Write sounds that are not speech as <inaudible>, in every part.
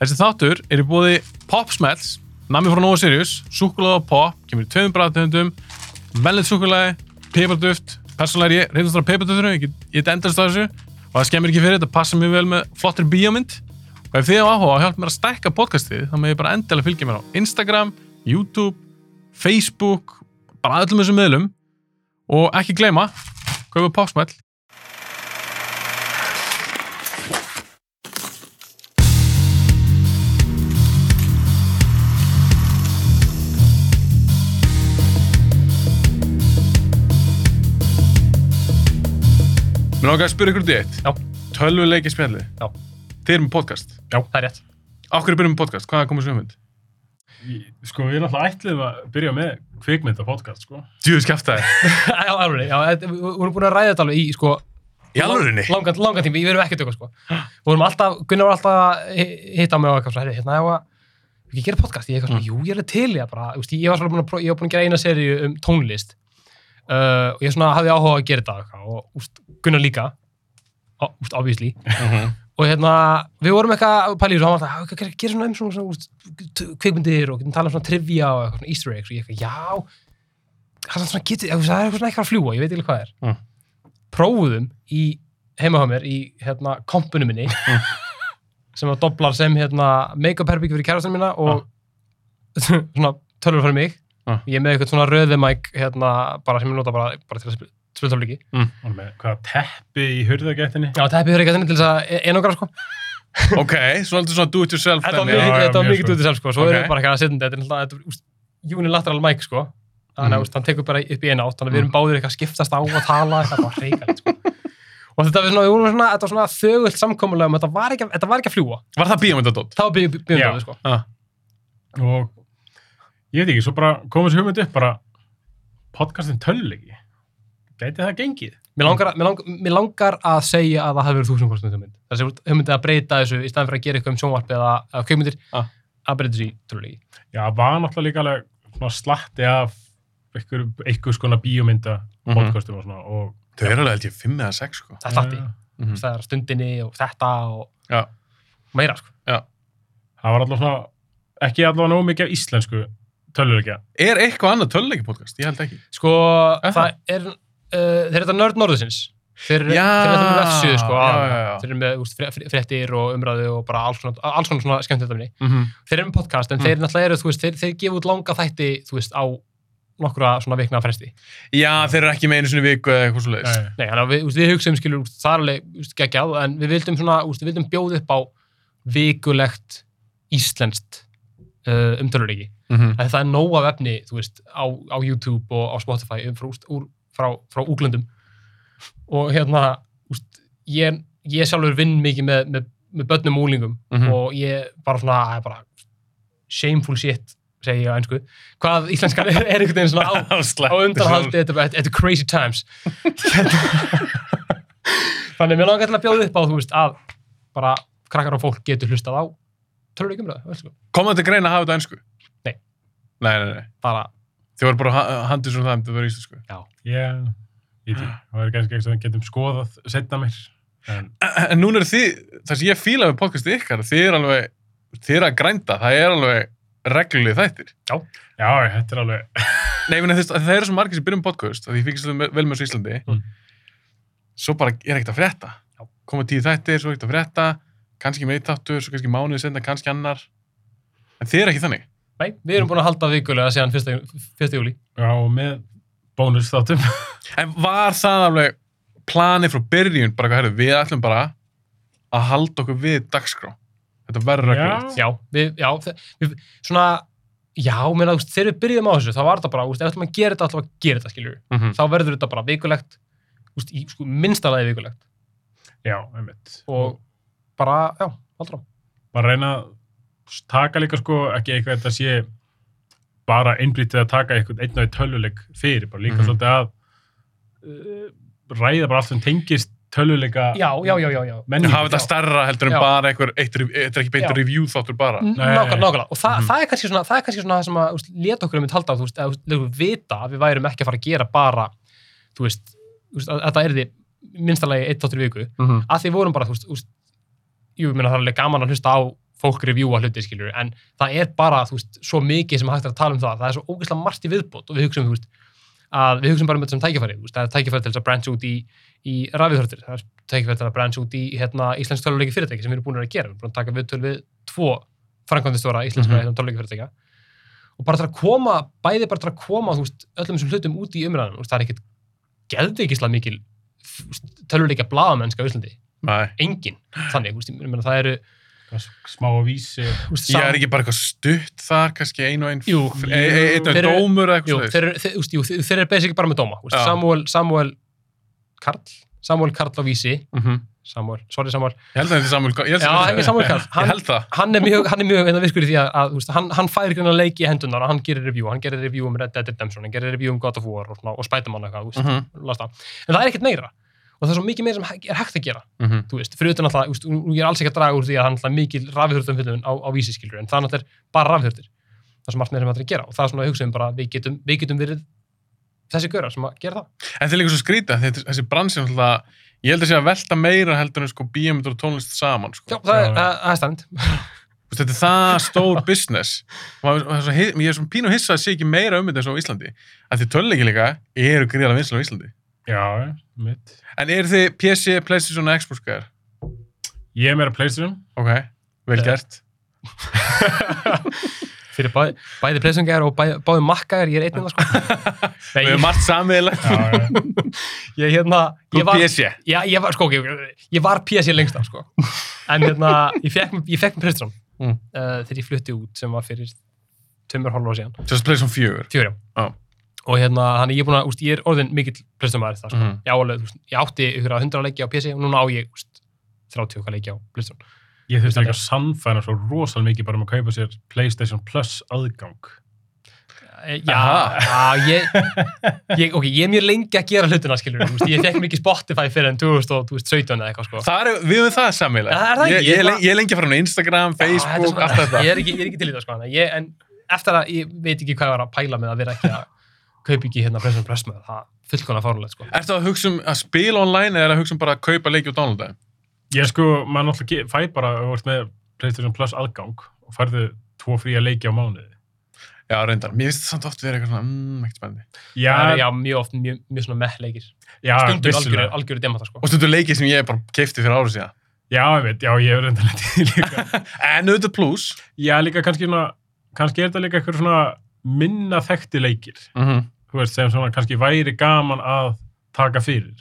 Þessi þáttur er í búði Pop Smells, nami frá Nova Sirius, súkulega og pop, kemur í tveimum bræðtöndum, velnið súkulega, piparduft, persónlega er ég reyndast á piparduftunum, ég get- ég get endast á þessu og það skemmir ekki fyrir, þetta passar mjög vel með flottir bíómynd og ef þið á áhuga að hjálpa mér að stækka podcastið þá með ég bara endilega fylgja mér á Instagram, YouTube, Facebook, bara öllum þessum meðlum og ekki gleyma, kaupa Pop Smell Mér langar að spyrja ykkur út í eitt. Já. Tölvuleiki spjallið. Já. Þið erum með podcast. Já, það er rétt. <laughs> Af hverju byrjum með podcast? Hvaðan komið svo hugmynd? Í- Sko, við náttúrulega ætlum að byrja með kvikmynda podcast, sko. Djúðu skjaftaði. Já, alveg, já, þetta- við við vorum búin að ræða þetta alveg í, sko, Í alvörunni? Langan, langan tími, við erum ekki tökum, sko. Við vorum alltaf, Gunnar var alltaf að hi- hitta á mig og eitthvað, svona, "Heyrðu, hérna, ég var ekki að gera podcast, ég Mm. eitthvað svona, jú, ég er alveg til, ég bara, þú veist, ég var svona búin að, pró- ég var búin að gera eina seríu um tónlist uh, og ég svona hafði áhuga á að gera þetta og eitthvað og, úst, Gunnar líka, Ó, úst, obviously, Mhm. og hérna, við vorum eitthvað að pæla í þessu og hann var alltaf, hvað gerir svona um svona, svona úst, kvikmyndir og getum talað um svona trivia og eitthvað svona easter eggs og ég eitthvað, já það er svona, getur, þú veist, það er eitthvað svona eitthvað að fljúa ég veit ekki hvað er Mm. prófuðum í heima hjá mér í hérna kompunum <laughs> minni sem að doblar sem hérna make-up herbyggi fyrir kærastan mína og <laughs> svona tölur fyrir mig Ah. ég er með eitthvað svona röðumæk hérna bara sem ég nota bara, bara til að spilta líki Mm. Og Mm. með hvaða teppi í hurðagættinni. já, teppi fyrir ekki til þess að e- einangra sko ok, svolítið svona do it yourself. Þetta dæmi. var mikið- mikið, já, þetta var mjög mikið sko. út í sjálf sko, svo Ok. erum við bara eitthvað að setja þetta, þetta er náttúrulega þetta er, úst, unilateral mic sko, þannig Mhm. að mm. hann tekur bara upp í eina átt, þannig að við erum báðir eitthvað að skiptast á að tala, eitthvað bara hreikalegt sko. Og þetta var svona, við vorum svona, þetta var svona þögult samkomulega um, að þetta var ekki, að- þetta var ekki að fljúa, Var það bíómyndadótt? þá byrjum við Já. byrjum sko. Ah. Og ég veit ekki, svo bara komið sér hugmynd upp, bara podcastin töllegi. Gæti það gengið? Mér langar, að- mér, langar, mér langar að segja að það hafi verið þúsund kostnum hugmynd. Þessi hugmyndi að breyta þessu í staðan fyrir að gera eitthvað um sjónvarp eða, eða kveikmyndir, Ah. að breyta þessu í trúlegi. Já, var náttúrulega líka alveg svona slatti af einhver, einhvers konar bíómynda Mhm. podcastum og svona. Og, Þau eru alveg held ég fimm eða sex, sko. Það er slatti. Mhm. Það er stundinni og þetta og Já. meira sko. Það var allavega svona, ekki allavega nóg mikið af íslensku tölvuleikja. Er eitthvað annað tölvuleiki podcast? Ég held ekki. Sko, Er það er, uh, þeir eru þetta nörd norðusins. Þeir eru Já. þeir eru þetta með vefsíðu, sko. Já, aðallega. já, já. Þeir eru með úst, fréttir og umræðu og bara alls konar, alls konar svona skemmt þetta minni. Mm -hmm. Þeir eru með podcast, en Mm. þeir náttúrulega eru, þú veist, þeir, þeir gefa út langa þætti, þú veist, á nokkura svona vikna fresti. Já, þeir eru ekki með einu sinni í viku eða eitthvað svo leiðis. Nei, Nei, þannig að við, úst, við hugsaum, skilur, úst, það er alveg, úst, geggjað, en við vildum svona, úst, við vildum bjóða upp á vikulegt íslenskt uh, umtöluleiki. Mhm. að það er nóg af efni, þú veist, á, á YouTube og á Spotify um frá, úst- úr, frá, frá úglöndum og hérna, úst, ég, ég sjálfur vinn mikið með, með, með börnum og úlingum Mhm. og ég bara svona, það er bara shameful shit, segi ég á einsku hvað íslenskan er, er einhvern veginn svona á, á undanhaldi, þetta er bara- þetta er crazy times Hérna, þannig að mér langar til að bjóða upp á, þú veist, að bara krakkar og fólk getur hlustað á töluleikum röða, Komum þetta greina að hafa þetta einsku? Nei. Nei, nei, nei. bara, Þið voru bara handið svona það um þetta verið íslensku. Já, ég veit ekki. Það er kannski eitthvað sem getum skoðað setna mér. En en núna eru þið, það sem ég fíla við podcastið ykkar, þið er alveg, þið er að grænda, það er alveg regluleg þættir. já, þetta er alveg... Nei, meni, þess, það eru svo margir sem byrjum podcast, að því ég fíkist vel með þessu í Íslandi, Mm. svo bara er ekkert að frétta. Já. Koma tíu þættir, svo er ekkert að frétta, kannski með eitt þáttur, svo kannski mánuðið senda, kannski annar. En þið er ekki þannig. Nei, við erum búin að halda vikulega síðan 1. júli. Já, og með bónus þáttum. En var það alveg planið frá byrjun, bara hvað herðu, við ætlum bara að halda okkur við dagskrá. Þetta verður Já. reglulegt. Já, við, já, þe- við, svona, já, meina, úst, þegar við byrjum á þessu, þá var þetta bara, úst, ef við ætlum að gera þetta, ætlum við að gera þetta, skiljur. Mm Þá verður þetta bara vikulegt, úst, í, sko, minnstalega vikulegt. <laughs> Já, einmitt. Og bara, já, haldur á. bara reyna að taka líka sko, ekki eitthvað þetta sé bara innblítið að taka eitthvað einn og einn töluleik fyrir, bara líka Mhm. svolítið að uh, ræða bara allt sem tengist töluleika Já, já, já, já, já. En menningu. hafa þetta Já. stærra heldur en Já. bara einhver, eitt, þetta er ekki beint Já. review þáttur bara. N- Nei. Nákvæmlega, nákvæmlega. Og það, Mhm. það er kannski svona, það er kannski svona það sem að, úst, leta okkur um þetta halda, þú veist, að, úst, letum við vita að við værum ekki að fara að gera bara, þú veist, úst, að, að það er því minnstalega eitt þáttur í viku. Mm -hmm. að því vorum bara, þú veist, úst, jú, ég meina það er alveg gaman að hlusta á fólk revjúa hluti, skiljur, en það er bara, þú veist, svo mikið sem hægt er að tala um það, það er svo ógeðslega margt í viðbót og við hugsaum, þú veist, að við hugsaum bara um þetta sem tækifæri, þú veist, það er tækifæri til þess að branch út í, í rafiðhörtir, það er tækifæri til að branch út í, hérna, íslensk töluleiki fyrirtæki sem við erum búin að gera, við erum búin að taka viðtöl við tvo framkvæmdistóra íslenskra Mhm. mm fyrirtækja og bara til að koma, bæði bara til að koma, þú veist, öllum þessum hlutum út í umræðan, þú veist, það er ekkit geðveikislega mikil töluleika blaðamennska á Íslandi, Nei. engin þannig, þú veist, ég meina, það eru smá að vísi þú veist, Ég sam- er ekki bara eitthvað stutt þar, kannski ein og ein. Jú. e, e, einn og einn Þeir eru- dómur eða Jú, eitthvað þeir, svoleiðis. eru- þeir, úst, jú, þeir, þeir eru basic bara með dóma úst, Já. Samuel, Samuel Karl Samuel Karl á vísi Mhm. Samuel, sorry Samuel Ég held að þetta er Samuel Karl. Já, það er ekki Samuel Karl. Hann- Ég held það. hann er mjög, hann er mjög einna virkur í því að, að úst, hann, hann fær greina leiki í hendunar og hann gerir review, hann gerir review um Red Dead Redemption hann gerir review um God of War og, svona, og Spiderman og eitthvað, úst, Mhm, lasta. en það er ekkert meira og það er svo mikið meira sem hæ- er hægt að gera mhm. þú veist, fyrir utan alltaf, úst, nú ég er alls ekki að draga úr því að hann alltaf mikil rafihörðum á, á vísiskilur, en það náttúrulega er bara rafihörður það er svo margt meira sem hægt er að gera og það er svona að hugsa um bara að við getum, við getum verið þessi görar sem að gera það En þetta er líka svo skrítið, þetta- þessi bransin alltaf, ég held að sé að velta meira heldur en sko bíómyndur og tónlist saman, sko. já, það er, Já. að- það er stend Þú veist, Þetta er það stór business. Og það er svo, hi- ég er svona pínu hissa að sé ekki meira um þetta eins og á Íslandi. Af því töluleiki líka eru gríðarlega vinslega á Íslandi. já, mitt En eru þið PC, PlayStation og Xbox gæðar? ég er meira playstation Ok, vel Já. gert. fyrir bæ, bæði pleysungar og bæ, báði makkaðar, ég er einnum það sko Við erum <laughs> Nei, margt samvegilegt. já, já. <laughs> ég, ég, hérna, ég var PC. já, ég var, sko, ok, ok, ég var PSI lengst af sko. en hérna, ég fekk, mér- ég fekk mér Prestram Mm. uh, þegar ég flutti út sem var fyrir tömur hálfa síðan Just PlayStation 4. fjörjá Já. og hérna, hann ég er búin að, úst, ég er orðin mikill plestumæður það, sko. Mhm. ég, á alveg, úst, ég átti ykkur að 100 leiki á PC og núna á ég úst, 30 okkar leiki á plestum ég þurfti ekki að sannfæna svo rosalega mikið bara um að kaupa sér playstation plus aðgang Eh, já, já ég, ég, ok, ég er mjög lengi að gera hlutina skilur, úst, ég fekk mikið Spotify fyrir en 2017 eða eitthvað sko. Það er, við höfum það sammeilegt. Já, er það ég, ekki? ég, er len- ég er lengi að fara á Instagram, Já, þetta er Facebook, svona- allt þetta. ég er, ekki, ég er ekki til í það sko, þannig að ég, en eftir að ég veit ekki hvað ég var að pæla með að vera ekki að kaupa ekki hérna plestum plestum það fullkona fárulegt sko. Ertu að hugsa um að spila online eða er að hugsa um bara að kaupa leiki og downloada? þeim? Ég sko, maður náttúrulega ge- fær bara að vart með PlayStation Plus aðgang og færðu tvo fría leiki á mánuði. Já, reyndar. Mér finnst það samt oft verið eitthvað svona, mmm, ekkert spennandi. það Já, eru já, mjög oft mjög, mjög svona meðleikir já, stundum algjöru, vissulega. algjöru demata sko. Og stundur leiki sem ég bara keipti fyrir árið síðan. Já, ég veit, já, ég er reynda lendið <laughs> líka. En auðvitað pluss. Já, líka kannski svona, kannski er þetta líka eitthvað svona minna þekkti leikir, Mm Mhm. -hmm. þú veist, sem svona kannski væri gaman að taka fyrir.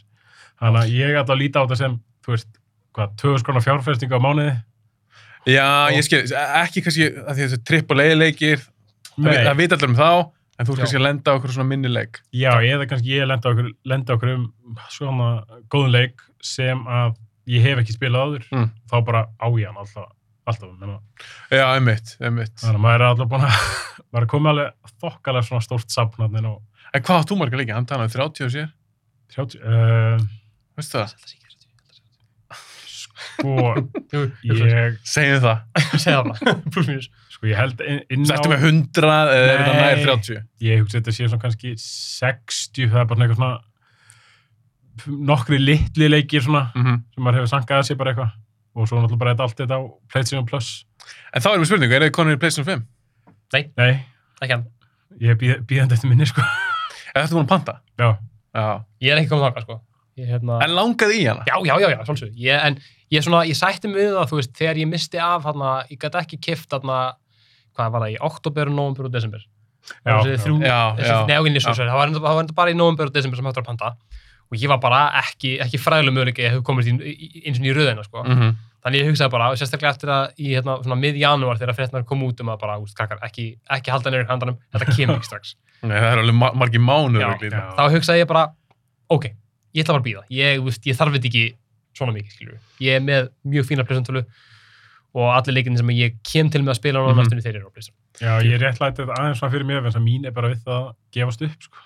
Þannig að ég ætla að líta á þetta sem, þú veist, hvað, 2000 krona fjárfæstingu á mánuði? Já, ég skil, ekki kannski að því að þessu triple A leikir, það vit- Nei. það vita allir um þá, en þú ert Já. kannski að lenda á okkur svona minni leik. Já, eða kannski ég lenda okkur, lenda okkur um svona góðun leik sem að ég hef ekki spilað áður Mm. þá bara á ég hann alltaf, alltaf menna, Já, einmitt, einmitt. þannig að maður er alltaf búin að <laughs> maður er komið alveg þokkalega svona stórt safnarnin og En hvað áttu marga leiki? Hann talaði 30 og sér, 30 uh, veistu það? sko, Jú, jú, ég Segjum það. segja það plus mínus sko, ég held inn, inn á Settum við 100 eða er þetta nær Nei. 30? ég hugsa þetta sé svona kannski 60, það er bara eitthvað svona nokkri litli leikir svona Mm sem maður hefur sankað að sé bara eitthvað og svo náttúrulega bara þetta allt þetta á PlayStation Plus En þá erum við spurningu, er þið konur í PlayStation 5? nei, ekki hann ég er bíð- bíðandi eftir minni sko Eða þetta múin að panta? Já, Já. ég er ekki komið þangað sko. ég, hérna, En langaði í hana? já, já, já, já, svolsög ég, en ég, svona, ég sætti mig við það þú veist, þegar ég misti af hana, ég gæti ekki kift hana, hvað var það, í oktober, november og desember já, Það voru þessi já. þrjú, Já, þessi, já. nei, ok, nei, svo, Já. sorry, það var enda- það var enda bara í november og desember sem hættur að panta og ég var bara ekki, ekki fræðilega möguleika að ég hef komist í, í- eins og í röðina sko. Mm -hmm. þannig ég hugsaði bara, og sérstaklega eftir að í hérna, svona mid-janúar þegar fréttnar kom út um að bara, úst, kakar, ekki, ekki halda neyrir handanum þetta kemur ekki strax Nei, það er alveg mar margi mánuður Já, já, já. Já. þá hugsaði ég bara, ok, ég ætla bara að býða ég, úst, ég þarf þetta ekki svona mikið skilur. ég er með mjög fína presentölu og allir leikinni sem ég kem til með að spila á Mhm. næstunni þeir eru á pleysun Já, ég réttlæti þetta aðeins svona fyrir mér þannig að mín er bara við það að gefast upp sko.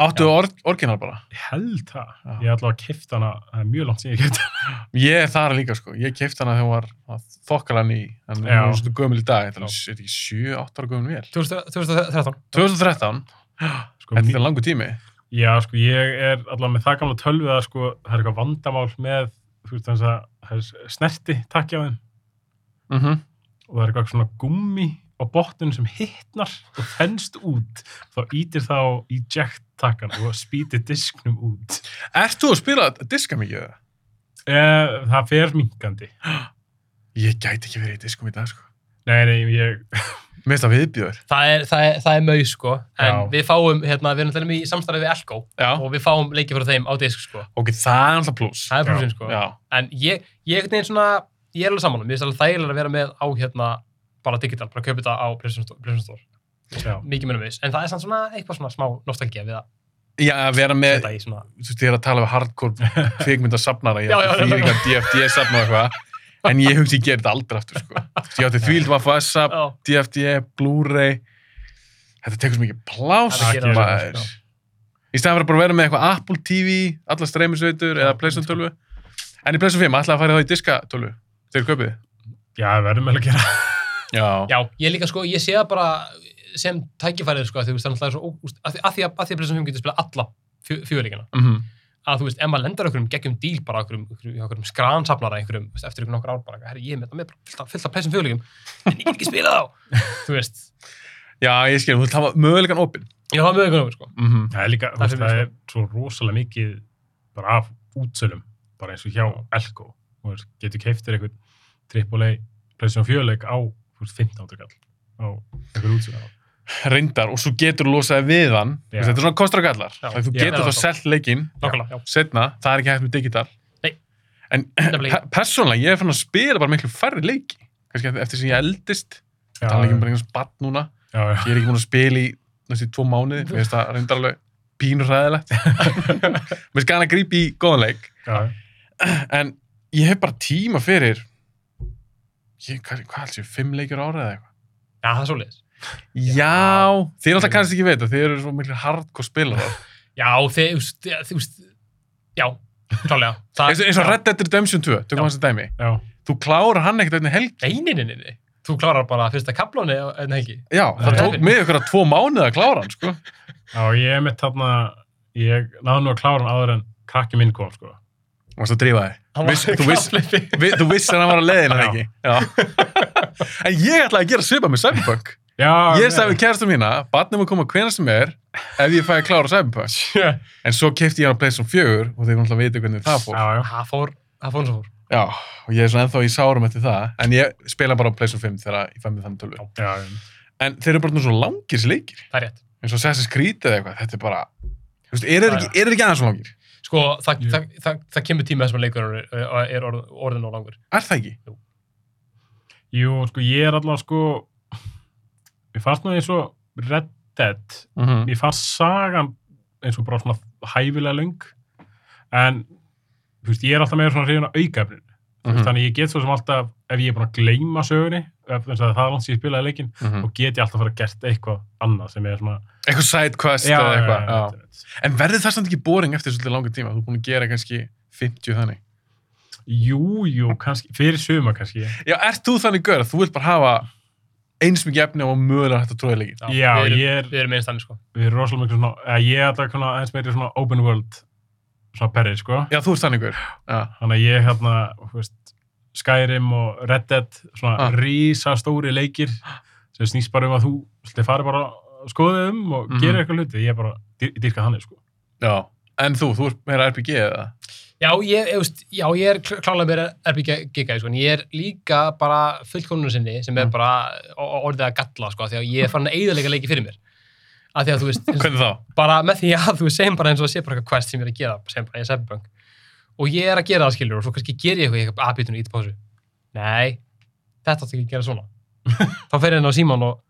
Áttu or orginal bara? Ég held það, Já. ég er alltaf að kifta hana það er mjög langt síðan ég kifta hana Ég er þar líka sko, ég keift hana þegar hún var að þokkala hann í, en hún Já. er svona gömul í dag, þetta er alveg- er þetta ekki 7-8 ára gömul vel. 2013 2013, sko, þetta mín, er langu tími. Já, sko, ég er alltaf með það gamla tölvið að sko, það er eitthvað vandamál með þú veist þannig að það er snerti takja á þeim Mm -hmm. og það er eitthvað svona gummi á botninu sem hittnar og þennst út þá ítir það á eject takkan og spýtir disknum út Ert þú að spila diska mikið? eða? eh, það fer minkandi Ég gæti ekki verið í diskum í dag, sko. nei, nei, ég Mér finnst það viðbjör. Það er, það er, það er mög, sko. En Já. við fáum, hérna, við erum náttúrulega í samstarfið við Elko Já. og við fáum leikið frá þeim á disk, sko. Ok, það er alltaf pluss. Það er Já. plusin, sko. Já. En ég, ég einhvern veginn svona, ég er alveg saman um, ég finnst alveg þægilega að vera með á, hérna, bara digital, bara kaupa þetta á PlayStation Store- PlayStation Store. já, Mikið minna veist. En það er samt svona eitthvað svona smá nostalgía við að Já, að vera með, setja í svona... þú veist, ég er að tala við <laughs> hardcore kvikmyndasafnara, ég Já, já, átti já. þýringa DFD-safna og eitthvað, en ég hugsi ég gerir þetta aldrei aftur, sko. Þú veist, Ég átti þvíld Vafa-safn, Já. DFD, E, Blu-ray, þetta tekur svo mikið pláss, Það gerir það, maður. sko. Í staðan fyrir að bara vera með eitthvað Apple TV, alla streymisveitur eða PlayStation 12. En í PlayStation 5, ætlaði að fara þá í diska 12, þegar kaupið. já, við verðum vel að gera Já. Já, ég líka sko, ég sé það bara sem tækifærið sko, að því, þú veist, það er náttúrulega svo, ó- úst, að því að, því að, að því að Playstation 5 getur spila alla fjöguleikina, Mhm. að þú veist, ef maður lendar okkur um geggjum díl bara okkur um, okkur um skransafnara einhverjum, þú veist, eftir ykkur nokkur ár bara, herri, ég er með það með bara fullt af- fullt af Playstation fjöguleikum, en ég get ekki spila þá, þú veist, Já, ég skil, þú ætlaði að hafa mögulegan opinn. ég hafa möguleikun okkur sko. Mm -hmm. það er líka, Það það, er veist, fyrir það er svo rosalega mikið bara af útsölum bara eins og hjá Elko og veist, getur keiftir eitthvað AAA PlayStation 4 leik á þú veist, 15 áttur kall á eitthvað útsölu Reyndar, og svo getur þú losaði við hann. Þú Já. veist, Þetta er svona kostur og gallar. Já. Þegar Þú Já. getur Já, þá já. selt leikinn Nákvæmlega, já. setna, það er ekki hægt með digital. Nei. En Nefnilega. pe- persónulega, ég er fann að spila bara miklu færri leiki. Kannski eftir- eftir sem ég eldist. já, Það er ekki um bara einhvers batt núna. já, já. Ég er ekki múin að spila í næstu tvo mánuði. Mér finnst það reyndar alveg pínur <laughs> ræðilegt. Mér finnst gana að grípa í góðan leik. já. En ég hef bara tíma fyrir, ég, hvað, hvað alls ég, fimm leikjur ára eða eitthvað. Já, það er svoleiðis. Já, þið er alltaf kannski ekki veit að þið eru svo miklu hardcore <laughs> spilarar. Já, þið, þú veist, þið- þú veist, já, klálega. Það- eins, eins og já. Red Dead Redemption 2, tökum Já. hans að dæmi. já. Þú klárar hann ekkert einnig helg. Nei, nei, nei, nei, nei. Þú klárar bara fyrsta kaplónu en ekki. Já, það Nei. tók mig ykkur að tvo mánuði að klára hann, sko. Já, ég er mitt þarna, ég náði nú að klára hann áður en krakki minn kom, sko. Þú varst að drífa þig. Hann var- Viss- þú viss- Kapphlaupi. Vi, þú vissir að hann var að leiðin hann ekki. Já. <laughs> en ég ætlaði að gera svipa með Cyberpunk. Já, Ég sagði við kærastum mína, barnum að koma hvena sem er ef ég fæ að klára Cyberpunk. Já, En svo kefti ég hann að PlayStation 4 og þeir voru alltaf að vita hvernig það fór. Já, já. Það fór, það fór eins og fór. Já, og ég er svona ennþá í sárum eftir það. En ég spila bara á PlayStation 5 þegar ég fæ mig þann tölvu. Já, já. En þeir eru bara nú svo langir þessi leikir. Það er rétt. eins og Assassin's Creed eða eitthvað, þetta er bara Þú veist, er þetta ekki, er þetta ekki aðeins svo langir? Sko, það, Jú. það, það, það kemur tíma þessum að leikur er, er orð, orðin og langur. Er það ekki? Jú, sko, ég er allavega, sko, mér fannst nú eins og Red Dead, Mm -hmm. mér fannst sagan eins og bara svona hæfilega löng, en, þú veist, ég er alltaf meira svona hrifin á aukaefninu. Mm Mhm. -hmm. Þannig ég get svo sem alltaf, ef ég er búin að gleyma sögunni, ef þess að það er langt sem ég spilaði leikinn, Mhm. þá get ég alltaf að fara að gert eitthvað annað sem er svona... Eitthvað sidequest eða eitthvað. Já, já. En verður það samt ekki boring eftir svolítið langar tíma? Þú er búin að gera kannski 50 þannig. Jú, jú, kannski, fyrir suma kannski. Já, ert þú þannig gaur að þú vilt bara hafa eins mikið efni og mögulega hægt að tróða leikinn? Já, við erum, ég er- Við erum einst þannig, sko. við erum rosalega miklu svona, eða ég er alltaf svona, aðeins meiri svona open world svona perri, sko. Já, þú ert þannig gaur. Já. Þannig að ég hérna, þú veist, Skyrim og Red Dead, svona Ah. ah. stóri leikir sem snýst bara um að þú svolítið fari bara að skoða þig um og Mhm. gera eitthvað hluti. Ég er bara, dyr, dyrka þannig, sko. Já. En þú, þú ert meira RPG eða? Já, ég, ég, veist, já, ég er kl- klárlega meira RPGI, sko, en ég er líka bara fullkomnur sinni sem er Mm. bara o- orðið að galla, sko, af því að ég er farin að eigðalega leiki fyrir mér. Af því að, þú veist, eins og- Hvernig þá? bara með því að þú segjum bara eins og það sé bara eitthvað quest sem ég er að gera, segjum bara ég er cyberpunk og ég er að gera það skilur og svo kannski ger ég eitthvað, ég eitthvað aðbytun og ít pásu nei, þetta átti ekki að <laughs> gera svona þá fer ég inn á síman og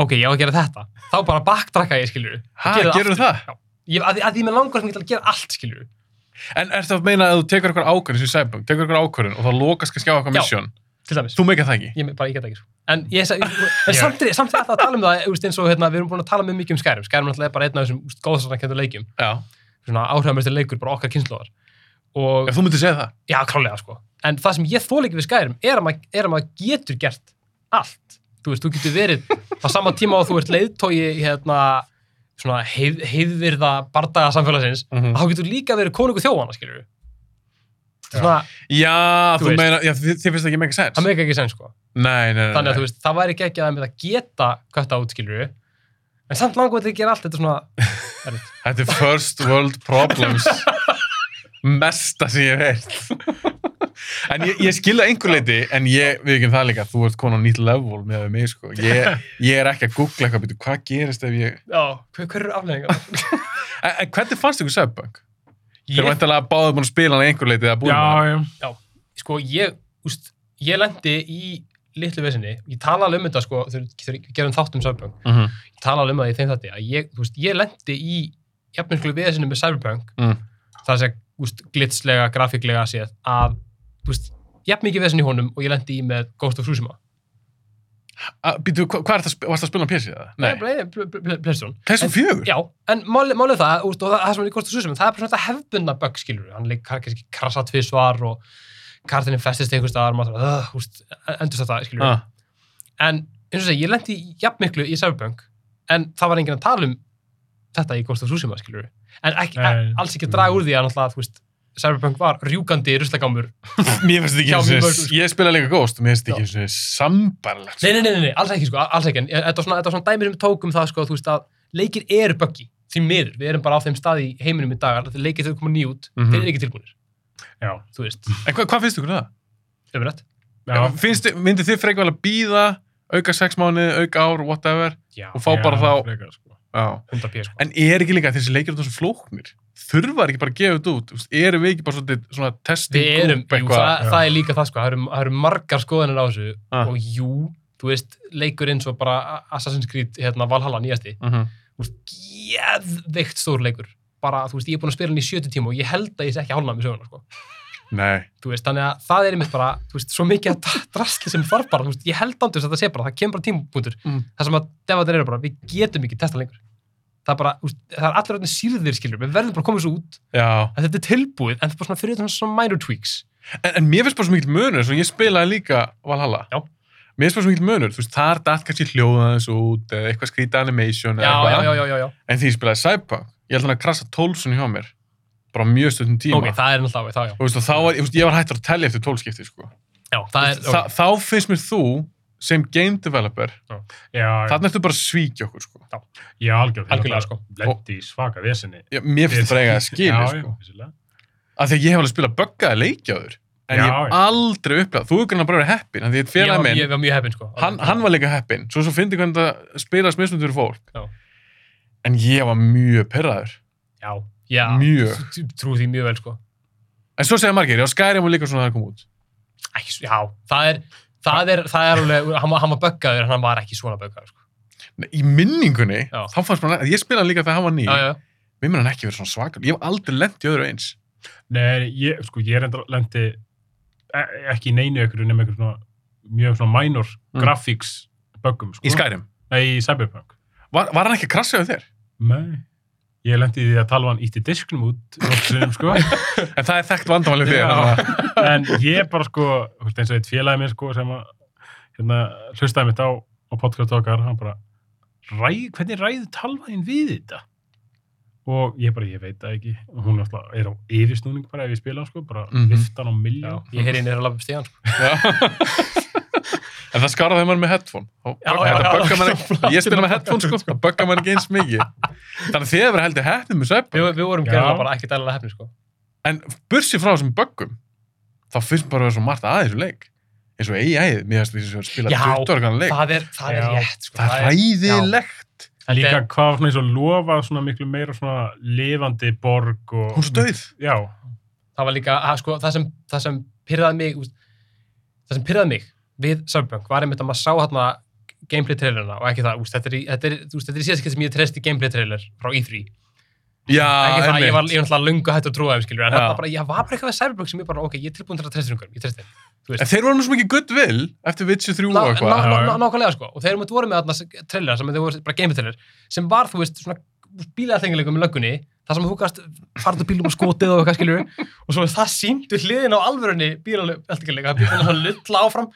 ok, ég á að gera þetta þá bara backtracka ég skilur Ha, gerðu það? Ég, að, því- að því með langar sem ég ætla að gera allt skilur En ert það að meina að þú tekur eitthvað ákvörðin sem Cyberpunk, tekur eitthvað ákvörðin og þá lokast kannski á eitthvað Já. misjón? til dæmis, Þú meika það ekki? ég, bara ég get það ekki sko. en, ég, sa- en samt er samt er alltaf að tala um það þú veist, eins og hérna, við erum búin að tala mjög mikið um skærum skærum alltaf er bara einn af þessum góðsarnakendur leikjum Já. svona áhrifamestir leikur bara okkar kynnslóðar og Ef þú myndir segja það? Já, klálega sko. En það sem ég þól ekki við skærum er að maður, er að maður getur gert allt. Þú veist, þú getur verið á sama tíma og þú ert leiðtói hérna, svona heið, heiðvirða bardaga samfélagsins, Mhm. þá getur líka verið konungu þjóðana, skilur við. Þetta er svona, Já, Þú þú, þú veist. meina, já, þið, þið finnst það ekki mega sens. það meika ekki senn, sko. Nei, nei, nei. Þannig að þú veist, það væri ekki ekki að það með að geta kvætta út, skilur við. En samt langar þetta að gera allt, þetta er svona, Þetta er first world <laughs> problems. Mesta sem ég veit. en ég, ég skilja einhver leiti, en ég, við ekki það líka, þú ert komin á nýtt level með mig, sko. Ég, ég er ekki að googla eitthvað, býtu, hvað gerist ef ég... já, hver, hver eru afleggingar? <laughs> En, en hvernig fannst ykkur Subbank? Þeir eru vantilega báðið búin að spila hann einhver leiti eða búin að... já, sko, ég, úst, ég lendi í litlu vesinni, ég tala alveg um þetta, sko, þegar við gerum þátt um Cyberpunk, Mhm. ég tala alveg um það í þeim þætti, að ég, þú veist, ég lendi í jafninskjölu vesinni með Cyberpunk, Mm. það sé, úst, glitslega, grafíklega séð, að, þú veist, jafn mikið vesinni í honum og ég lendi í með Ghost of Tsushima. A, býtu, Ah, hva, hvað er það, varst það að spila á PC eða? Nei. Playstation. Playstation 4? Já, en málið máli það, úst, og það, það sem er í Ghost of Tsushima, það er bara svona þetta hefbundna bug, skilur við, hann leik kannski krasa tvisvar og kartinni festist einhvers staðar, maður þarf að, úst, e-, endur þetta, skilur Ah, en eins og segi, ég lendi jafn miklu í Cyberpunk en það var enginn að tala um þetta í Ghost of Tsushima, skilur en ekki, Nei. alls ekki að draga úr því að náttúrulega, þú veist, Cyberpunk var rjúkandi ruslagámur. mér finnst þetta ekki Já, eins mjög og mörg, sko. ég spila líka Ghost, mér finnst þetta Já. ekki eins og sambarlegt. Nei, nei, nei, nei, nei, alls ekki, sko, alls ekki en þetta var svona, þetta var svona dæmi sem við tókum það, sko, þú veist að leikir eru buggy, því miður, við erum bara á þeim stað í heiminum í dag, alltaf þegar leikir þau koma nýjút mm Mhm. þeir eru ekki tilbúinir, já, þú veist, En hva, hvað finnst ykkur um það? umrætt já, Finnst, þið- myndið þið frekar vel að býða auka sex mánuði, auka ár, whatever Já, og fá bara já, þá frekar, sko. já. 100 p, sko en er ekki líka þessi leikir út þessu flóknir þurfa er ekki bara að gefa þetta út Þú veist, erum við ekki bara svolítið svona testing Við erum, group jú, eitthvað? það, það er líka það sko, það eru, það eru margar skoðanir á þessu Ah. og jú, þú veist, leikur eins og bara Assassin's Creed, hérna, Valhalla nýjasti, Mhm. þú veist, geðveikt stór leikur, bara, þú veist, ég er búinn að spila hann í 70 tíma og ég held að ég sé ekki hálna með söguna, sko, nei, þú veist, þannig að það er einmitt bara, þú veist, svo mikið að dra- drasli sem þarf bara, þú veist, ég held ándur að það sé bara, það kemur bara tímapunktur, Mm. það sem að devatir eru bara, við getum ekki testa lengur, það er bara, þú veist, það er allir öðnir sírðir skilur, við verðum bara að koma þessu út, já að þetta er tilbúið, en það er bara svona fyrir utan svona minor tweaks, en, en mér finnst bara svo mikill munur svo ég spilaði líka Valhalla Já. mér finnst bara svo mikill munur þú veist, þar datt kannski hljóðaðins út eða eitthvað skrýta animation já, eða já, eitthvað já, já, já, já. en því ég spilaði Cyberpunk ég held hann að krasa tólsun hjá mér bara á mjög stöðum tíma Ok, það er náttúrulega, þá já. og þú veist, og þá var, ég, þú veist, ég var hættur að tellja eftir tólskipti sko. Já, það er, Þa, þá finnst mér þú sem game developer, já, þarna ertu bara að svíkja okkur sko. já, algjörð Algjörlega, sko. lendi í svaka vesinni Já, mér finnst það eiga að skilja já, sko. já, vissulega. af því að ég hef alveg spilað buggaði leiki á þér en Já, ég hef já. aldrei upplegað, þú hefur grann bara verið heppin af því að ég, félag var- minn, ég var mjög heppinn, sko. hann, hann var líka heppin svo svo fyndi hvernig það spilast mismundur fólk Já. en ég var mjög perraður já, já, mjög. trú- Trú því mjög vel, sko. en svo segja margir, já Skyrim var líka svona að það kom út Æ, s- já, það er, það er, það er alveg, hann, var- hann var böggaður, en hann var ekki svona böggaður, sko. Nei, í minningunni, Já. þá fannst maður ég spilaði hann líka þegar hann var ný, Já, já, já. mér mun hann ekki verið svona svakal ég hef aldrei lent í öðru eins Nei, ég, sko, ég reyndar lendi e- ekki í neinu ykkur nema ykkur svona mjög svona minor Mm. graphics böggum, sko. í Skyrim, Nei, í Cyberpunk. var, var hann ekki að krasja á þér? Nei. Ég lendi í því að talvan ítti disknum út nokkuðum, <laughs> sko. En það er þekkt vandamálið Já. þér. þannig að- En ég bara, sko, þú veist, eins og eitt félagi minn, sko, sem að hérna, hlustaði mitt á, á podcast okkar, hann bara, ræ, hvernig ræði talvanin við þetta? Og ég bara, ég veit það ekki. Og Hún er, alltaf, er á yfirsnúning bara ef ég spila, hann, sko, bara Mhm. viftan á miljón. Ég heyri inn er að lafa upp stíðan, sko. Já. En það skarðaði maður með headphone. Þá Já, bögg- já, þetta já. böggar maður <laughs> ekki. Ég spila með headphone, sko. Það böggar maður ekki eins mikið. Þannig að þið hefur heldur hefnið með svepp. Við, við vorum Já. gerðilega bara ekki dælilega heppni, sko. En bursi frá þessum böggum, þá finnst bara að vera svo margt aðeins úr leik. Eins og AI-ið, mér finnst þess að spila Já. 20 organ leik. Það er, það er Já. rétt, sko. Það er hræðilegt. Þetta Líka er- hvað var svona eins og lofað svona miklu meira svona lifandi borg og... Hún stöð. Já, það var líka, að, sko, það sem, það sem pyrraði mig, úst, það sem pyrraði mig við Cyberpunk var einmitt að maður sá hérna gameplay trailerina og ekki það, úst, þetta er, í- þetta er, úst, þetta er í síðast ekki sem ég treysti gameplay trailer frá E E3. Já, ekki það, ég var Ah, einmitt. ég var náttúrulega löngu hættur að trúa þeim, skilur, en Já. það bara, ég var bara eitthvað við Cyberpunk sem ég bara, ok, ég er tilbúin til að treysta einhverjum, ég treysti þeim. Þú En veist, þeir voru með svo mikið goodwill eftir Witcher 3 Ná- og ná- eitthvað. ná- Já, ná- já. nákvæmlega, sko, og þeir eru mútið voru með þarna trailer sem þeir voru bara gameplay trailer, sem var, þú veist, svona bílaðatengilegum með löggunni, það sem þú gast farið úr bílum og skotið og eitthvað, skilur, <laughs> og svo það síndu hliðin á alvörunni bílaðatengilega, það bílaðin svona lulla áfram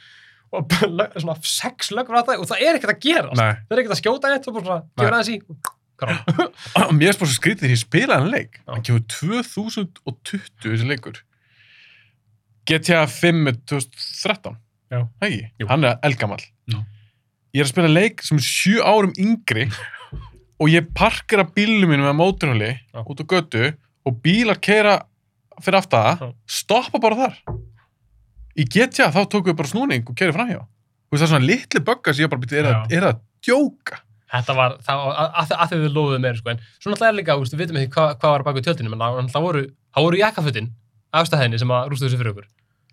og bara lög- svona sex löggur á þetta og það er ekkert að gera, Nei. það er ekkert að skjóta neitt, þú bara svona, Nei. gefur aðeins í, krá, Mér er spór svo skrítið þegar ég spilaði hann leik Já. hann kemur 2020 þessi leikur GTA 5 er 2013 Já. Það ekki? Jú. hann er elgamall Já. ég er að spila leik sem er sjö árum <laughs> yngri og ég parkera bílum mínum með móturhjóli Já. út á götu og bílar keira fyrir aftaða, Já. stoppa bara þar í GTA þá tókum við bara snúning og keiri framhjá Þú veist, það er svona litli böggar sem ég bara byrja, er, að- Já. er að djóka Þetta var, það, að, að, að þau við lofuðu meira, sko, en svona alltaf er líka, úst, við veitum ekki hvað, hvað var bakið tjöldinu, menn það- það voru, það voru jakkafutin, afstæðinni sem að rústu þessu fyrir okkur.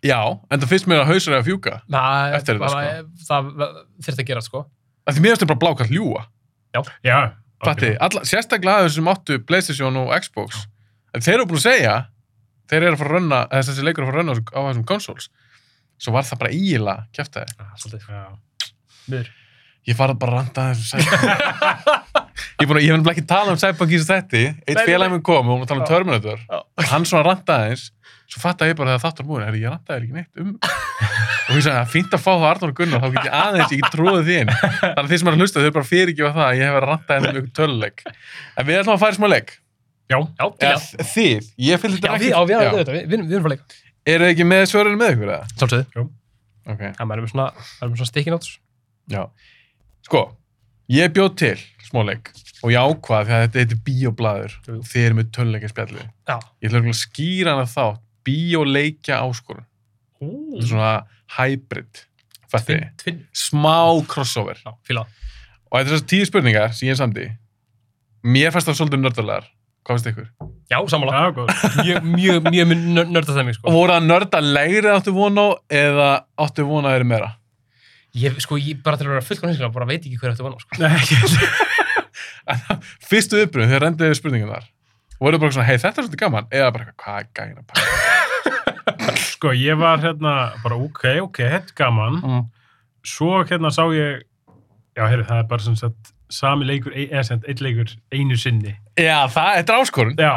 já, en það finnst mér að hausar er að fjúka Það, Eftir þetta, það, það, það þurfti að gera, sko. af því mér finnst þetta bara blákall ljúa Já. Fatti, alla, sérstaklega þau sem áttu Playstation og Xbox en þeir eru búin að segja þeir eru að fara að runna, eða þessi leikur er að fara að runna á þessum- á þessum consoles svo var það bara eiginlega kjæftæði Ah, svolítið, sko. Já. Miður. ég farið bara að randa að þessum Cyberpunk <laughs> ég, er búinn að- ég vil ekki tala um Cyberpunk í þessu þætti eitt Nei, nei, félagin minn kom og hún var að tala um Já. Terminator og hann svona randaði aðeins svo fattaði ég bara þegar þáttur múin herri, ég randaði ekki neitt um <laughs> og ég sagði það er fínt að fá það Arnór og Gunnar þá get ég aðeins, ég get tróðið því inn þannig að þeir sem er að hlusta þau eru bara að fyrirgefa það að ég hef verið að randaði um einhver töluleik en við ætlum að fara í smá leik Já. Já, til Eða já. þið, ég fylgði Já, þetta við, ekki á, við, á, við, við, við, við erum frá leika. Eru þið ekki með svörinu með ykkur eða? Svolítið. Ok, Það maður er með svona, maður er með svona stikkin átus. já Sko, ég bjóð til smáleik og ég ákvað því að þetta heitir bíoblaður Jú. og þið eru með töluleikja spjallið Já. Ég ætla örugglega að skýra hana þá bíoleikja áskorun Þetta Mm. er svona hybrid Fætti, Tvinn. smá crossover Já, fíla. það. Og þetta er þessar tíu spurningar sem ég er samdi Mér fannst það svolítið nördalegar Hvað finnst ykkur? Já, sammála. Já, góð. Mjög, mjög, mjög mun nör- nörda stemming, sko. Voru það nördalegri áttu vona á eða áttu vona að þeir meira? <laughs> Ég, sko, ég bara til að vera fullkomlega hinskilvæg, bara veit ekki hver eftir vana, sko. Nei, ekki. fyrstu uppröðum þegar rendið við spurningum þar og voru bara svona, hei þetta er svolítið gaman eða bara, eitthvað, hvað er gæna pakka Sko, ég var hérna bara, ok, ok, þetta er gaman. mm. Svo hérna sá ég, já, heyrðu, það er bara sem sagt sami leikur, e- eða sem sagt, einn leikur einu sinni. já, það, þetta er áskorun Já,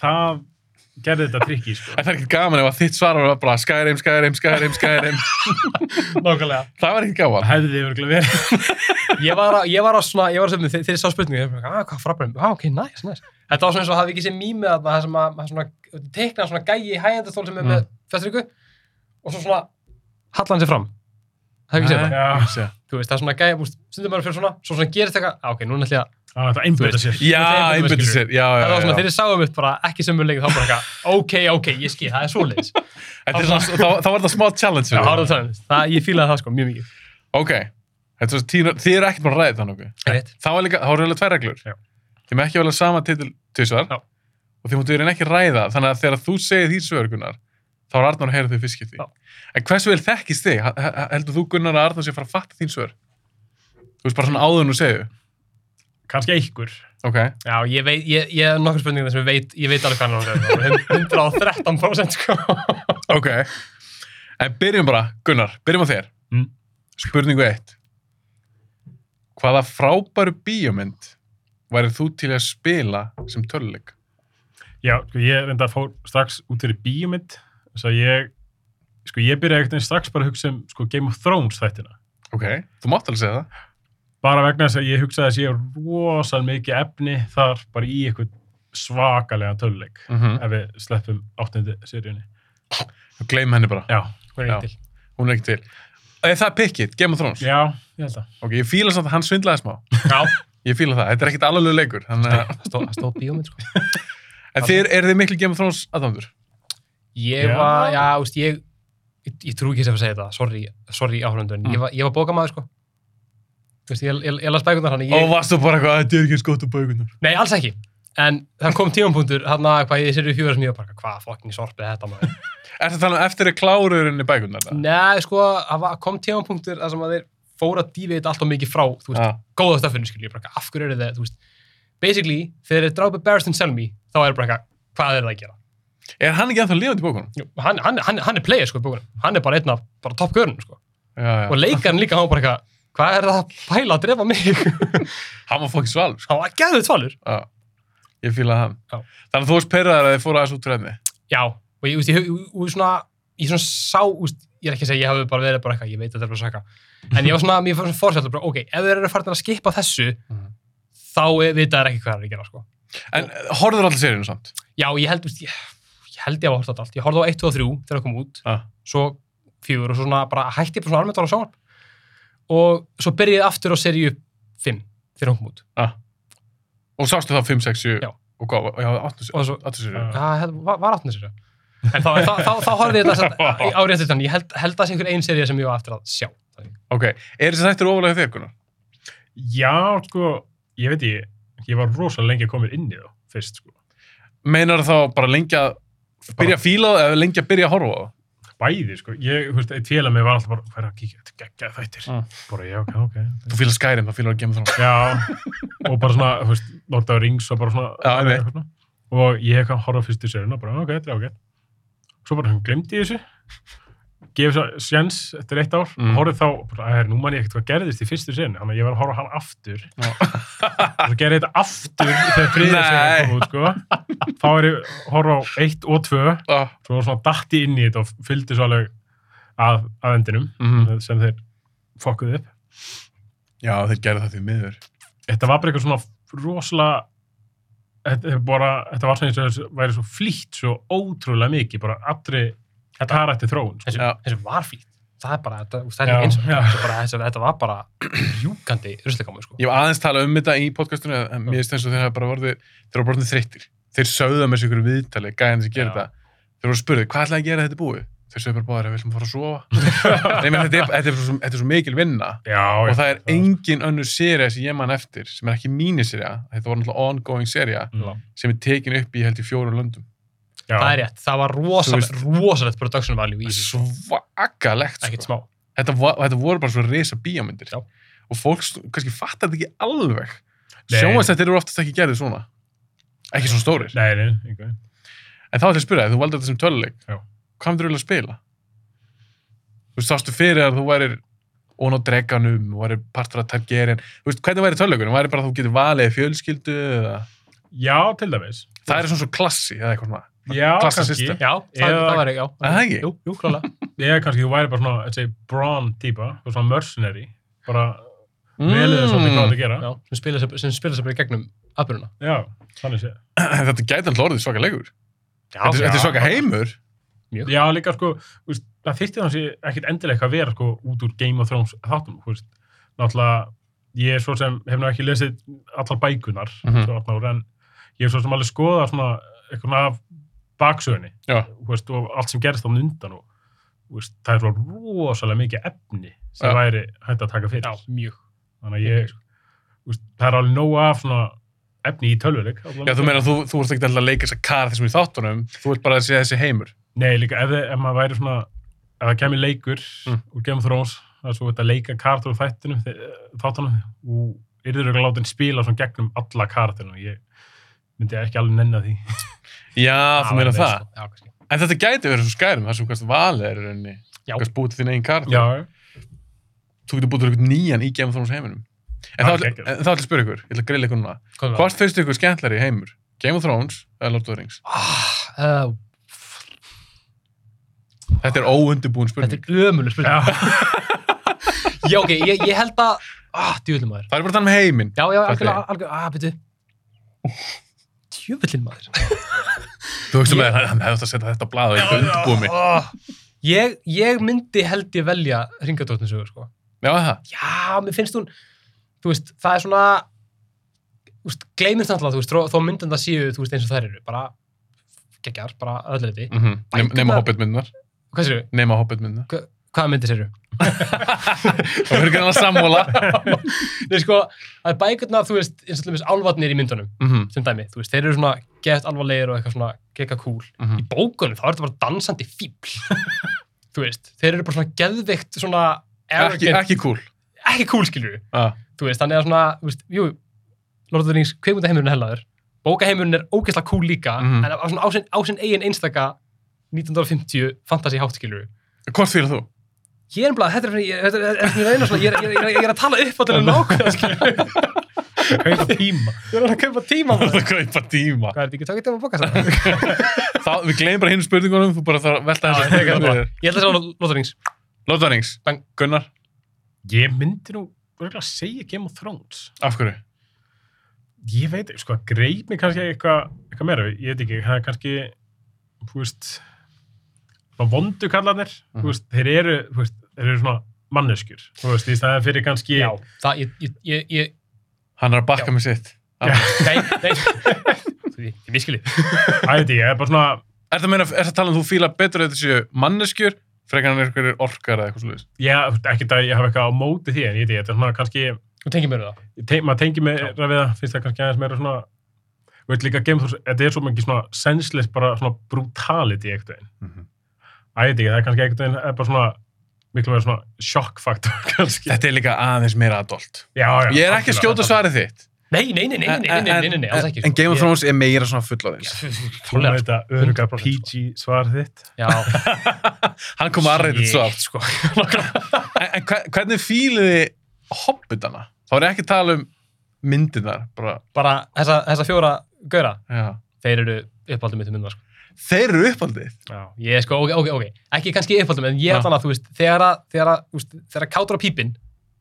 það gerði þetta trikki, sko. en það er ekkert gaman ef að þitt svar var bara Skyrim, Skyrim, Skyrim, <laughs> Skyrim Nákvæmlega. það var ekkert Það gaman hefði þið verið verið. ég var að, ég var að svona, ég var að segja þegar ég sá spurningu, ég var að, hvað frabræðum, ah, ok, næs, næs. Þetta var svona eins og hafði ekki séð mýmið að það sem að, það svona, tekna svona gæi í hægjandastól sem er Mm. með fjöstryggu og svo svona, halla hann sér fram. Það hef ekki séð það. Já. já, Þú veist, það er svona gæi, búst, stundum bara fyrir svona, svo svona gerist eitthvað, ah, ok, núna ætlum ég að, Það var þetta einbyrða sér. já Þetta er einbyrðu skilur. sér já, já, það já, var svona, já. þegar ég sáum upp bara ekki sem mjög leikið, þá bara eitthvað, ok, ok, ég skil, það <laughs> er svoleiðis. Þetta er svona- þá þá var þetta smá challenge Já, fyrir það þig. er það, það, ég fílaði það sko, mjög mikið. ok, þetta er svona tíu- þið eru ekkert bara ræðið þannig Rétt. það var líka, þá voru alveg tvær reglur Já. þið með ekki alveg sama titil tvisvar Já. og þið mútu verið ekki ræða þannig að þegar þú segir því svörgunar þá er Arnar að heyra þau fyrst skipti Já. en hversu vel þekkist þig? Ha- ha- heldur þú Gunnar að Arnar sé að fara að fatta þín svör? þú veist bara svona áður en þú segju Kanski einhver. ok, Já, ég veit, ég, ég hef nokkur spurningar sem ég veit, ég veit alveg hvað hann er á þessu, 113% sko. ok en byrjum bara, Gunnar, byrjum á þér Mm. spurningu 1 hvaða frábæru bíómynd værið þú til að spila sem töluleik? Já, sko, ég reynda að fór strax út fyrir bíumind svo ég, sko, ég byrjaði ekkert strax bara að hugsa um, sko, Game of Thrones þættina ok, þú mátt alveg segja það bara vegna þess að ég hugsaði að ég rosan mikið efni þar bara í eitthvað svakalega töluleik mm -hmm. ef við sleppum áttundu seríunni gleym henni bara Já, Hún er Já. ekki til. hún er ekki til Eða það er pikkið, Game of Thrones já, ég held að Ok, ég fíla samt að hann svindlaði smá <laughs> Já, Ég fíla það, þetta er ekkit alveg leikur þannig að- það stóð, það stóð bíómynd sko. En þér, eru þið miklu Game of Thrones aðdæmdur? Ég Já. var, já, úst, ég, ég, ég trú ekki sem að segja þetta, sorry, sorry áhörundun, Mm. ég, var, ég var bókamaður sko. Þú veist, ég, ég, ég las bækundar hann, ég, Og varstu bara eitthvað, þetta er ekki skott á bækunar nei, alls ekki. En það kom tímapunktur, hann að hvað ég serið fjóra sem ég var bara, hvað fucking sorpið er þetta maður. Er það talað um eftir að kláruðurinn í bækunar? <laughs> nei, sko, það var- kom tímapunktur að sem að þeir fóra dýveit alltaf mikið frá, þú veist, Já, góða stöffinu, skilur ég bara, eitthvað, af hverju eru þeir, þú veist, basically, þegar þeir drápa Barristan Selmy, þá er bara eitthvað, hvað er það að gera? er hann ekki ennþá lifandi í bókunum? Jú, Hann, hann, hann, hann er player, sko, í bókunum. Hann er bara einn af, bara toppgörunum, sko. Já, já og leikarinn líka, hann var bara eitthvað hvað er það að pæla að drefa mig <laughs> hann Hann var fókið svalur, sko var að geða þetta valur Já, ég fílaði hann Já. Þannig að þú varst perraðar að þið fóru aðeins út trefni já, og ég, úst, ég, ég, ég svona ég svona sá, úst, ég er ekki að segja ég hafi bara verið bara eitthvað, ég veit að þetta er bara svaka en ég var svona, mér fór svona fórsættur, bara, ok, ef þeir eru farin að skipa þessu Mhm. þá er- vita þeir ekki hvað það er að gera, sko En horfður allir seríunum samt? já, ég held, úst, ég, ég held ég að horta allt. Ég horfði á 1, 2 og 3 þegar það kom út, Ah. svo 4 og svo svona bara hætti ég bara svona almennt að horfa á sjónvarp. Og svo byrjaði ég aftur á seríu 5 þegar hún kom út. Ah. Og sástu það 5, 6, 7 Já. og hvað, já, 8, Og svo, 8 sér Já. það held- var, var áttin þessu. En þá, þá, þá, þá horfði ég <laughs> þetta sem- á réttu þannig. Ég held, held að það sé einhver ein seríu sem ég var eftir að sjá. Ok, er þessi þættir ofalega þér, Gunnar? Já, sko, ég veit ég, ég var rosalega lengi að koma mér inn í þá, fyrst, sko. Meinar þá bara lengja byrja að fíla það eða lengja að byrja að horfa á það? Bæði, sko. Ég, þú veist, eitt félag mig var alltaf bara, hvað er að kíkja, þetta er geggjað þættir. Ah. Bara, já, ok, ok. Þú fílar Skyrim, þá fílar að gema það Já, og bara svona, þú veist, Lord of the Rings og bara svona. Já, einmitt. eitthvað svona. Og ég hef horfði á fyrstu séruna, bara, ok, þetta er ágætt. Svo bara, hún glemdi ég þessu. Gefið svo sjans eftir eitt ár Mm. og horfði þá, bara, "Æ, nú man ég ekkert hvað gerðist í fyrstu sérinu, þannig að ég var að horfa á hann aftur og gerði þetta aftur þegar þriðja Nei. sérinu kom út, sko. Þá er ég að horfa á eitt og tvö ah, svo var svona datti inn í þetta og fylgdi svo alveg að, að endinum mhm. sem þeir fokkuðu upp. Já, þeir gerðu það því miður Þetta var bara eitthvað svona rosalega þetta, er bara, þetta var svona eins og þessu væri svo flýtt svo ótrúlega mikið, bara allri Þetta- karætti þróun. Sko. Þessu, Já. þessu var flýtt. Það er bara, þetta, það er Já, ekki eins og já. þetta, er bara- þessu- þetta var bara <clears throat> rjúkandi ruslikamu, sko. Ég hef aðeins talað um þetta í podcastinu en mér finnst eins og þeir hafa bara vorið þeir eru bara orðnir þreyttir þeir sögðu að mér sér ykkur viðtali gæðan sem gerir Já. þetta þeir voru að spurði hvað ætlaði að gera þetta er búið þeir sögðu bara báðir að við ætlum að fara að sofa Nei, menn, þetta, er, þetta, er svo, þetta er svo mikil vinna Já, og það er engin önnur serið sem ég man eftir sem er ekki míniserja þetta voru náttúrulega ongoing serja Mm. sem er tekin upp í held í fjórum löndum Já, Það er rétt, það var rosalegt, rosalegt production value í þessu, svakalegt ekkert sko. smá. þetta, var, þetta voru bara svo resa bíómyndir Já. og fólk st- kannski fattar þetta ekki alveg Nei. sjónvarsættir eru oftast ekki gerðið svona ekki svona stórir Nei, nei, einhvern En þá ætlum ég að spyrja þig, þú valdi þetta sem töluleik. Já. Hvað myndir þú eiginlega að spila? Þú veist, sástu fyrir að þú værir ón á dreganum, þú værir partur að targerin. Þú veist, hvernig væri töluleikunum? Væri bara að þú getur valið fjölskyldu eða... Já, til dæmis. Það er svona svo klassi eða eitthvað svona. Já, Klassa kannski. system. Já, það, Eða- það var ekki, já. Er það ekki? Jú, jú, <laughs> klálega. Ég kannski, þú væri bara svona, þessi brawn típa, þú svona mercenary, bara Mm. veliðu Mm. svolítið hvað það gera. Já, sem spila sem, sem spila sem bara í gegnum aðbjörnuna. Já, þannig séð. <clears throat> Þetta gæti alltaf orðið svaka leikur. Þetta er- já. þetta er svaka heimur. Já, líka sko, þú veist, það þyrfti þannig ekkert endilega eitthvað að vera sko út úr Game of Thrones þáttum, þú veist, náttúrulega ég er svo sem, hef nú ekki lesið allar bækunar, Mhm. svo allar, en ég er svo sem alveg skoða svona eitthvað af baksögunni, Já. þú veist, og allt sem gerist á undan og, þú veist, það er svo rosalega mikið efni sem Já. væri hægt að taka fyrir. Já, mjög. Þannig að ég, þú veist, það er alveg nóg af svona efni í tölvuleik. Já, þú meina að þú, þú ert ekki alltaf að leika þess að kara þessum í þáttunum. Þú ert bara að segja þessi heimur. Nei, líka ef, þið- ef maður væri svona ef það kemur leikur Mm. úr Game of Thrones það er svo þetta leika kartur úr þættinum þe- þáttunum og yrður ekki látið spila svona gegnum alla kartinu ég myndi ekki alveg nenni að því Já, þú meina alveg, það. sko. Já, kannski. En þetta gæti verið svo skærum, þar sem hvað valið er í rauninni. Já. Hvað búið til þín eigin karakter. <laughs> Já, þú getur búið til eitthvað nýjan í Game of Thrones heiminum. En þá Það er ætla en geggjað. þá ætla ég að spyrja ykkur, ég ætla að grilla ykkur núna. Komum við Hvort finnst ykkur skemmtlari heimur? Game of Thrones eða Lord of the Rings? að- Uh, Þetta er óundibúin Þetta spurning. er ömuleg spurning. <laughs> já, Já, ok, ég, ég held að, ah, djúvillin maður. Það er bara þannig með heiminn. Já, já, Hvað algjörlega, algjörlega, ah, byrju. Djúvillin maður. Þú veist Ég- með það, hann hefði átt að setja þetta á blað og ég hefði undirbúið mig. Ah, Ég, ég myndi held ég velja ringadóttinsögur, sko. Já, það. já, mér finnst hún þú veist, það er svona þú veist, gleymist náttúrulega, þú veist, þó- þó myndin það séu þú veist, eins og þær eru, bara geggjar, bara öllu liti. Mm -hmm. Bækurnar- Neyma hobbitmyndunar. Hvað séu, Neyma hobbitmyndunar. hvaða myndir séu? Það verður kannan að sammála. Nei, sko, að bækurnar, þú veist, eins og allir álvarnir í myndunum, Mhm, sem dæmi, þú veist, þeir eru svona gett alvarlegir og eitthvað svona gegga cool. Í mhm. bókunum, þá er þetta bara dansandi fíbl. <laughs> þú veist, þeir eru bara svona geðveikt svona Ekki, arrogant- ekki cool. ekki cool, skilur Ah, þú veist, þannig að svona, þú veist, jú, Lord of the Rings, kveikmyndaheimurinn er hellaður, bókaheimurinn er ógeðslega cool líka, Mhm. en á svona á sinn, á sinn eigin einstaka 1950 fantasy háttskilur. Hvort fyrir þú? Ég er bara, þetta er, ég- þetta er, þetta er, þetta er, svona, ég er, ég er, ég er, ég er að tala upp á til að nákvæða, skilur. kaupa tíma Ég er að kaupa tíma. Þú ert maður. að kaupa tíma. Hvað er þetta ekki tökja tíma að bóka <laughs> það? Þá, við gleymum bara hinn spurningunum, þú bara þarf að velta Já, ég tek það bara. þessu. Ég ætla að sjá Lord of the Rings. Lord of the Rings. Bang. Gunnar, ég myndi nú örgulega að segja Game of Thrones af hverju? ég veit, sko, greip mig kannski eitthvað eitthvað meira, ég veit ekki, það er kannski þú veist bara vondu kallarnir, Mhm. þú veist, þeir eru þú veist, þeir eru svona manneskjur þú veist, í staðan fyrir kannski Já, það, ég, ég, ég, ég, Hann er að bakka Já. með sitt. Já. nei, nei, <laughs> Þú, ég, ég miskili. ætti ég, er bara svona Er það meina, er það talað um þú fíla betur að þetta séu manneskjur, frekar hann einhverjir orkar eða eitthvað slúðis? já, þú veist, ekkert að ég hafa eitthvað á móti því en ég veit ég, þetta er svona kannski Þú tengir mér það. ég te maður tengi meira við það, finnst það kannski aðeins meira svona þú veist líka Game of Thrones, þetta er svo mikið svona senseless, bara svona brutality eitthvað einn, Mhm. ætti ekki, það er kannski eitthvað einn, bara svona miklu meira svona sjokkfaktor <laughs> kannski Þetta er líka aðeins meira adult. já, já, Ég er ekki að skjóta algjörlega, svarið þitt. Nei, nei, nei, nei, nei, nei, nei, nei, nei, alls ekki. sko. En Game of Thrones er meira svona fullorðins. algjörlega. Þú með þetta öruga 100% PG svar þitt Já. Hann <laughs> kom að reyndið svo. Shit, sko. Nákvæmlega. En, en hve- hvernig fíliði hobbitana? Þá er ég ekki að tala um myndirnar, bara, Bara þessa, þessa fjóra gauðra, já. þeir eru uppáldum mitt um mynda, sko. Þeir eru uppaldið. já, Ég, sko, ok, ok, ok, ekki kannski uppáldum, en ég Já. ætla að, þú veist, þegar að, þegar að, þú veist, þegar að kátur á pípinn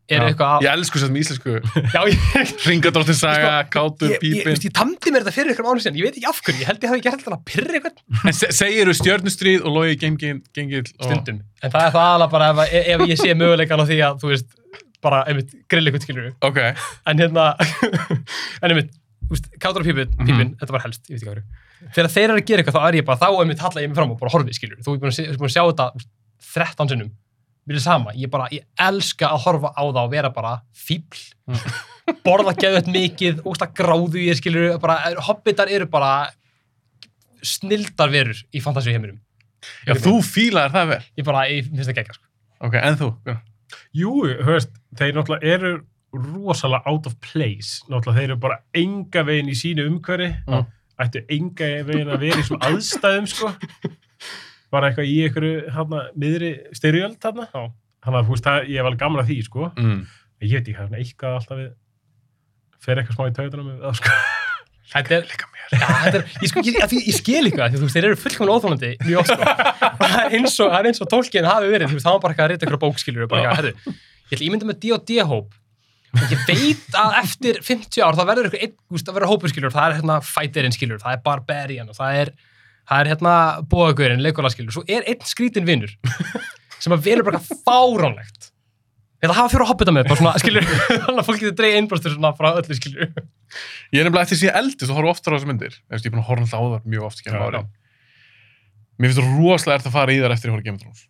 eru Já. eitthvað að, Ég elsku sem íslensku já, ég, ringadróttin saga, kátur, ég, ég, pípin. veist, ég tamdi mér þetta fyrir ykkur mánu síðan, ég veit ekki af hverju, ég held ég hafi gert þetta til að pyrra eitthvað En se- segiru stjörnustríð og logi gengil og... stundum, en það er það alveg bara ef, að- e- ef ég sé möguleikan á því að, þú veist, bara, einmitt, grill eitthvað skilur Ok, en hérna, <laughs> en einmitt, þú veist, kátur á pípinn, Mhm. pípinn, þetta var helst, ég veit ekki af hverju, þegar þeir eru að gera eitthvað, þá er ég bara, þá einmitt halla ég mig fram og bara horfi, skilur, þú er búin að, sé- búin að sjá þetta þú veist, 13 sinnum, mér er sama, ég bara, ég elska að horfa á það og vera bara fíbl, Mhm. <laughs> borða geðvett mikið, ósta gráðu ég skilur, bara, hobbitar eru bara snildar verur í fantasíu heiminum, já, þú fílaðir það vel. ég bara, ég finnst það geggar, sko. Ok, en þú? Jú, höfst, þeir náttúrulega eru rosalega out of place náttúrulega þeir eru bara enga veginn í sínu umhverfi Já. ættu enga veginn að vera í svona aðstæðum sko bara eitthvað í einhverju hana, miðri styrjöld hana hann að þú veist það, ég var alveg gamla því sko Mm. ég veit ekki, það er svona eitthvað alltaf við fer eitthvað smá í tautunum við það sko Þetta er líka mér. Já, þetta er, ég, sko, ég, af því- ég skil líka það, því þú veist, þeir eru fullkomlega óþólandi mjög oft, sko. Það er eins og, það er eins og tólkin hafi verið, þú veist, það var bara eitthvað að rita ykkur bókskilur og bara, eitthvað, herru, ég ætla að ímynda með D&D-hóp og ég veit að eftir 50 ár það verður eitthvað einn, þú veist, að vera hópur skilur, það er hérna fighterinn skilur, það er barbarian og það er, það er hérna bóðagurinn, leikóla skilur, svo er einn skrítin vinnur sem að velur bara eitthvað fáránlegt. Ég ætla að hafa fyrir að hoppita með, bara svona, skilur, <laughs> þannig að fólk getur dreigð einbúrstur svona frá öllu, skilur. Ég er nefnilega eftir því eldist og horfa oftar á þessar myndir. Ég veist, ég er búin að horfa alltaf á það mjög oft Já, gennum árin. Mér finnst það rosalega erft að fara í þar eftir að horfa Game of Thrones.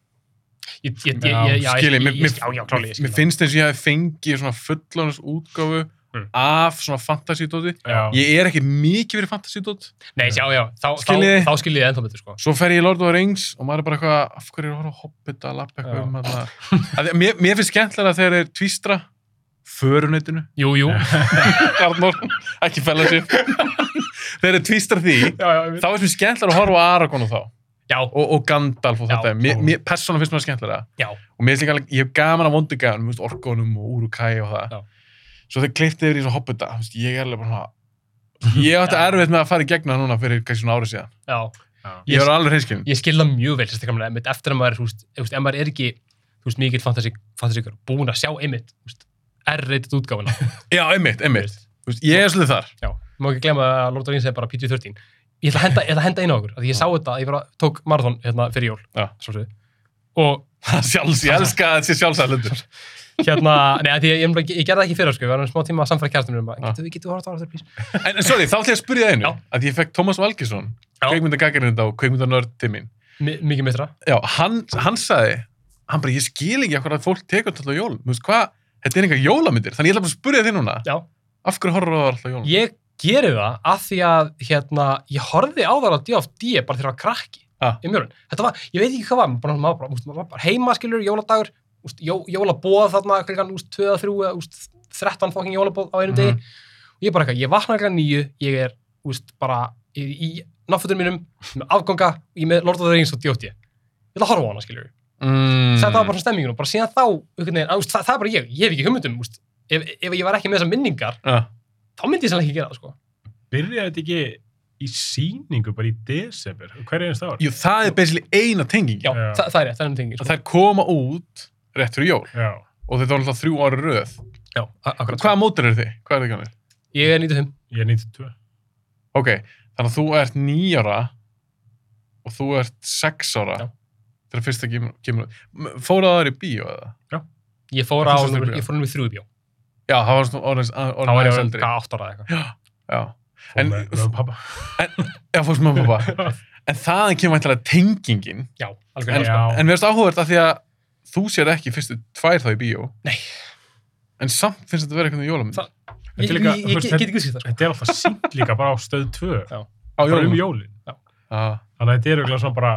Ég, ég, ég, Já, ég, já, ég, Skilji, ég, mér- ég, mér- já, já, klálega, ég skil Mér finnst eins og ég hafi fengið svona fullónus útgáfu Mm. af svona fantasídóti. já, Ég er ekki mikið fyrir fantasídót. það. Nei, já, já, þá, Skiljiði? þá, þá skil ég það ennþá betur, sko. Svo fer ég í Lord of the Rings og maður er bara eitthvað, af hverju er að horfa á hobbit að lappa Já. eitthvað um að það. Mér, mér finnst skemmtilega þegar þeir tvístra <laughs> föruneytinu, Jú, jú, Arnór, ekki fellowship. þegar þeir tvístra því, já, já, já, þá er mér skemmtilega að horfa á Aragorn og þá. já, og, og Gandalf og Já, þetta mér, klárlega. mér, persónan finnst mér skemmtilega já, og mér finnst líka, alveg- ég hef gaman af vondugafunum veist, orkonum og Urukæ og það Já. svo þegar kliftið yfir í svo hoppita veist, ég er alveg bara Mhm. svona ég átti erfitt með að fara í gegna núna fyrir kannski svona ári síðan já. já, ég var alveg hreinskinn Ég skil það mjög vel, sérstaklega, einmitt eftir að maður, er, þú veist, þú veist, ef maður er ekki, þú veist, mikill fantasíkur, búin að sjá einmitt, þú veist, R-rated útgáfuna, þú já, <laughs> einmitt, einmitt veist, veist, ég er svolítið <laughs> þar já. Má ekki glemma að Lord of the Rings er bara PG-13. Ég ætla að henda, ég ætla að henda einu á okkur, af því ég sá þetta, ég bara tók marathon hérna fyrir jól, Já. sjálfsögðu. Og Sjálfs, ég elska að þetta sé sjálfsæðlendur hérna, nei, af því ég, ég, ég, ég gerði það ekki fyrir, sko, við varum smá tíma að samfæra kærstunum um að, Já. getur við, getur við horfðið á þetta, please? en en sorry, þá ætla ég að spyrja það einu Já. að ég fekk Tómas Valgesson Já. kveikmyndagakarinn og kveikmyndanörd til mín Mi- mikið meistra. já, hann, hann sagði hann bara, ég skil ekki hvað fólk tekur alltaf jól Þú veist, hvað, þetta er engar jólamyndir þannig ég ætla bara að spurja þig núna Já. af hverju horfður það alltaf jólum? ég geri það að því að hérna, ég horfði á það á D.F.D. bara þegar ég var krakki Ah. um jólun. Þetta var, ég veit ekki hvað var, bara, maður, bara, úst, maður var bara heima skilur, jóladagur, úst, jó, jólabóð þarna, klukkan, úst, 2 að 3 eða úst, 13 fokking jólabóð á einum Mhm. degi. Og ég bara eitthvað, ég vakna klukkan 9, ég er, úst, bara í, í náttfötunum mínum, með afganga, ég er með Lord of the Rings og D.F.D. Ég ætla að horfa á hana skilur mm. þetta var bara svona stemmingun og bara síðan þá, einhvern veginn, að, úst, það, það er bara ég, ég hef ekki hugmyndum, úst, ef, ef ég var ekki með þessar minningar, bara þá myndi ég sannlega ekki gera það, sko. byrjaði þetta ekki í síningu bara í desember, hverju einst ár Jú, það er basically eina tenging Já, Já. Þa, það er rétt, það er um tengi. og þær koma út rétt fyrir jól já, og þetta var alltaf þrjú ára röð Já, a- akkurat. Hvaða mótur eru þið? Hvað er þið gamlega? Ég er 95. ég er 92 Ok, þannig að þú ert níu ára og og þú ert sex ára Já. þegar fyrsta kemur, kemur. fóra það í bíó eða? Ég fór á, Fyrsta stundin, já. ég fór númið þrjú í bjó. Já, það var svona orðins, Þá orðins var aðeins ég orðinn eldri. hvað, átt ára eða eitthvað. Já, Fór En- með- með pappa. já fórst með <laughs> pappa. en þaðan kemur ætlaði tengingin. Já, alveg En, rétt, sko. en mér finnst áhugavert að því að þú sér ekki fyrstu tvær þá í bíó. Nei. En samt finnst þetta verið eitthvað jólamynd. Það- Þetta Ég, er ég, líka- ég, þú ég veist, get ekki útsýtt það, sko. <laughs> Þetta er alltaf sínt líka bara á stöð 2. Já. Á Bara um jólamynd. jólin. Ah. Þannig að þetta er eiginlega svona bara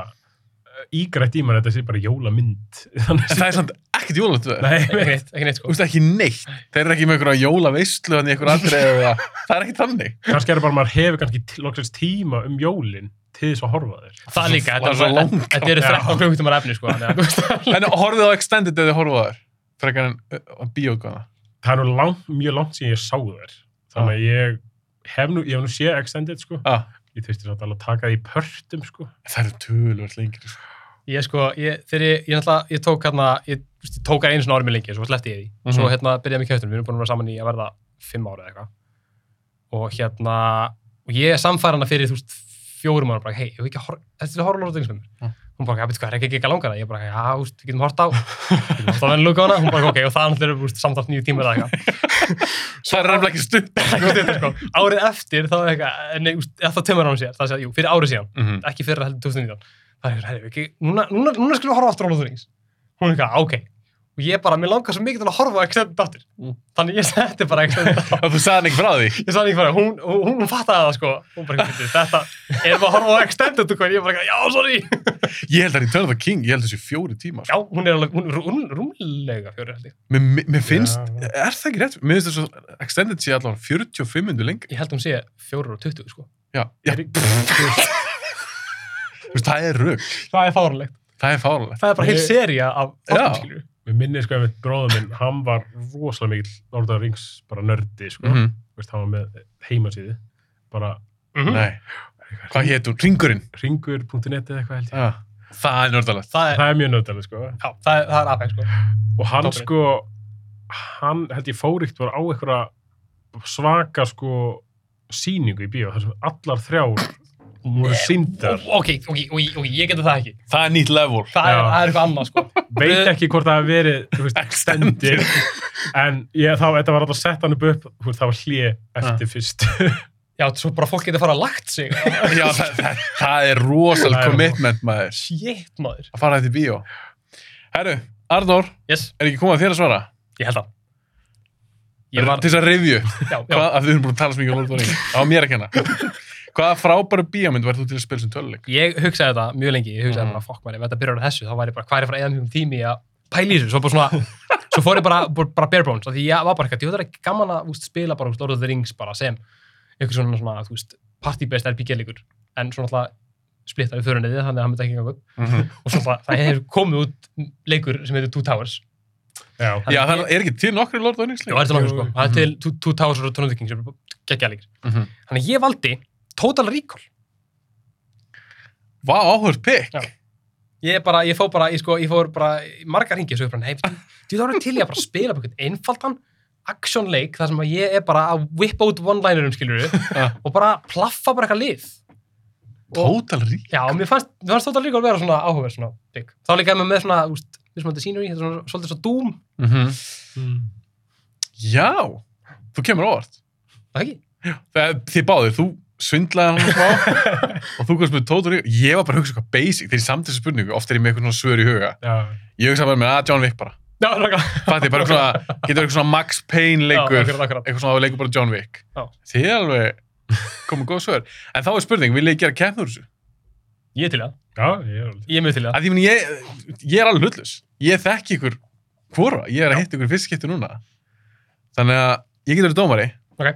eh, ígrætt í mér að þetta sé bara jólamynd. <laughs> Þannig En það er samt ekkert jólamynd við <laughs> það. Nei, Ekki neitt, ekki neitt, Þú sko. veist ekki neitt. Þeir eru ekki með einhverja jólaveislu hann í einhver andri eða það er ekki þannig. kannski er það bara að maður hefur kannski tí- loksins tíma um jólin til þess að horfa á þér. Það líka, þetta var svo er bara- langt. þetta eru Já. 13 klukkutumar efni, sko. þannig að, þú veist, En horfið á extended eða horfið á þær. Frekar en uh, bíókvæða. Það er nú langt, mjög langt sem ég sá þær. Þannig að ég hef nú, ég hef nú séð extended, sko. Ah. Ég þurfti samt alveg að taka það í pörtum, sko. Það eru tölvöld lengri. sko. Ég sko, ég, þegar ég, ég náttúrulega, ég tók hérna, ég, þú veist, ég tók hann einu svona ári með lengi, svo sleppti ég því. Svo Mhm. hérna byrjaði mig kjöftunum, við erum búin að vera saman í að verða fimm ára eða eitthvað. Og hérna, og ég samfæra hana fyrir, þú veist, fjórum ára, bara, hei, ég hef ekki að horfa, þetta er að horfa á þingis með mér. Mm. Hún bara, eitthvað, er ekki ekki að langa það? Ég bara, já, þú veist, við getum hort á, við getum hort á venni lúka hana, hún bara, ok, og það náttúrulega er, þú veist, samtalt nýju tímar eða eitthvað. Það er nefnilega ekki stutt. Ekki stundum, sko. Árið eftir, þá er eitthvað, nei, þú veist, þá tömur hún sér, það sé að, jú, fyrir ári síðan, Mhm. ekki fyrir heldur 2019 það er eitthvað, ekki, núna, núna, núna skulum við horfa aftur á Lóðurings hún er eitthvað, "Ah, ok og ég bara, mér langar svo mikið til að horfa á Extended aftur Mm. þannig ég <laughs> setti bara Extended á Og þú sagði hann ekki frá því. ég sagði ekki bara, hún, hún, hún, fattaði það sko hún bara, "Bíddu, þetta, erum við að horfa á Extended og hvað?" ég bara, já, sorry Ég held að Return of the King, ég held þessi fjóri tíma. já, hún er alveg, hún er rú- rúmlega fjóri held ég. Mér, mér- mér finnst, Já. er það ekki rétt? Mér finnst þess að Extended sé allavega 45 minnur lengi. ég held hún sé fjórir og 20 sko Já, já, Er- þú veist, það er rugg. það er fárlegt, Það er fárlega. það er bara heil Ég- seria af Já. þáttum, skilurðu. Mér minnir sko einmitt bróðum minn, hann var rosalega mikill Lord of the Rings bara nördi, sko. Mm Veist, hann var með heimasíði, bara Mhm. Nei, hvað hétt hún? Ringurinn. ringur.net eða eitthvað held ég. Ah, það er nördalegt. það er, Það er mjög nördalega, sko. já, það er, það er apex sko Og hann Toppurinn. sko, hann held ég fóríkt var á einhverja svaka sko sýningu í bíó, þar sem allar þrjár voru síndar. ok, ok, ok, ok, ég geta það ekki Það er nýtt level. það er, Já. það er eitthvað annað sko Veit ekki hvort það hef verið, þú veist, stendir. En ég, þá, þetta var alltaf sett hann upp upp, þú veist, það var hlið eftir fyrst. <laughs> Já, svo bara fólk getur fara að lagt sig. <laughs> Já, það, það, það er rosal Það er- commitment, maður. Shit, maður. Að fara þetta í bíó. Herru, Arnór, Yes, er ekki komað þér að svara? ég held það. Ég var, Til þess að revju, já, já. hvað, að við erum búin að tala svo mikið um Lord of the Rings. Það var mér að kenna. Hvaða frábæru bíómynd verður þú til að spila sem töluleik? Ég hugsaði þetta mjög lengi, ég hugsaði Mhm. bara, fokk maður, ef þetta byrjar á þessu, þá var ég bara, hvað er ég að fara að eða mjög um tími í að pæla í þessu? Svo <laughs> bara svona, svo fór ég bara, bara, bara bare bones, af því ég var bara eitthvað, ég var ekki gaman að úst, spila bara, úst, Lord of the Rings bara sem einhver svona, svona, þú veist, party-based RPG-leikur, en svona alltaf splittar við förunniði, þannig að það myndi ekki ganga upp. Mm -hmm. Og svona, það hefur komið út leikur sem heitir Two Towers, Já. Já, það er ekki til nokkri Lord of the Rings Já, það leikir. er til nokkuð Jú, sko. jú. Það er til Two- Two Towers og Return of the King sem er geggja líkir. Mhm. Þannig að ég valdi Total Recall. Vá, áhörð pikk. Já. Ég bara, ég fór bara, ég sko, ég fór bara í margar hringi þessu upprann. Hei, þú þá erum til ég að bara spila bara einhvern einfaldan action-leik þar sem að ég er bara að whip out one-linerum, skilur <laughs> Ah. og bara plaffa bara eitthvað lið. Og- Total rík. Já, og mér fannst, mér fannst Total Recall vera svona áhugaverð svona bygg. Þá líka með með svona, úst, mismöndi scenery, þetta er svona svolítið svo Doom, Mhm. Já, þú kemur á óvart. það ekki? Það- Þið báðir, þú svindlaði hann smá <laughs> og þú komst með tótur í. Ég var bara að hugsa eitthvað basic þegar ég samt þessu spurningu. Oft er ég með eitthvað svona svör í huga. Já. Ég hugsa bara með að John Wick bara. Já, nákvæmlega. Fætti, bara eitthvað svona, getur verið eitthvað svona Max Payne leikur. Já, akkurat, akkurat. Eitthvað svona að við leikur bara John Wick. Já. Þið er alveg komið góð svör. En þá er spurning, vil ég gera keppnur úr þessu? Ég er til í það. Já, ég er alveg. Ég er mjög til í það. Að því minn ég, ég er alveg hlutlus. Ég þekki ykkur hvora. Ég er að hitta ykkur fyrst skipti núna. Þannig að ég getur verið dómari. Ok.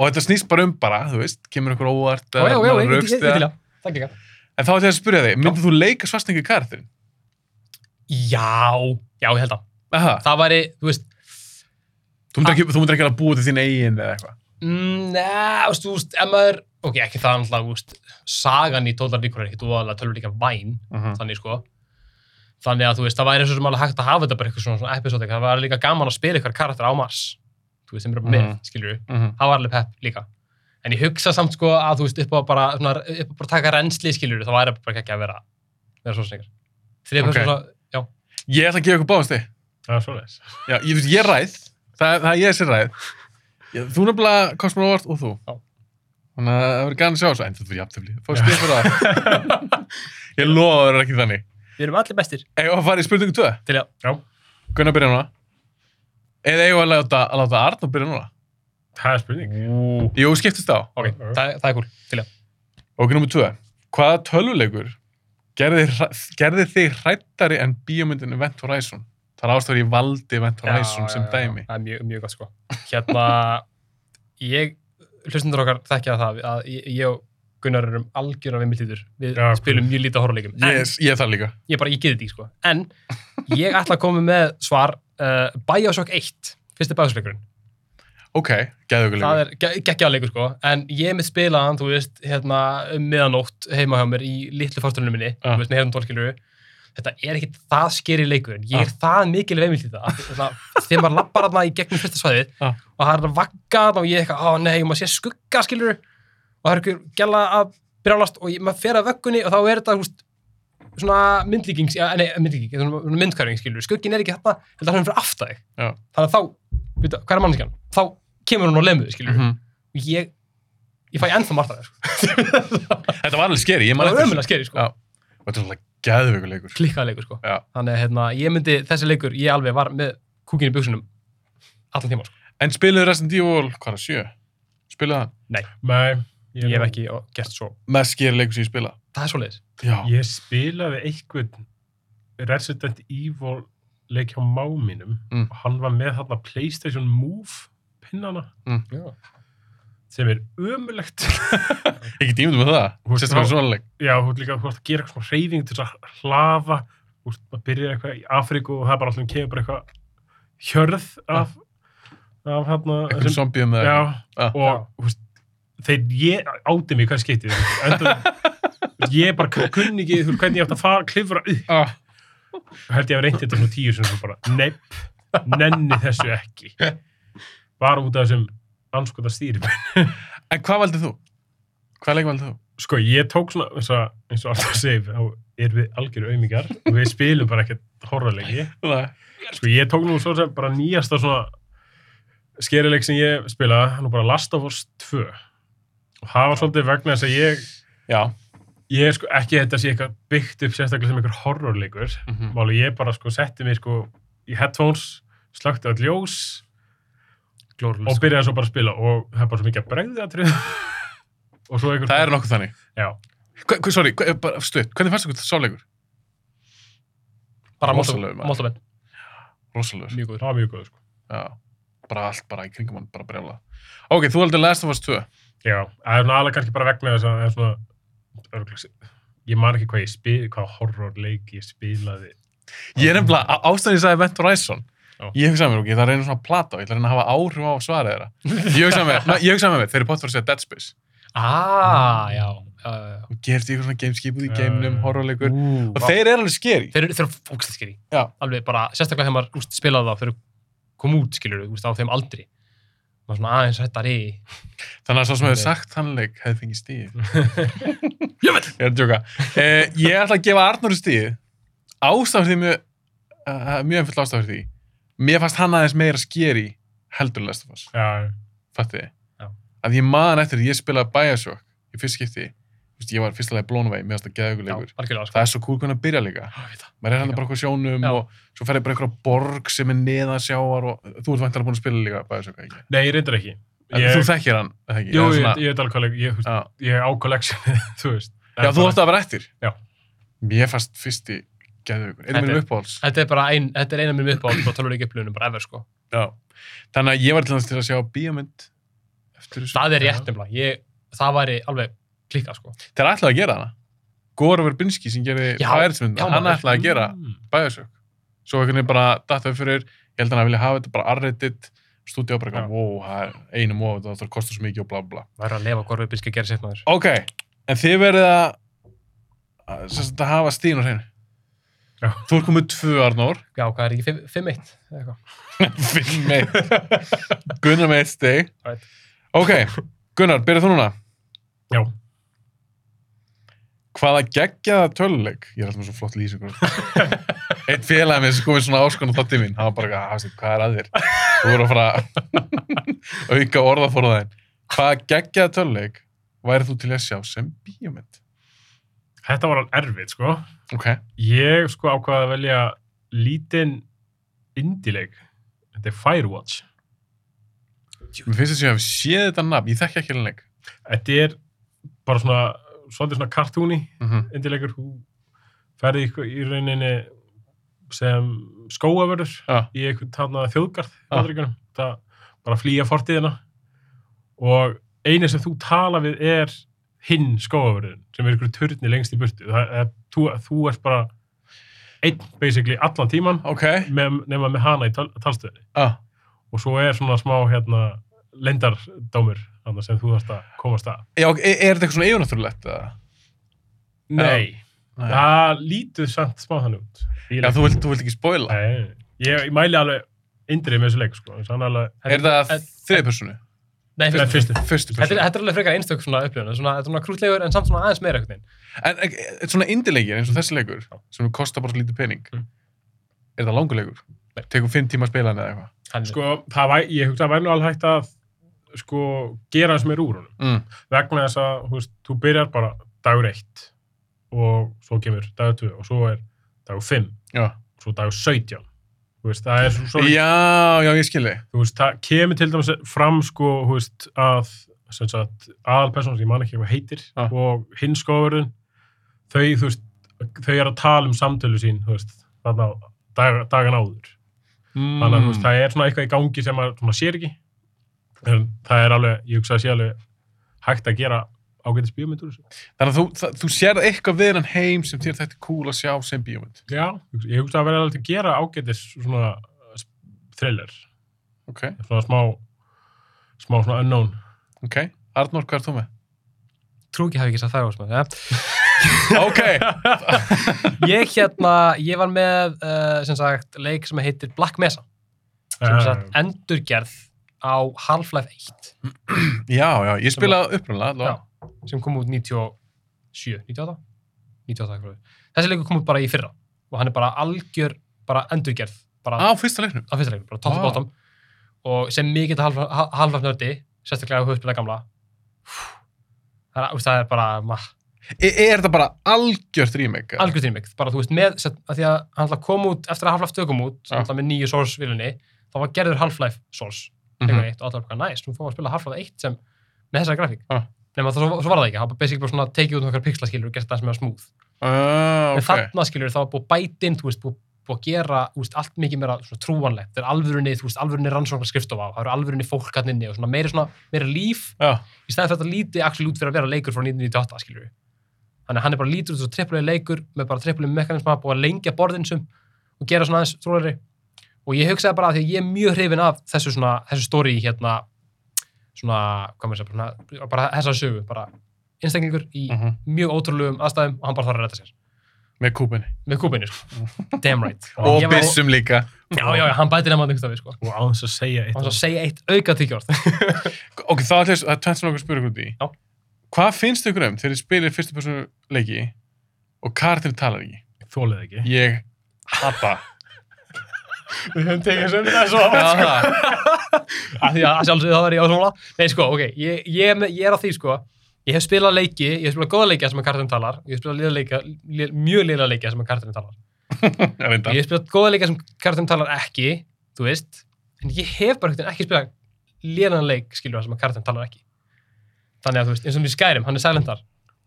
Og þetta snýst bara um bara, þú veist, kemur ykkur óvart. Já, eða já, já, ég- ég- ég- ég- ég- rökstyðja. til í það. Takk líka. En þá ætlum ég að spyrja þig, myndið þú leika svarsningu karakterin? Já, já, ég held að. Aha, Ah. Það væri, þú veist, þú myndir ekki, þú myndir ekki alveg búið til þín eigin eða eitthvað. mm, neða, þú veist, þú veist, ef maður, ok, ekki það náttúrulega, þú veist, sagan í Total Recall er ekkit óalega tölvuleika væn, Mhm, þannig sko. Þannig að, þú veist, það væri eins og sem alveg hægt að hafa þetta bara eitthvað svona, svona episode, eitthvað. það væri líka gaman að spila eitthvað karakter á Mars, þú veist, sem er bara með, Mhm. skilur við, Mhm. það var alveg pepp líka. en ég hugsa samt sko að þú veist upp á bara, svona, upp á bara taka reynsli skilur þá væri bara ekki að vera, vera svona snikar þrið Ok. okay. svona, já, Ég ætla að gefa ykkur báðast þig. Það er svoleiðis. Já, ég, þú veist, ég ræð. Það, það er ég sem ræð. Já, þú nefnilega komst mér á óvart og þú. Já. Þannig að það verður gæðan að sjá þessu. En þetta verður jafntefli. Fá stið fyrir það. <laughs> ég lofa að það verður ekki þannig. við erum allir bestir Eða að fara í spurningu 2. til já, Já, Gunnar byrja núna. Eða eigum við að láta, að láta Arnur byrja núna. það er spurning. Ú. Jú, skiptist á. ok, Já, já. það, það er cool til já, Ok, nummer 2. Hvaða tölvuleikur gerði, hra- gerði þig hrættari en bíómyndin Event Horizon? Það er ástæður ég valdi Event Horizon sem já, já, dæmi. það er mjög, mjög gott sko hérna, ég hlustundur okkar þekkja það að ég, ég og Gunnar erum algjörna við mittlítur við Já, spilum mjög lítið horrorleikum en Yes, ég það líka. ég bara, ég get þetta ekki sko en ég ætla að koma með svar uh, Bioshock 1, fyrsti Bioshock-leikurinn Ok, geðugur það leikur. er ge geggjaðleikur sko en ég mitt spila hann, þú veist, hérna um miðanótt heima hjá mér í litlu fartunum minni Ah. þú veist, með hérna tólkilu þetta er ekkit það skeri leikur en ég er Ah. það mikil veimilt í það Þarna- þegar maður lappar hann í gegnum fyrsta svæðið Ah. og það er að vagga þarna og ég eitthvað, á nei, maður sé skugga skilur og það er ykkur gæla að brjálast og ég, maður fer að vöggunni og þá er þetta, þú veist, svona myndlíking ja, nei, myndlíking, svona myndkæring skilur skuggin er ekki þetta, heldur hann er fyrir aftar þig Já. þannig að þá, veit það, hvað er mannskjan? þá kemur hún og lemur, skilur Mhm. og ég ég fæ ennþá <laughs> margt af það, sko. Þetta var alveg skeri, ég það man var eftir. ömulega skeri, Já. sko, þessu. Þetta var alveg geðugur leikur. klikkað leikur, sko Já. þannig að hérna, ég myndi, þessi leikur, ég alveg var með kúkin í buksunum allan tíma, sko En spiluðu Resident Evil, hvað er það, sjö? Spiluðu það? Nei, ég hef ekki ó, gert svo, Mest skeri leikur sem ég spila. það er svoleiðis Já. Ég spilaði einhvern Resident Evil leik hjá máminum Mm. og hann var með þarna Playstation Move pinnana Já. sem er ömulegt. Ég get ímyndum með það. Þú veist, Sérstaklega þá- svona leik. <laughs> Já, þú ert líka þú ert að gera eitthvað reyfing til þess að hlafa þú ert að byrja eitthvað í Afríku og það er bara allir kemur bara eitthvað hjörð af, af hérna Ekkur zombiðum með já, það. Ah. og þú veist, þeir ég áti mig hvað skeitið endur <laughs> ég bara kunni ekki þú veist, hvernig ég átt að fara, klifra upp Ah. held ég að reyndi þetta svona tíu sem bara, nepp, nenni þessu ekki bara út af þessum anskota stýri En hvað valdið þú? Hvað leik valdið þú? sko, ég tók svona eins og, eins og alltaf segir, þá erum við algjöru aumingar og við spilum bara ekkert horrorleiki Nei. sko, ég tók nú svo sem bara nýjasta svona skerileik sem ég spilaði, hann var bara Last of Us 2 og það var svolítið vegna þess að ég Já. ég er sko ekki þetta sé eitthvað byggt upp sérstaklega sem einhver horrorleikur Mhm. máli ég bara sko setti mér sko í headphones, slökti all ljós glórlust, og sko. byrjaði svo bara að spila og það er bara svo mikið að bregða <laughs> og svo einhver Það er nokkuð þannig. Já. Hva, hva, sorry, hva, bara stutt. Hvernig fannst ykkur sáleikur? bara Rosalegur maður. mótlamenn, Rosalegur. mjög góður það var mjög góð sko Já. Bara allt bara í kringum hann, bara brjála. Ok, þú heldur Last of Us 2. já, það er svona alveg kannski bara vegna þess að það er svona örgulega, ég man ekki hvað ég spil hvað horrorleik ég spilaði Ég er nefnilega, á- ástæðan ég sagði Event Horizon. Já. Ég hugsaði mér, ok, það er einu svona plata og ég ætla að reyna að hafa áhrif á svarið þeirra. Ég hugsaði <laughs> mér, na, ég hugsaði mér, þeir eru pottur að segja Dead Space. aaa, Ah, já, já, já, já. Og gerst ykkur svona gameskipuð í Já, gameunum, já. horrorleikur. Ú, Og vá. þeir eru alveg skeri. þeir eru þeir eru fókslega skeri Já. alveg bara, sérstaklega þegar maður úst, spilaði það þegar kom út, skilur, úst, á þeim aldri maður svona aðeins hættari Þannig að svo sem hefur Nei. sagt þannleik hefði fengið stíð. Ég veit. Ég er að djóka. Eh, ég ætla að gefa Arnóru stíð. Ástafur því mjög, uh, mjög einföld ástafur því. Mér fannst hann aðeins meira skeri heldur en Last of Us. já, Fætti þið? Já. Að ég man eftir því ég spilaði Bioshock í fyrst skipti. Þú veist, Ég var fyrst alveg blown away, mér fannst það geðugur já, leikur. algjörlega, sko. Það er svo cool hvernig að byrja líka. Já, ég veit það. Maður er hérna bara okkur sjónum Já. og svo ferði bara eitthvað borg sem er neðan sjáar og þú ert vantilega búin að spila líka Bioshock, ekki? nei, ég reyndar ekki Ég... ég, Þú þekkir hann, eða ekki? jú, Eða ég, svona- ég, veit alveg hvað leik- ég, þú veist, Já. ég á collectionið, <laughs> þú veist Já, þú ætti að vera eftir? Já. Mér fannst fyrsti geðvökur. Einu Þetta minn er- uppáhalds. Þetta er bara ein, þetta er eina mjög uppáhald frá tölvuleik upplunum, bara ever sko. Já. Þannig að ég var til þess til að sjá bíómynd eftir þessu. Það er rétt nefnilega, ég, það væri alveg klikkað sko. Þeir ætlaði að gera hana. Góra Verbinski sem gerði Já, já, Pirates-myndina, hann maður. ætlaði að gera Mm. Bioshock. Svo einhvern veginn bara datt upp fyrir, ég held hann að vilja hafa þetta bara arreitit, stúdíu bara Já. eitthvað, wow, það er einum og það þarf að kosta svo mikið og bla bla. Væri að lefa hvað rauðbyrski að gera sér maður. Ok, en þið verðið að, að, sem sagt að hafa stíðin á hreinu. Já. Þú er komið tvö, Arnór. Já, hvað er ekki, fimm- 5-1 eða eitthvað. Finn meitt Gunnar meitt stig Right. Ok, Gunnar, byrja þú núna. Já. Hvaða geggjaða töluleik? Ég er alltaf með svo flott lýsingur. Eitt félagið minn sem komið svona áskon á þátti mín, hann var bara, hafsið, hvað er að þér? Þú voru að fara að auka orðaforðaðin. Hvaða geggjaða töluleik værið þú til að sjá sem bíómynd? Þetta var alveg erfið, sko. Ok, Ég sko ákvaði að velja lítinn indileg. Þetta er Firewatch. mér finnst þess að ég hef séð þetta nafn, ég þekki ekki hérna leik. Þetta er bara svona, svolítið svona kartúni Mm -hmm. indilegur. Þú ferði í, í rauninni sem skóavörður Já, í einhvern þarna þjóðgarð í Ah. Bandaríkjunum. Það bara að flýja fortíðina og eina sem þú tala við er hinn skóavörðin sem er ykkur turni lengst í burtu. Það, það, þú, þú ert bara einn basically allan tíman ok. með, nema með hana í tal, talstöðinni Ah, og svo er svona smá hérna lendardómur þarna sem þú þarfst að komast að. já, ok, er, er þetta eitthvað svona yfirnáttúrulegt? eða? Nei, Nei. það lítur samt smá þannig út. Já, þú vilt, þú vilt ekki spoila. Nei, ég, ég mæli alveg indrið með þessu leik sko, þannig alveg Er það þriði personu? Nei, Nei, fyrst. fyrstu. Fyrstu Þetta, er- personu. þetta er alveg frekar einstök svona upplifun, svona, þetta er svona krútlegur en samt svona aðeins meira einhvern veginn. En e, e, svona indilegir eins og þessi leikur, sem kostar bara svo lítið pening, Mm. er það langur leikur? Nei. Tekum fimm tíma að spila hann eða eitthvað? Hann, sko, það væ, ég hugsa að væri nú alveg hægt að sko, gera hans meir úr honum Mm. vegna þess að, þú veist, þú byrjar bara dagur eitt og svo kemur dagur 2 og svo er dagur 5 Já. og svo dagur 17 þú veist, það er svo, svo já, já, ég skilji. þú veist, það kemur til dæmis fram sko, þú veist, að sem sagt, aðalperson sem ég man ekki hvað heitir Ah. og hins skóðurinn þau, þú veist, þau eru að tala um samtölu sín, þú veist, þarna á- dag, dagan áður Mm. þannig að þú veist, það er svona eitthvað í gangi sem maður svona sér ekki en það er alveg, ég hugsa að sé alveg hægt að gera ágætis bíómynd úr þessu Þannig að þú, það, þú sérð eitthvað við hann heim sem þér þetta cool að sjá sem bíómynd. já, ég hugsa að vera alveg til að gera ágætis svona uh, thriller Ok, svona smá smá svona unknown ok. Arnór, hvað er þú með? trú ekki hafi ekki sagt það á smá. Ja. ok, Ég hérna, ég var með, uh, sem sagt, leik sem heitir Black Mesa, sem Eh, sagt endurgerð á Half-Life 1, já, já, ég spilaði upprunlega allavega. sem kom út 97, 98? 98 eitthvað. Þessi leikur kom út bara í fyrra og hann er bara algjör, bara endurgerð, bara Á fyrsta leiknum. á fyrsta leiknum, bara top to Vá. bottom og sem mikið halvfæft nördi sérstaklega á höfspilna gamla Hú, það er, úst, það er bara mah, E, er þetta bara algjört remake? eða? algjörð tímik, bara þú veist með sett, að því að hann ætla að koma út, eftir að halvfæft þau kom út Já. ja. með nýju source viljunni, þá var gerður half-life source, Mhm. einhvern veitt og allar bara næst, nú fáum við að spila half-life 1 sem með þessari grafík, Já. nema það svo, svo var það ekki það var basically bara svona tekið út nokkar pixlaskilur og gert það sem er smúð Ah, en ok. þarna skilur það var búið bætinn þú veist, búið, búið að gera þú veist, allt mikið meira svona trúanlegt, það er alvörunni þú veist, alvörunni rannsóknar skrifstofa, það eru alvörunni fólk hann inni og svona meira, svona, meira líf Já, í stæðan þetta lítið actually út fyrir að vera leikur frá 1998 skilur þannig að hann er bara lítur út svo trippulega leikur með bara trippulega mekanisma búið að lengja borðinsum og gera svona aðeins trúleiri og ég hugsaði bara að því að ég er mjög hrifin af þessu svona, þessu stóri hérna svona, hvað maður segja, bara, svona- bara þessa sögu, bara einstaklingur í Mhm. mjög ótrúlegum aðstæðum og hann bara þarf að redda sér með kúpinni. með kúpinu, sko. Damn right. Og Ég var- byssum líka. Já, já, já, hann bætir nema einhvern veginn, sko. og á þess að segja eitt Hann svo að segja eitt auka tíkjórð. Ok, þá ætlaðis, það er tvennt sem okkur spyrir út í. Já. Hvað finnst ykkur um þegar þið spilir fyrstu personu leiki og karakterin talar ekki? þólið ekki Ég hata. Við höfum tekið þessu um þessu átt, sko. það. Af Því að sjálfsögðu það verði ásumla. Nei, sko, ok, ég, ég, er með- ég er á því, sko. Ég hef spilað leiki, ég hef spilað góða leiki þar sem að kartinu talar. Ég hef spilað liða leika, lið, mjög liða leiki þar sem að kartinu talar. Það er Ég enda. hef spilað góða leiki þar sem kartinu talar ekki, þú veist. En ég hef bara ekkert ekki spilað liðan leik, skilur það sem að kartinu talar ekki. Þannig að, þú veist, eins og við skærim, hann er sælentar.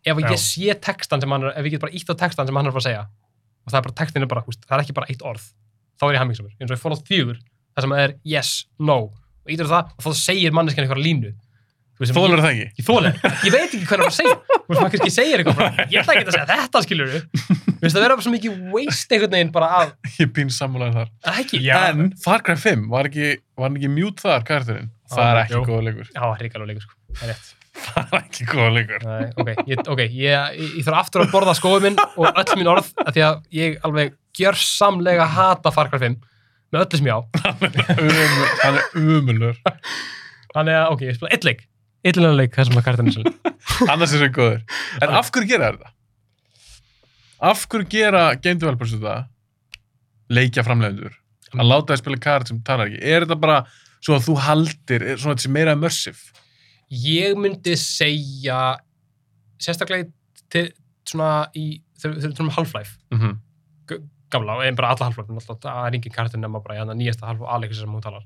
Ef Já. ég sé textan sem hann er, ef ég get bara ítt á textan sem hann er að fara að segja, og það er bara textin er bara, húst, það er ekki bara eitt orð þá er ég hammingsamur, eins og ég fór á fjögur það sem er yes, no og ítur það og þá segir manneskjan einhverja línu Þú veist, sem Þólar það ekki. ég, ég þólar, ég veit ekki hvað það er að segja þú veist, maður kannski segir eitthvað bara, ég ætla ekki að segja þetta skilur við, veist það verður bara svo mikið waste einhvern veginn bara að, <laughs> Ég pín sammálaðið þar. að ekki, Já. En Far Cry 5 var ekki, var hann ekki mjút þar karakterin? Já, Það er ekki jú. góða leikur. já, hrikalega leikur sko, það er rétt Ah, Það er ekki góða <laughs> leikur. Nei, ok, ég, okay ég, ég, ég þarf aftur að borða skóið minn og öll mín orð af því að ég alveg gjörsamlega hata Farkar 5 með öllu sem ég á Ömul- Hann er umulur. Þannig að, ok, ég spila eitt leik illinlega leik þessum að kartan er sinni. annars er það góður en af hverju gera þeir þetta af hverju gera game developers þetta leikja framleiðendur að láta þeir spila kart sem talar ekki er þetta bara svo að þú haldir er svona þessi meira immersive Ég myndi segja, sérstaklega í- til svona í, þegar þegar við þurfum Half-Life, mm gamla, en bara alla Half-Life, náttúrulega, það er engin kartin nema bara í hann nýjasta Half-Life, Alex sem hún talar.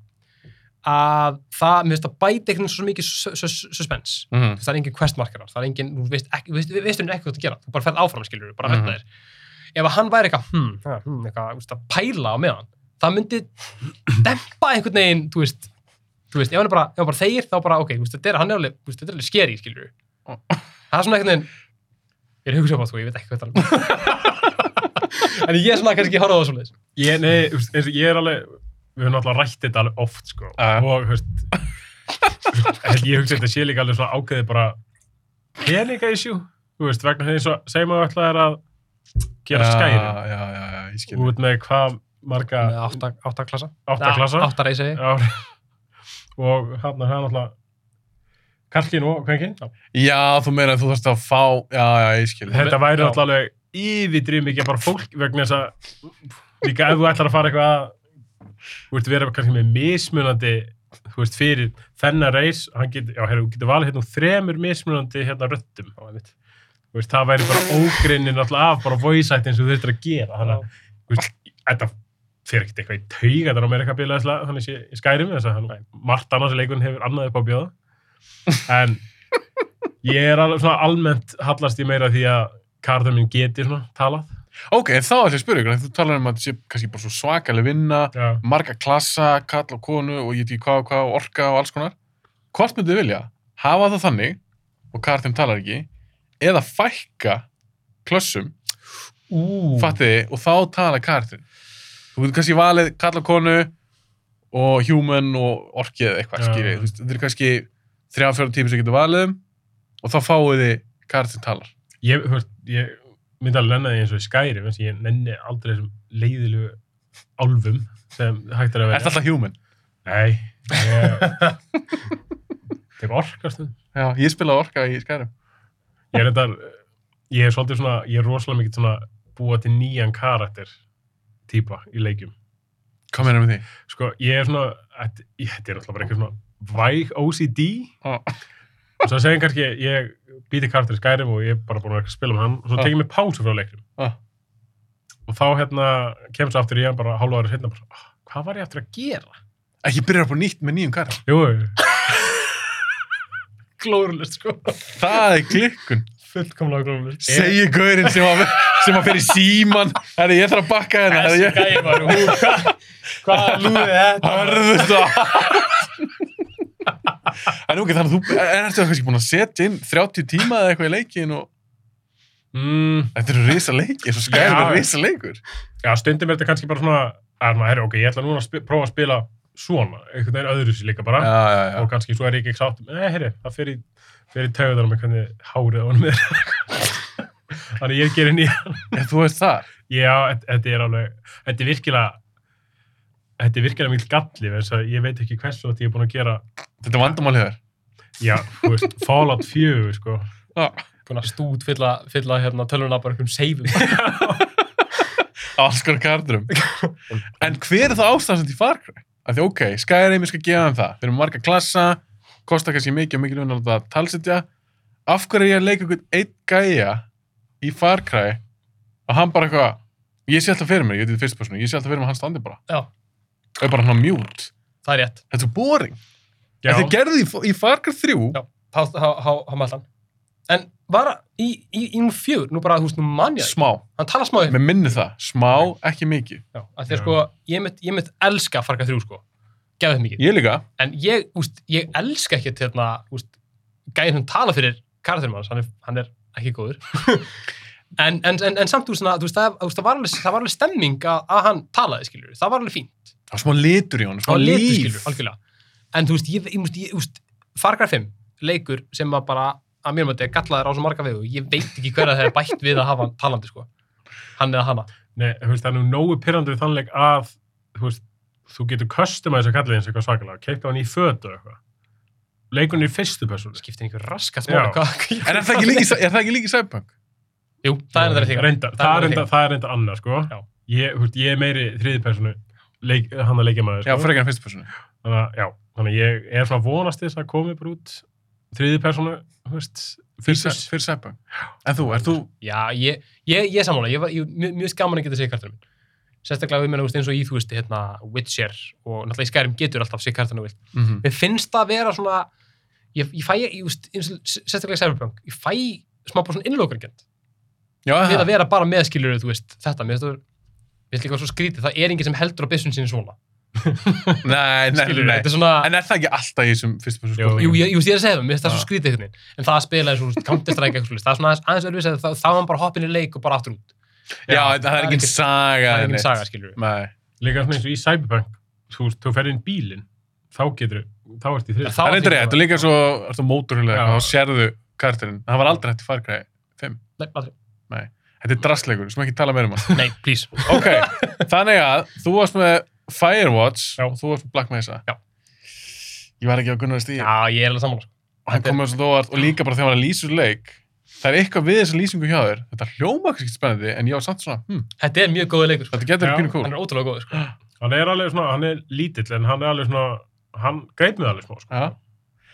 Að það, mér finnst að bæta einhvern veginn svo mikið sus- sus- suspense. Þú veist, það er engin questmarkerar, það er engin, þú veist ekki, veist, veist ekki hvað þú gera, þú bara ferð áfram, skilur, bara Mhm. mm -hmm. þér. Ef að hann væri eitthvað, hmm, ja, hmm, eitthvað, þú veist, að pæla á meðan, það myndi dempa einhvern veginn, þú veist, þú veist, ef hann er bara, ef hann bara þegir, þá bara, ok, þú veist, þetta er, hann er alveg, þú veist, þetta er alveg skeri, skilur. Það er svona einhvern veginn, ég er hugsað á þú, ég veit ekki hvað það er. um. <laughs> en ég er svona kannski að horfa á það svolítið. Ég, nei, þú veist, eins og ég er alveg, við höfum náttúrulega rætt þetta alveg oft, sko. Ja. Og, þú veist, held ég hugsa að þetta sé líka alveg svona ákveðið bara peninga issue, þú veist, vegna þess að segjum að ætla er að gera skæri. já, já, já, já, ég skil Út með hvað marga Með átta, átta klasa. átta klasa. Átta reysi. ári. <laughs> Og hann er náttúrulega karlinn og kvenkinn. já, þú meira að þú þarfst að fá já, já, ég skil Þetta væri Já. náttúrulega alveg yfirdrýð mikið bara fólk vegna þess að líka ef þú ætlar að fara eitthvað að þú veist, vera kannski með mismunandi þú veist, fyrir þennan reis hann get, já, heyrðu, þú getur valið hérna úr þremur mismunandi hérna röttum á, einmitt. þú veist, það væri bara ógrinni náttúrulega af bara voice-ættin sem þú þurftir að gera þannig að, þú veist, þetta fyrir ekkert eitthvað í tauga þetta er á meira eitthvað bilaðislega þannig sé ég skærum þess að hann- margt annars í leikunum hefur annað upp á að bjóða en ég er alveg svona almennt hallast ég meira því að karður minn geti svona talað ok, en þá ætlum ég að spyrja ykkur en þú talar um að þetta sé kannski bara svo svakaleg vinna já. marga klassa, kall og konu og ég veit ekki hvað og hvað og orka og alls konar hvort myndið þið vilja hafa það þannig og kartum talar ekki eða fækka klössum Ú, fattið þið og þá tala kartum þú getur kannski valið kall og konu og human og orkið eða eitthvað Já. skýri veist, þetta er kannski 3-4 tími sem getur valið um og þá fáið þið kartum talar ég, þú veist, ég myndi alveg nenni því eins og í skæri eins og ég nenni aldrei þessum leiðilegu álfum sem hægt er að er vera þetta alltaf human? nei ég... <laughs> tek orkastum Já, ég spilaði orka í skærum ég er þetta ég er svolítið svona, ég er rosalega mikið svona búa til nýjan karakter típa í leikjum hvað meina með því? sko, ég er svona, þetta ég- þetta er alltaf bara eitthvað svona væg OCD Ah. og svo segjum kannski, ég býti karakter í skærim og ég er bara búin að vera að spila með hann og svo Ah. tekið mér pásu frá leiknum Ah. og þá hérna kemur svo aftur í hann bara hálfa ára setna bara, "Ah, hvað var ég aftur að gera? ekki byrja upp á nýtt með nýjum kar Jú, jú, jú. glórulegt, sko. það er klikkun Fullkomlega glórulegt. segi gaurinn sem að, sem að fyrir síman herri ég þarf að bakka hérna herri ég gæði var, hvað hva lúðið þetta? hörðust það en ok, þannig að þú er þetta kannski búin að setja inn 30 tíma eða eitthvað í leikin og Mm, þetta eru risa leikir, svo skæður Já. þetta risa leikur já, stundum er þetta kannski bara svona, að maður, herri, ok, ég ætla núna að spi- prófa að spila svona, einhvern veginn öðru sér líka bara já, já, og kannski svo er ég ekki sátt, nei, herri, það fer í, fer í taugunar með hvernig hárið á hann með <laughs> þannig ég gerir nýja En þú veist það Já, þet- þetta er alveg, þetta er virkilega, þetta er virkilega mjög galli, þess að ég veit ekki hversu að ég er búin að gera, þetta er vandamál hefur já, þú veist, Fallout 4, sko. Búin að stút fylla, fylla hérna tölvuna bara einhverjum seifum. alls konar kardurum en hver er það ástæðan sem því farkra? að því ok, Skyrim ég skal gefa þeim það þeir eru marga klassa, kostar kannski mikið og mikið ljóðan að láta talsetja af hverju er ég að leika einhvern einn gæja í farkræ og hann bara eitthvað, ég sé alltaf fyrir mér ég veit því fyrst personu, ég sé alltaf fyrir mér að hann standi bara Já, og er bara hann á mjút, það er rétt. þetta er boring Já, en þeir gerðu því í farkræ þrjú Já. Há, há, há, há maldan. En var í, í, í nú fjör, nú bara, þú veist, nú manja því. smá, Hann tala smá yfir. með minni það, smá ekki mikið, Já, af því Já. að sko, ég mitt, ég mitt elska farga þrjú, sko. Gæði mikið. ég líka En ég, úst, ég elska ekkert hérna, úst, gæðin sem tala fyrir karakterum hans, hann er, hann er ekki góður. <laughs> en, en, en, en samt úr svona, þú veist, það, þú veist, það, var alveg, það var alveg stemming að, að hann talaði, skiljur. Það var alveg fín. það var smá litur í honum, smá á litu líf skilur, algjörlega en þú veist, ég, ég, ég, ég veist, Far Cry 5 leikur sem var bara að mér mætti að galla þér á svo marga vegu ég veit ekki hver að það er bætt við að hafa hann talandi sko. hann eða hana nei, þú veist, það er nú nógu pyrrandi við þannleik að, þú veist, þú getur customizað kallið eins eitthvað svakalega, keipta hann í fötu og eitthvað. leikurinn er í fyrstu persónu. skiptir einhver raskat Já. máli hvað- En er það ekki líka, í Cy- er það ekki líka í Cyberpunk? Jú, það er þetta þegar Reyndar, það er reyndar- það er reynda annað, sko. Já. Ég, þú veist, ég er meiri þriði persónu, leik, hann að leikja maður, Já, sko. frekar en fyrstu personu. þannig að, já, þannig að ég er svona vonast til þess að komi bara út þriði persónu, þú veist, Fyrir fítus. Cy- fyrir Cyberpunk. En þú, er þú, Já, ég, ég, ég sammála, ég var ég, mjög, mjög gaman að geta sigkartunum minn. Sérstaklega við meina, þú veist, eins og í, þú veist, hérna, Witcher og náttúrulega í Skyrim getur alltaf sigkartunum vilt. Mhm. Mér finnst það að vera svona, ég, ég fæ, ég, þú veist, eins og sérstaklega í Cyberpunk, ég fæ smá bara svona innlókringjönd já, við að það, vera bara meðskiljur, þú veist, þetta, mér finnst það, mér finnst líka svo skrítið, það er enginn sem heldur á byssun sinni svona. nei, nei, Skilur, nei. þetta er svona, En er það ekki alltaf í þessum fyrstu personu Jú, jú, ég, jú, ég er að segja það, mér finnst það svo Já. skrítið einhvern veginn, en það að spila eins og, þú veist, Counter-Strike eitthvað, svoleiðis, það er svona aðeins, aðeins öðruvísi, að þá- þá er hann bara hoppinn í leik og bara aftur út. Já, en það er engin ekkert- saga. það er engin neitt. saga, skilurðu. Nei. Líka svona eins og í Cyberpunk, þú veist, þú ferð inn bílinn, þá getur, þá ert í þriði. Þá- Það er reyndar þýðir rétt, það. og líka svo, ertu móturhulega, Já. þá sérðu karakterinn. Það var aldrei hægt í fargræði. Nei, aldrei. Þetta er drastleikur, sem ekki tala meira um <laughs> hann. Nei, please. Ok, þannig að þú varst með Firewatch Já. og þú varst með Black Mesa. Já. Ég var ekki á Gunnar Stíð. Já, ég er alveg sammála. sko. og hann kom með þessu þóart og líka bara þegar hann lýsur leik það er eitthvað við þessa lýsingu hjá þér þetta hljóma kannski spennandi en ég var samt svona hm, Þetta er mjög góðið leikur, sko. þetta getur Já, verið pínu Hann cool er ótrúlega góður, sko. Hann er alveg svona, hann er lítill, en hann er alveg svona, hann greip mig alveg smá, sko. ja.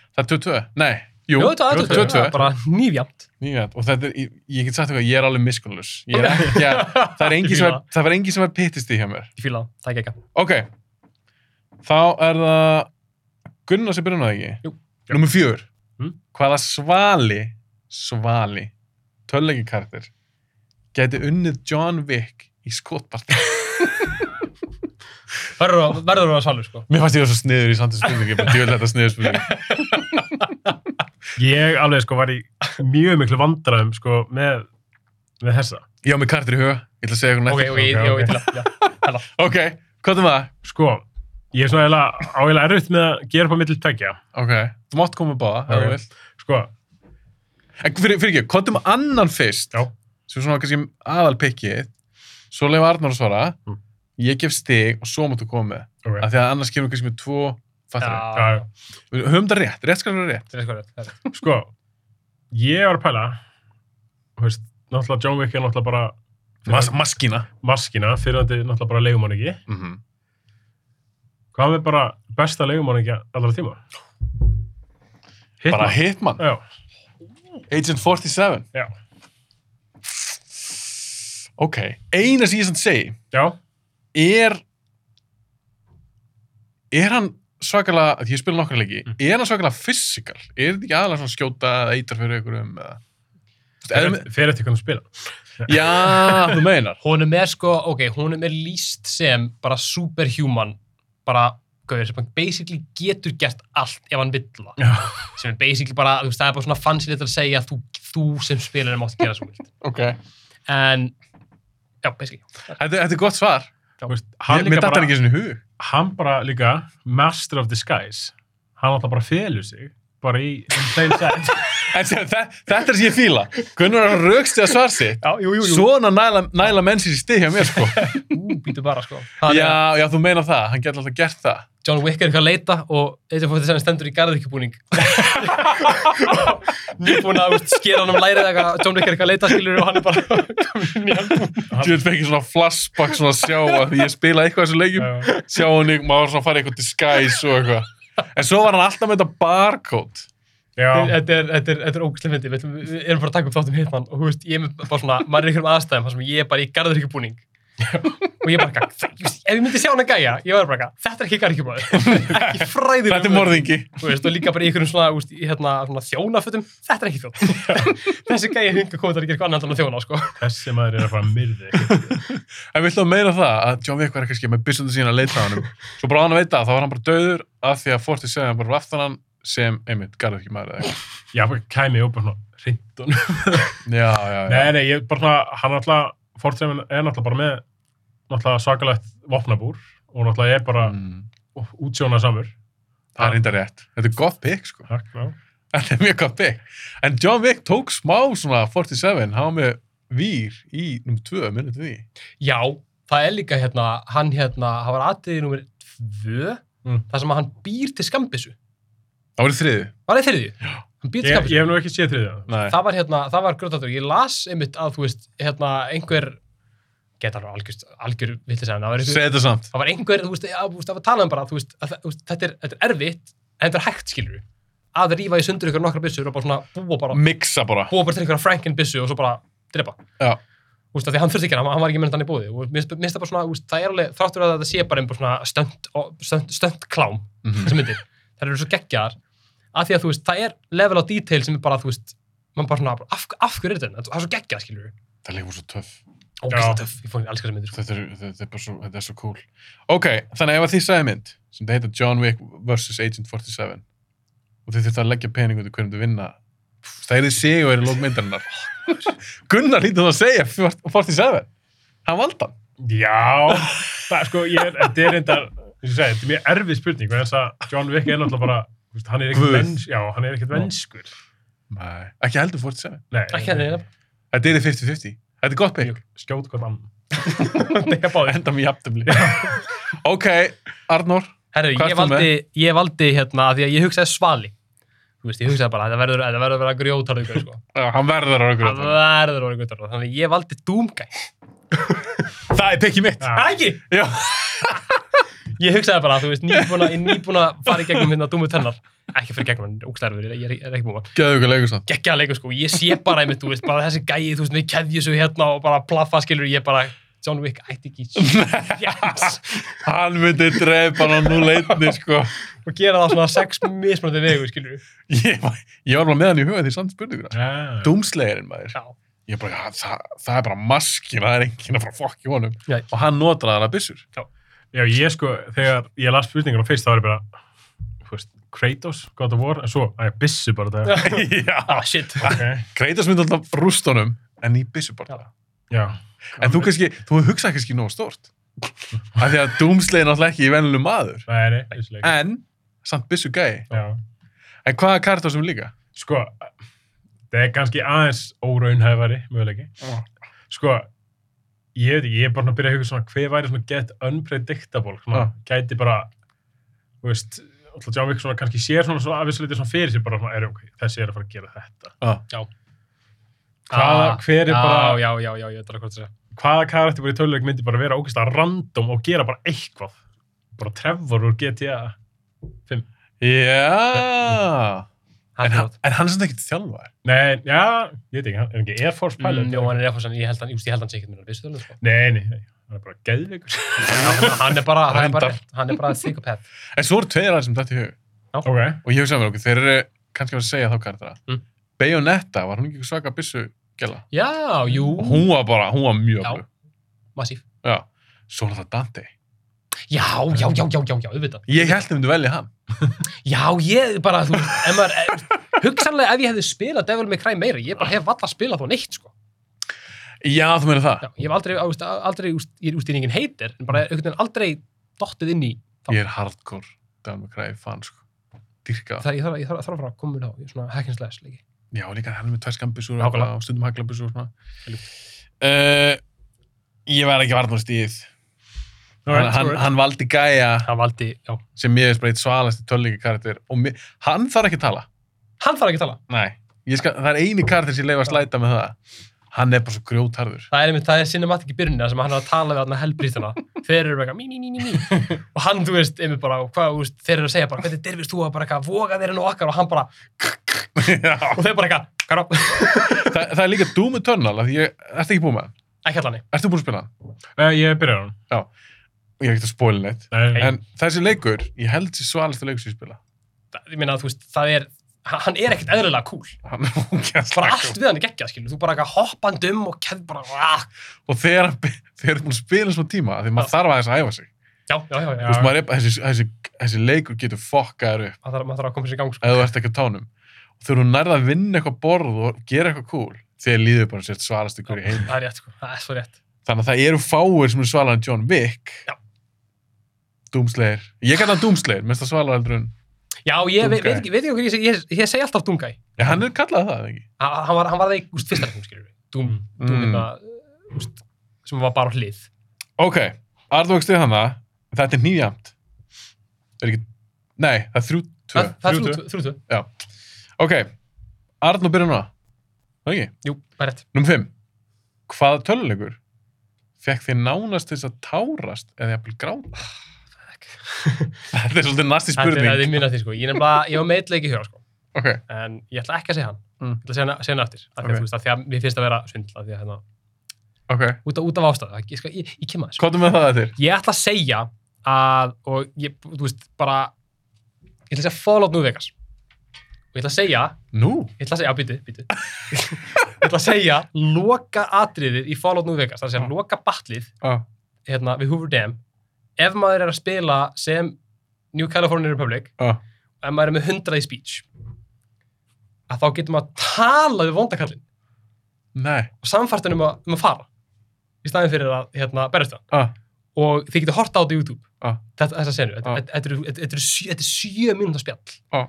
það er 22, nei, jú, Jú, þetta er 22. Það er 22 bara nýfjamt. nýjætt og þetta er, ég, ég get sagt eitthvað, ég er alveg miskunnlaus ég er ekki að, það er engi sem er, það var engi sem var pittist í hjá mér Ég fýla það, það er ekki ekki. ok, þá er það Gunnar sem byrjum það ekki Jú. nummer fjögur Mm. hvaða svali svali, töluleikikarakter gæti unnið John Wick í skotbart Verður að- verður að vera salur, sko. <laughs> Mér fannst ég það svo sniður í samt spurningi, bara djöðlega þetta sniður spurningi. Ég alveg, sko, var í mjög miklu vandræðum, sko, með, með þessa. Ég á mig kartir í huga, ég ætla að segja Ok, eitthvað ok, ég- ok, ég ok. veit til að. nætt. Ok, hvað er það? Sko, ég er svona eiginlega, á eiginlega erfitt með að gera upp á milli tveggja. Ok, þú mátt koma báða, ef Ok. þú vilt. Sko, En fyrir, fyrir ekki, hvað er maður annan fyrst? Já. Sem er svona kannski aðal pikkið, svo leifa Arnar að svara, Mm. ég gef stig og svo máttu koma með. ok. Af því að annars kemur kannski með tvo, fattur við. Já, já. Já, Við höfum það rétt, rétt skal vera rétt. þetta er sko rétt, það er rétt. Sko, ég var að pæla, þú veist, náttúrulega John Wick er náttúrulega bara Mas, maskína. maskina, fyrirandi náttúrulega bara leigumánningi. Mm Hvað með bara besta leigumánningi allra tíma? Hitman. Bara Hitman, Já, Agent 47. já, Ok, eina sem ég sann segi, já, er er hann svakalega, því ég spila nokkra leiki Mm. er hann svakalega physical? Er þetta ekki aðalega svona skjóta eða eitar fyrir ykkur um eða Þú veist, fyrir erum- eftir hvernig þú spila. Já, þú meinar Honum er sko, ok, honum er líst sem bara superhuman, bara, gauðir, sem hann basically getur gert allt ef hann vill það. Já. Sem er basically bara, þú veist, það er bara svona fancy litur að segja að þú, þú sem spilar mátt gera svo vilt. Ok, En, já, basically. þetta, þetta er gott svar Þú veist, hann Ég- Mér líka datt bara, hann ekki svona í hug hann bara líka, master of disguise, hann náttúrulega bara felur sig, bara í um plain sight. En þe- þe- Þetta er sem ég fíla Gunnar er að raukstu að svar sitt Já, jú, Svona næla, næla mennsins í stið hjá mér sko Ú, býtu bara, sko. Þannig að- Já, já, þú meinar það, hann getur alltaf gert það John Wick er eitthvað að leita og eitthvað fór þess að hann stendur í garðirkjubúning nýbúin að úst, skera hann um lærið eitthvað, John Wick er eitthvað að leita skilur og hann er bara Þú veit fengið svona flashback svona að sjá að því ég spila eitthvað þessu leikjum Já. sjá henni, maður svona farið eitthvað disguise og eitthvað en svo var hann alltaf með þetta barcode já, þetta er, þetta er, þetta er ógustlega myndi við, ætlum- við erum bara að taka upp þáttum hitman og þú veist, ég er með bara svona, maður er í einhverjum aðstæðum þar sem ég er bara í garðirkjubúning og ég er bara eitthvað, þa- ég veist, ef ég myndi sjá hann að gæja ég var bara eitthvað, þetta er ekki garðirkjubúning ekki fræðilega Þetta er morðingi Þú veist, og líka bara í einhverjum svona, úst, í, hérna, svona þjónafutum, þetta er ekki <laughs> þjón þessi gæja hinga komið þar að gera eitthvað annan en að þjóna sko. þessi maður er að fara að myrði. ykkur. En við ætlum að meina það að John Wick var kannski með byssundu sína að leita á hann Svo bara á hann að veita að þá var hann bara döður af því að Forti segja hann bara aftan hann sem, einmitt, garður ekki maður eða eitthvað Já, bara kæmi og bara svona hreint honum. Já, já, já Nei, nei, ég er bara svona, hann náttúrulega, Fortremin er náttúrulega bara með náttúrulega svakalegt vopnabúr og náttúrulega er bara Mm, mm. útsjónasamur. Það er reynda rétt Þetta er gott pick, sko Takk, já. Þetta er mjög gott pick En John Wick tók smá svona 47 hann var með vír í num 2 minnum því Já, það er líka hérna, hann hérna, hann var atriðið nummer 2, Mm. þar sem að hann býr til skambissu. Það voru þriði. Var það þriðju? Já. Hann býtt Ég, skapið. ég hef nú ekki séð þriðja. Nei. það var hérna, það var grötatur ég las einmitt að, þú veist, hérna einhver, geta alveg algjör, algjör vilti segja, það var einhver, Segð þetta samt. það var einhver, þú veist, að, þú veist, það var talað um bara, þú veist, að, það- þú veist þetta, er, þetta er erfitt en þetta er hægt, skilur við, að rífa í sundur ykkur nokkra byssur og bara svona búa Mm. bara Mixa bara. búa bara til einhverja Franken byssu og svo bara drepa Já. þú veist, af því hann þurfti ekki hana, hann var ekki með hann í búði og mér finnst það bara svona, þú veist, það er alveg þráttur að þetta sé bara einhver svona stönd, stönd, stönd klám Mhm. þessar myndir, það eru svo geggjaðar af því að þú veist, það er level á detail sem er bara, þú veist, mann bara svona bara, af, af hverju er þetta, hérna? það er svo geggjað, skilur við Það leikur svo töff. ógæsta Já. töff, ég fór alls hvað sem myndir sko. Þetta er, þetta er bara svo, þetta er svo cool. Ok, þannig ef að þið sagði mynd, sem þetta heitir John Wick vs. Agent 47, og þið þurftu að leggja pening út í hverjum þið vinna, það er þið sig og er í lók myndarinnar. <laughs> Gunnar lítið að segja 47. Hann valda. hann. Já, það, sko, ég, er- þetta er reyndar, eins og ég segi, þetta er mjög erfið spurning, vegna þess að John Wick er náttúrulega bara, þú veist, hann er ekkert Guð. venns, já, hann er ekkert vennskur. Nei. Ekki heldur 47. Nei, ekki hann er Þetta er þið 50-50. Þetta er gott pening. Ég skjót hvort annan. það báði Enda mér jafnumli. ok, Arnór. herru, Hvað ég ert þú valdi, ég valdi hérna, af því að ég hugsaði svali þú veist, ég hugsaði bara, þetta verður, þetta verður að vera grjótarðu gaur, sko. Já, hann verður á það okkur. verður orðið grjótarðu, þannig að ég valdi Doomguy <laughs> Það er pekki mitt. Já. ekki Já. Ég hugsaði bara, þú veist, nýbúna, ég nýbúna fara í gegnum hérna dúmu tennar. Ekki fyrir gegnum, hann ógstærfur, ég er, ég er ekki búin. Gæðu ykkur leikur samt. Gekkjaða leikur, sko, ég sé bara einmitt, þú veist, bara þessi gæi, þú veist, með keðjusu hérna og bara plaffa, skilur, ég bara, John Wick, ætti ekki, yes, Hann myndi drepa hann á núleitni, sko. og gera það svona sex mismunandi vegu, skilur. Ég var, ég var bara með hann í huga því samt spurninguna. Já. Dúmslegirinn, maður. Já, Ég bara, ja, það, það er bara maskina, það er enginn að fara að fokki honum. Já. Og hann notar hann að byssur. Já, ég sko, þegar ég las spurninguna fyrst, þá var ég bara, þú veist, Kratos, God of War, en svo, að ég bissu bara þetta. <laughs> Já. ah, shit. Ok. Kreitas myndi alltaf rúst honum, en í byssubarta. Já. En þú kannski, þú hugsaði kannski nóg stort. Af því að Dúmslegir er náttúrulega ekki í venlum maður. Nei, nei, vissulega. En, samt byssu gæi. Já. En hvaða kartas um líka? Sko, það er kannski aðeins óraunhæfari, möguleiki. sko, ég veit ekki, ég er bara svona að byrja að huga svona, hver væri svona get unpredictable, svona, Ah. gæti bara, þú veist, alltaf John Wick svona kannski sér svona, svona afvisleiti svona fyrir sér bara svona, er ok, þessi er að fara að gera þetta. Ah. Hvaða, hver er bara, Ah, Já, já, já, já, ég veit alveg hvað það segja. hvaða karakter bara í töluleik myndi bara vera ógeðslega random og gera bara eitthvað. Bara Trevor úr GTA. Já. En, Það er hann- gott. en hann er samt ekkert þjálfaður. Nei, já, ég veit ekki, hann er ekki Air Force pilot. Mm, Jó, hann er eitthvað sem ég held hann, ég held hann sé ekkert mér, vissu það alveg, sko. Nei, nei, nei, hann er bara geðveikur. Hann er bara, hann er bara, Reyndar. hann er bara psychopath. En svo eru tveir aðeins sem þetta í hug. ok, Og ég hugsaði með okkur, þeir eru kannski að fara að segja þá karaktera. Mm. Bayonetta, var hún ekki svaka byssu gæla? Já, jú, Hún var bara, hún var mjög Já. öflug. massíf. Já. Svo er það Dante. Já, já, já, já, já, já, auðvitað. Ég held þeim að velja hann. Já, ég bara, þú, ef maður, eh, hugsanlega ef ég hefði spilað Devil May Cry meira, ég bara hef valla spilað þá neitt, sko. Já, þú meina það. Já, ég hef aldrei, á, veist, aldrei, úst, ég er úst í enginn heitir, en bara, einhvern veginn aldrei dottið inn í, Já. Ég er hardcore Daniel McRae fan, sko. Dyrka. það, ég þarf, ég þarf, þarf að fara að koma mér á, ég er svona hack and slash leiki. Já, líka hann er með tverskambissur Nákvæmlega. og stundum haglabissur og svona. Uh, ég verð ekki varnur stíð. Hann, alright, hann, alright. hann valdi gæja Hann valdi, já, sem mér er bara eitt svalasti tölningi karakter og mér, hann þarf ekki að tala. hann þarf ekki að tala. Nei, ég skal, það er eini karakter sem ég leifa að slæta með það. Hann er bara svo grjótarður. Það er einmitt, það er cinematic í byrjunina sem hann er að tala við hann að <laughs> helbrýstuna. Þeir eru bara eitthvað, mí, mí, mí, mí, mí. Og hann, þú veist, einmitt bara, og hvað, þú veist, þeir eru að segja bara, hvernig derfist þú að bara eitthvað, voga þeir nú okkar og hann bara, Já. og þeir bara eitthvað, hvað er það? Þa, það er líka Doom Eternal, af því ég, ertu ekki búin með hann? Ekki allan, nei. Ertu búin að spila hann? Eh, Ég byrjar hann. Ég er ekkert að spóla neitt. Nei, En þessi leikur, ég held þessi svalasta leikur sem ég spila. Það- ég meina, þú veist, það er, hann er ekkert eðlilega cool. Hann er ógeðslega bara cool. allt við hann er geggjað, skilur, þú bara eitthvað hoppandi um og keð bara, aah, Og þegar hann be- þegar þú ert búin að spila svona tíma, af því maður þarf aðeins að æfa sig. já, já, já, já. Þú veist, maður er, þessi, þessi, þessi leikur getur fokkaður upp Maður þarf, maður þarf að koma sér í gang, sko. ef þú ert ekki á tánum. Og þegar þú nærða að vinna eitthvað borð og gera eitthvað cool, þegar líður bara sért svalast ykkur í heim. Það er rétt, sko, það er svo rétt. Þannig að það eru fáir sem eru svalar en John Wick. Já. Doomslayer. Ég kalla hann Doomslayer, minnst það svalar heldur en... Já, ég veit, Dungai. veit, ekki- veit ekki okkur, ég, seg- ég, ég segi alltaf Dungai. Já, hann er kallað það, ekki? Hann var, hann var það í, úst, fyrsta hljum, skilur, Dum, Mm. Dum, þetta, úst, hérna, sem var bara á hlið. Ok, Arnók stuð hann það. Þetta er nýjamt. Er ekki... Nei, það er þrjú, Tvö. Það- Það er Þrjú, þrjú, tvö, þrjú, tvö. Ok, Arnur byrjar núna. Það ekki? Jú, það er rétt. Númer 5. Hvaða tölulegur fekk þið nánast til þess að tárast eða jafnvel gráta? <laughs> Þetta er svolítið næsti Ah, Þetta er- þetta er spurning. mjög nætti, sko. Ég nefnilega, ég var meitleik í huga, sko. Ok, En ég ætla ekki að segja hann. Mm. Ég ætla að segja hann, segja hann aftur. Af því Ok. að, þú veist, af því að mér finnst að vera svindl, af því að hérna, ok. út, af- út af ástæðu. Ég, sko, ég, ég kem að þessu. Hvað er með það þér? Ég ætla að segja að, og ég, þú veist, bara, ég ætla að segja Fallout New Vegas. Og ég ætla að segja, Nú? ég ætla að segja, já, býtu, býtu. ég ætla að segja, loka atriðið í Fallout New Vegas. Það er að segja, loka batlið, Ah. hérna, við Hoover Dam. Ef maður er að spila sem New California Republic, Ah. ef maður er með 100 í speech, að þá getur maður að tala við vondakallin Nei. og samfært hann um, að- um að fara í staðin fyrir að, hérna, berjast við hann. Ah. og þið getur horta á þetta á YouTube Ah. þetta, þessa senu, þetta, Ah. þetta, þetta, eru- þetta, eru sjö- þetta er sjö mínúta spjall Ah.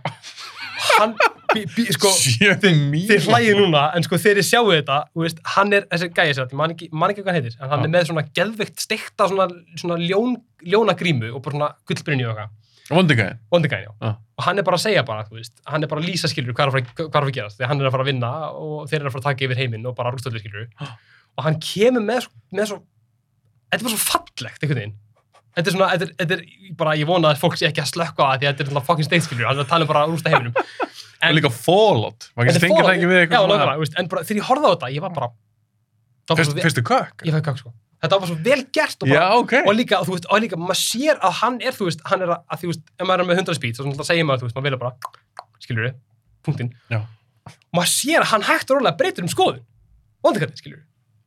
hann, bí, bí, sko, Sjöði mín. þið hlægir núna en sko þegar þið sjáu þetta, þú veist, hann er þessi gæði sér, mann ekki man ekki hvað hann heitir en hann Ah. er með svona geðveikt steikta svona, svona ljón, ljónagrímu og bara svona gullbrinni og eitthvað, Vondingæðin. vondingæðin já Ah. og hann er bara að segja bara, þú veist, hann er bara að lýsa skilur hvað er að fara- hvað er að fara að gerast, þegar hann er að fara að vinna og þeir eru að fara að taka yfir heiminn og bara rústöldur skilur Ah. og hann kemur með, svo- með svo þetta er bara svo fallegt einhvern veginn þetta er svona, þetta er, þetta er bara, ég vona að fólk sé ekki að slökka að því að þetta er svona fucking steik skilur hann er að tala um bara að rústa heiminum Og líka Fallout. Maður getur Þetta er fengið það ekki forvitni- við já, eitthvað nákvæmlega, þú veist, en bara þegar ég horfði á þetta, ég var bara það var Fyrst, svo, vel- fyrstu kökk? ég fæk kakk sko þetta var svo vel gert og, Já, bara, ok. og líka, og þú veist, og líka maður sér að hann er, þú veist, hann er að, að þú veist, ef maður er með 100 speed, þá svona segir maður, þú veist, maður vilja bara skilur við, punktinn Já. maður sér að hann hægt og rólega breytir um skoðun vondikarnir, skilur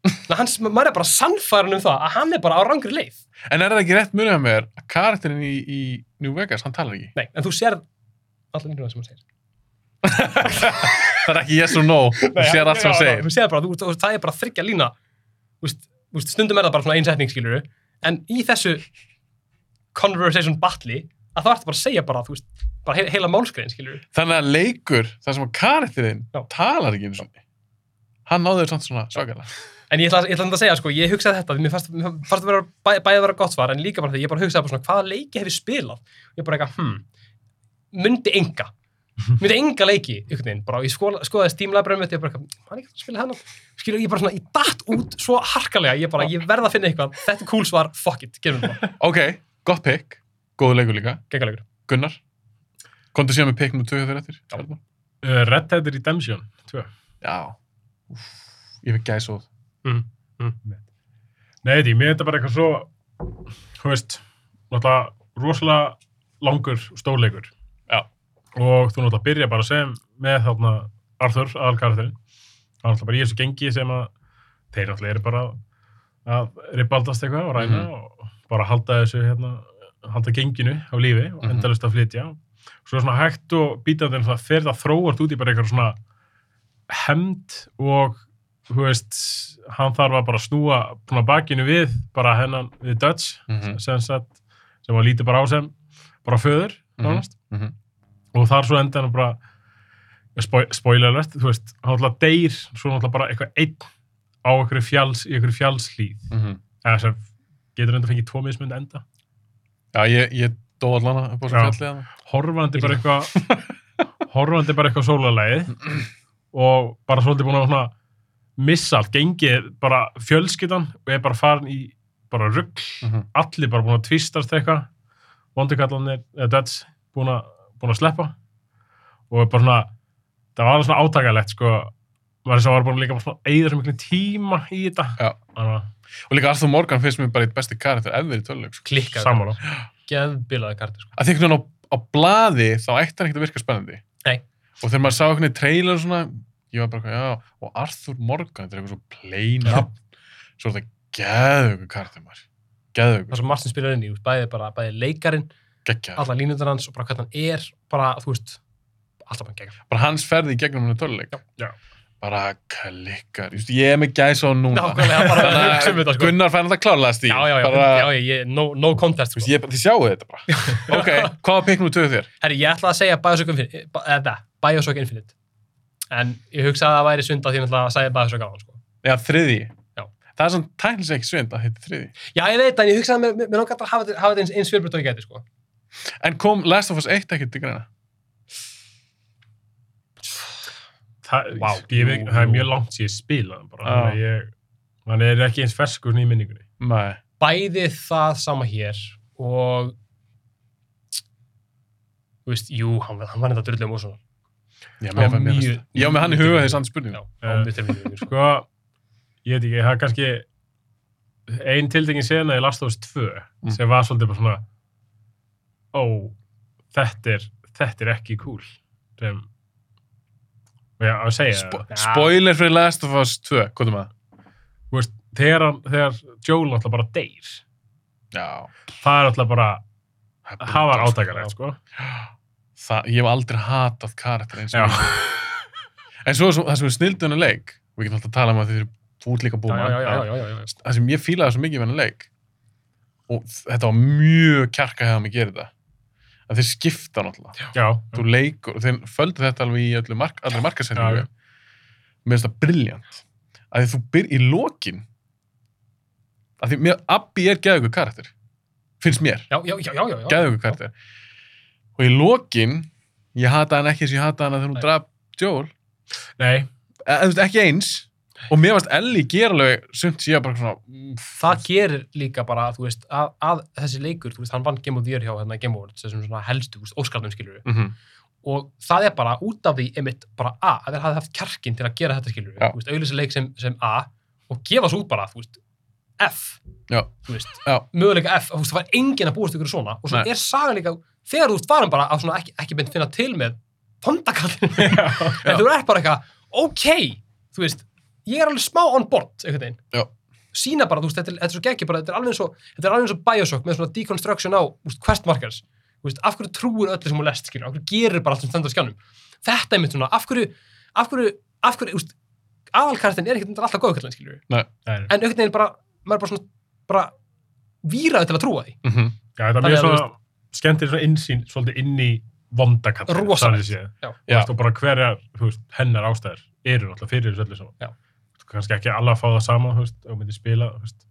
við hans, maður er bara sannfæran um það að hann er bara á rangri leið En er það ekki rétt munið að mér að karakterinn í, í New Vegas, hann talar ekki? nei, en þú sér allir líka sem hann segir Það er ekki yes or <laughs> no, þú sér allt sem hann Já, já, segir. þú sér bara, þú, þú, það er bara þryggja lína þú veist, þú veist, stundum er það bara svona einsetning skilur við, en í þessu conversation battli að það ertu bara að segja bara, þú veist bara heila, heila málskrein skilur Þannig að leikur, það sem að karakterinn Já. talar ekki eins og hann náði þau samt svona svakalega. en ég ætla, ég ætla samt að segja, sko, ég hugsaði þetta því mér fannst, mér fannst að vera bæ, bæði að vera gott svar en líka bara því, ég bara hugsaði bara svona, hvaða leiki hef ég spilað ég bara eitthvað, hmm myndi enga, myndi enga leiki einhvern veginn, bara, ég skoða, skoðaði Steam Library mitt, ég bara eitthvað, hann ekki að spila hennar skilur, ég bara svona, ég datt út svo harkalega ég bara, ég verð að finna eitthvað, þetta er cool svar fuck it, gerum við það, Ok, gott pick, góðu leikur líka. geggjalegur Gunnar, komdu síðan með pick nú tvö þegar eftir. Já. Arnar? Uh, Red Dead Redemption 2. Já. Úff, ég fikk gæs og Mm, Nei, því, mér er þetta bara eitthvað svo, þú veist, náttúrulega rosalega langur stórleikur. Já. Og þú náttúrulega byrja bara sem með þarna Arthur, aðalkarakterinn. Það er náttúrulega bara í þessu gengi sem að þeir náttúrulega eru bara að ribbaldast eitthvað og ræna Mhm. og bara halda þessu, hérna, halda genginu á lífi og Mhm. endalust að flytja. Svo svona hægt og bítandi en það fer það þróast út í bara eitthvað svona hemd og þú veist, hann þarf að bara snúa svona bakinu við, bara hennan við Dutch, Mhm. sem sagt sem hann lítur bara á sem, bara föður Mhm. nánast, Mhm. og þar svo enda hann bara spo- spoiler alert, þú veist, hann alltaf deyr svo alltaf bara eitthvað einn á einhverju fjalls, í einhverju fjallslíð Mhm. eða sem getur enda fengið tvo mismund enda Já, ég, ég dó allana upp á þessu Já. fjallið hana. horfandi bara eitthvað horfandi bara eitthvað sólalægið og bara svolítið búin að svona missa allt, gengið bara fjölskyldan og er bara farin í bara rugg, Mhm. allir bara búin að tvistast eitthvað, vondukallanir eða döds, búin að, búin að sleppa og er bara svona það var alveg svona átakalegt sko maður sem var búin að líka bara svona eigða svo miklu tíma í þetta Já. Þannig Og líka Arthur Morgan finnst mér bara eitt besti karakter ever í töluleik. Sko. að klikkað sammála geðbilaði karti sko. að því einhvern veginn á, á blaði þá ætti hann ekkert að virka spennandi Nei. og þegar maður sá einhvern veginn trailer og svona ég var bara, eitthvað, já, og Arthur Morgan þetta er eitthvað svo plain Já. nafn svo er þetta geðvöku kartum maður það geðvöku, er svo margt sem spilar inn í, þú veist, bæði bara bæði leikarin, geggja alla línundar hans og bara hvernig hann er, bara, þú veist alltaf bara geggjað. bara hans ferði í gegnum henni töluleik Já. bara klikkar, Just, ég er með gæs á hann núna Nákvæmlega, bara Þannig að <laughs> hugsa um þetta, sko. Gunnar fær þetta klálega stíl Já, já, já, bara, já, já, ég, no, no contest þú veist, sko. ég, þið sjáu þetta bara <laughs> ok, hvað var pikknum töðu þér? Herri, ég ætla að segja Bioshock Infinite, eh, ba- eða, Bioshock Infinite. En ég hugsaði að það væri svindað því ég náttúrulega að segja Bioshock á hann, sko. Já, þriði Já. það er svona tæknis ekki svind að þetta er þriði Já, ég veit, en ég hugsaði að mér- mér, mér langar að hafa þetta- hafa þetta eins, eins fjölbreytt og ég geti, sko. En kom Last of Us 1 ekkert til greina? það, Vá. ég, veit- það er mjög langt síðan ég spila hann bara, þannig að ég, hann er ekki eins ferskur svona í minningunni. Nei. bæði það sama hér og þú veist, jú, hann, var- um hann var þetta drullum og svona Já, mér var fannst- mér fannst- mjög- Já, með hann í huga mjög tilfinningur. því samt spurning. Já, hann var mjög tilfinningur sko. Sko, ég veit ekki, það er kannski ein tiltekin sena í Last of Us 2 Mm. sem var svolítið bara svona ó, þetta er þetta er ekki cool sem, og já, að segja Spo það. spoiler fyrir Last of Us 2, hvað er maður? Þú veist, þegar, hann- þegar Joel náttúrulega bara deyr Já. það er náttúrulega bara, það var átakarlegt sko. sko. Það, ég hef aldrei hatað karakter eins Já. og mikið. En svo, svo það sem er snildunni leik, við getum alltaf að tala um að þið eru búið líka já, búið já, já, já, já, já, já. Það sem ég fílaði svo mikið með hennar leik, og þetta var mjög kjarka hefða mig að gera þetta, að þeir skipta náttúrulega. já, þú leikur, og þeir földu þetta alveg í öllu mark, allri Já, markasendingu mér finnst það briljant að því þú byrj í lokin að því mér, Abbi er geðugur karakter finnst mér, Já, já, já, já, já, já. geðugur karakter og í lokin ég hata hann ekki eins og ég hata hann að þegar Nei. hún draf Joel, nei eða þú veist ekki eins og mér varst Ellie gera alveg sumt síðan bara svona úff, það gerir líka bara, þú veist, að, að þessi leikur, þú veist, hann vann Game of the Year hjá hérna Game Awards, þessum svona helstu, þú veist, óskarnum skilur mhm, og það er bara út af því einmitt bara A, að þeir hafði haft kjarkinn til að gera þetta skilur Já. þú veist, auðvitað leik sem, sem A og gefa svo út bara, þú veist, F Já. þú veist, Já. möguleika F þú veist, það var enginn að búast ykkur svona og svo Nei. er sagan líka, þegar þú veist, varum bara að svona ekki, ekki beint finna til með fondakallin, <laughs> já, en þú er bara eitthvað ok, þú veist ég er alveg smá on board, einhvern veginn Já. sína bara, þú veist, þetta er, þetta er svo geggi bara, þetta er alveg eins og, þetta er alveg eins og Bioshock með svona deconstruction á, þú veist, quest markers þú veist, af hverju trúir öllu sem hún lest, skilur af hverju gerir bara allt sem stendur á skjánum þetta er mitt svona, af hverju, af hverju af hverju, þú veist, aðalkartin er ekkert endilega alltaf góð, skilur við, nei, nei. en einhvern veginn bara, maður er bara svona, bara víraði til að trúa því mhm, já, það er Þannig mjög að svona skemmtir svona innsýn, svolítið inn í vondakall, Rosalegt. Já. Já. og bara hverjar, þú veist, hennar ástæður eru náttúrulega fyrir þessu öllu Já. saman Þú kannski ekki alla að fá það sama, þú veist, og myndi spila, þú veist,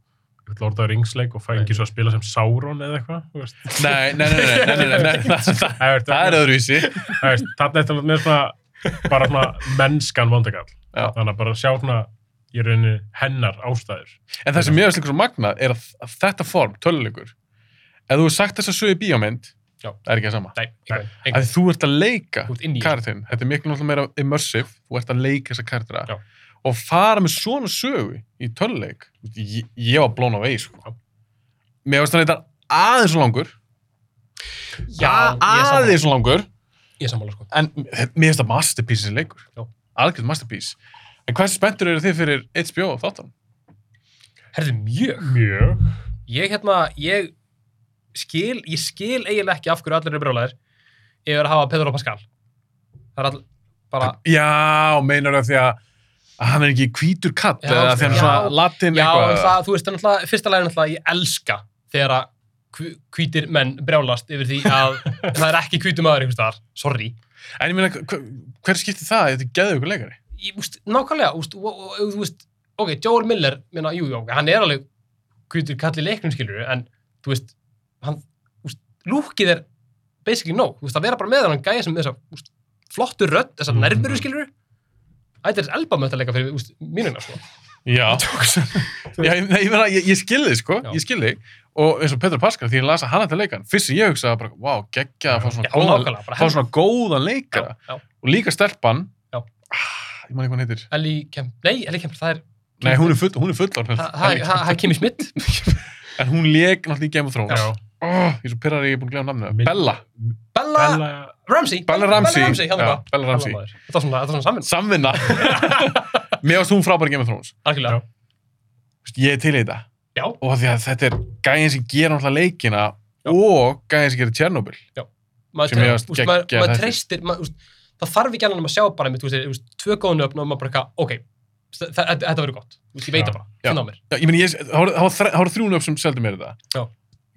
eitthvað Lord of the Rings leik og fæ Nei. ekki svo að spila sem Sauron eða eitthvað, <laughs> þú veist nei, nei, nei, nei, nei, nei, nei, nei, nei það, Það er- það er öðruvísi það er- þarna eftir með svona bara svona mennskan vondakall Já. þannig að bara sjá svona í rauninni hennar ástæður En það sem ég veist líka svo magnað er að að þetta form, töluleikur, ef þú er sagt þess að sögja bíómynd, Já. það er ekki að sama. nei, einhvern veginn, Að einhvern veginn, þú ert að leika þú ert inn í þetta. karakterin. Þetta er miklu náttúrulega meira immersive, þú ert að leika þessa Já. karaktera. Og fara með svona sögu í töluleik, ég, ég var blón á vegi, sko. Mér veist þannig að þetta er aðeins og langur, já, ég er sammála, aðeins og langur, ég er sammála, sko en mér finnst það masterpiece þessi leikur. Já. Algjörð masterpiece. En hversu spenntur eru þið fyrir HBO þáttan? herðu mjög mjög ég hérna, ég skil, ég skil eiginlega ekki af hverju allir eru brjólaðir ef það er að hafa Pedro Pascal það er all, bara Já, meinar það því að að hann er ekki hvítur katt Já, eða því hann er já. svona latin já, um eitthvað. en það, þú veist, það er náttúrulega, fyrsta lagi er náttúrulega ég elska þegar að hv- hvítir menn brjálast yfir því <laughs> að það er ekki hvítum aður einhvers staðar, sorry En ég meina, hver, hver skiptir það? Þetta er geðu ykkur leikari. ég, úst, nákvæmlega, úst, og, og, og, þú veist ok, Joel Miller, minna, jú, jú, ok, hann er alveg hvítur kall í leiknum skilur en, þú veist, hann úst, lúkið er basically no þú veist, að vera bara með hann gæja sem með þessa úst, flottu rödd, þessa Mhm. mm. nærveru skilur ættir þess elba með þetta leika fyrir úst, mínuna, sko Já. já ég, nei, ég meina, ég, ég skil þig, sko. Já. Ég skil þig. Og eins og Petra Pascal, því ég las að hann ætti að leika hann. Fyrst sem ég hugsaði bara, vá, geggja að fá svona, já, góðan, nákvæmlega, bara fá svona góðan leikara. já, já. Og líka stelpan. Já. Ah, ég man ekki hvað hann heitir. Ellie Kemp, nei, Ellie Kemp, það er Nei, hún er, full, hún er fullorðin. það- það- það- það er Kimi Smith En hún leik náttúrulega í Game of Thrones. Já. Oh, ég er svo pyrrar ég er búin að glemja namnið. Minn- Bella. Bella Bella Ramsey Bella Ramsey. hérna Já, bara. Bella Ramsey. Bella maður. þetta var svona, þetta var svona samvinn, <laughs> Samvinna. Mér varst hún frábæri Game of Thrones. algjörlega Þú veist, Ég er til í þetta. Já. Og af því að þetta er gæðin sem gera náttúrulega leikina og gæðin sem gera Tjernobyl. maður, Sem mér tre- fannst úst, maður, geggjað maður þættir. treystir maður, úst, það þarf ekki annað en að sjá bara með, úst, úst, tvö góð nöfn og maður bara eitthvað, ok, þa- þa- þetta þetta verður gott úst, ég veit Já. það bara, Já. finna á mér Já, ég meni, ég, það voru- það voru þre- það voru þrjúnu upp sem seldi mér þetta. Já.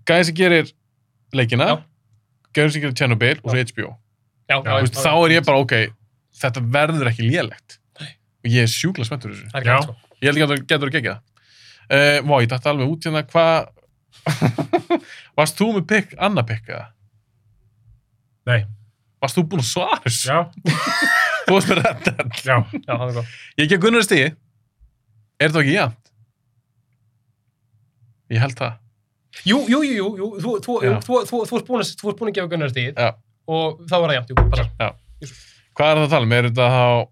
Gæðin sem gerir leikina, Já. gæðin sem gera Tjernobyl og svo HBO. já, Já, já, Þú já, veist, þá er ég bara, ok, þetta verður ekki lélegt. Og ég er sjúkla spenntur fyrir þessu. það er Já. gott, sko. Ég held ekki að það getur að gegja það. Uh, vá, ég dætti alveg út hérna, hvað... <laughs> Varst þú með pikk, annað pikk, eða? Nei. Varst þú búinn að svara þessu? já, Þú varst með Red Dead. Já, Já, það er góð. Ég gef Gunnar stíði. Er það ekki jafnt? Ég held það. Jú, jú, jú, jú, jú, þú, þú, Já. jú, þú, þú, þú, ert búin að- þú ert búin að gefa Gunnar stíð Já. og þá var það jafnt, jú, passar. Hvað er það að tala um? Er þetta þá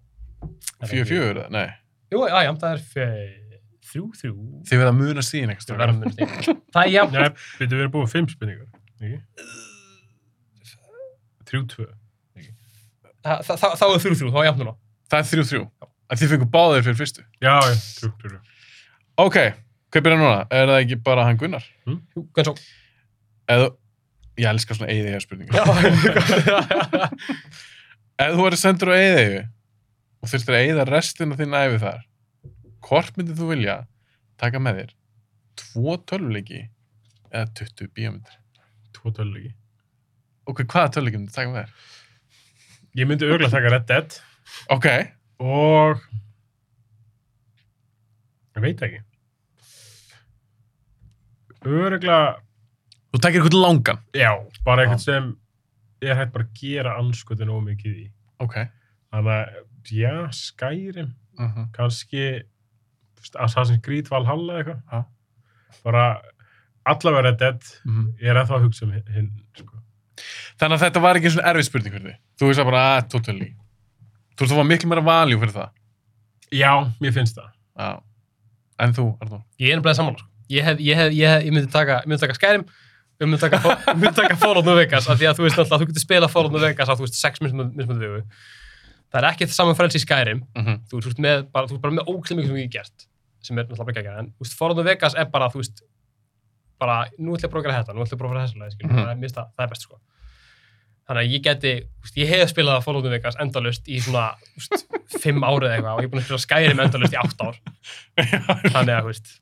Það er 4-4? eða? Nei. Jú, já, jafnt, það er fe- þrjú, þrjú. Þið verða að muna stíðin eitthvað. Það strákar. er mun stíð. Það er jafnt. <laughs> Nei, við erum búin fimm spurningar, ekki? Uh, Þrjú, tvö. Þa- þa- Þá þá er þrjú, þrjú, þá er jafnt núna. Það er 3-3. En Þið fengur báðir fyrir fyrstu. Já, já, þrjú, þrjú. Ok, hvað byrjar núna? Er það ekki bara hann Gunnar? Jú, Gunnar svo. Eða, ég elskar svona eigðegja spurningar. Já, gott. Ef þú verður sendur á eigðegju og þurftir að eigða restina þín æfi þar, hvort myndir þú vilja taka með þér? Tvo tölvuleiki eða 20 bíómyndir? Tvo tölulegi. Ok, hvaða tölvuleiki myndir taka með þér? Ég myndi örgulega taka Red Dead Ok, og... Ég veit ekki. Örgulega, þú takir eitthvað langan. já, bara Já. eitthvað sem ég er hægt bara að gera anskutin ómikið í. Ok. Þannig að, já, Skyrim, Uh -huh. kannski þú veist, Assassin's Creed Valhalla eitthvað. Já. Bara allavega Red Dead, ég er að að hugsa um hin- hinn, sko. mhm. Þannig að þetta var ekki svona erfið spurning fyrir þig. Þú veist að bara, að, tvo tölvuleiki. Þú veist að það var miklu meira valjú fyrir það. Já, mér finnst það. Já. En þú, Arnór? Ég er nefnilega sammála. sko. Ég, hef, ég, hef, ég, hef, ég myndi taka, ég myndi taka Skyrim, ég myndi taka, ég myndi taka Fallout New Vegas, af því að þú veist náttúrulega, þú getur spilað Fallout New Vegas á, þú veist, sex mismundu vegu. Það er ekki það saman frelsi í Skyrim, Mm -hmm. þú veist, þú ert með, bara, þú ert bara með ókslega mikið sem ég gert, sem er náttúrulega ekki að gera, en þú veist, Fallout New Vegas er bara, þú veist, bara, nú ætlum ég að prófa að gera þetta, nú ætlum ég að prófa að gera þessa leið, skilur, Mhm. mm -hmm. það, það er best, sko. Þannig að ég geti, þú veist, ég hef spilað Fallout New Vegas endalaust í svona, þú veist, fimm árið eitthvað og ég er búin að spila Skyrim endalaust í átt ár, þannig að, þú veist,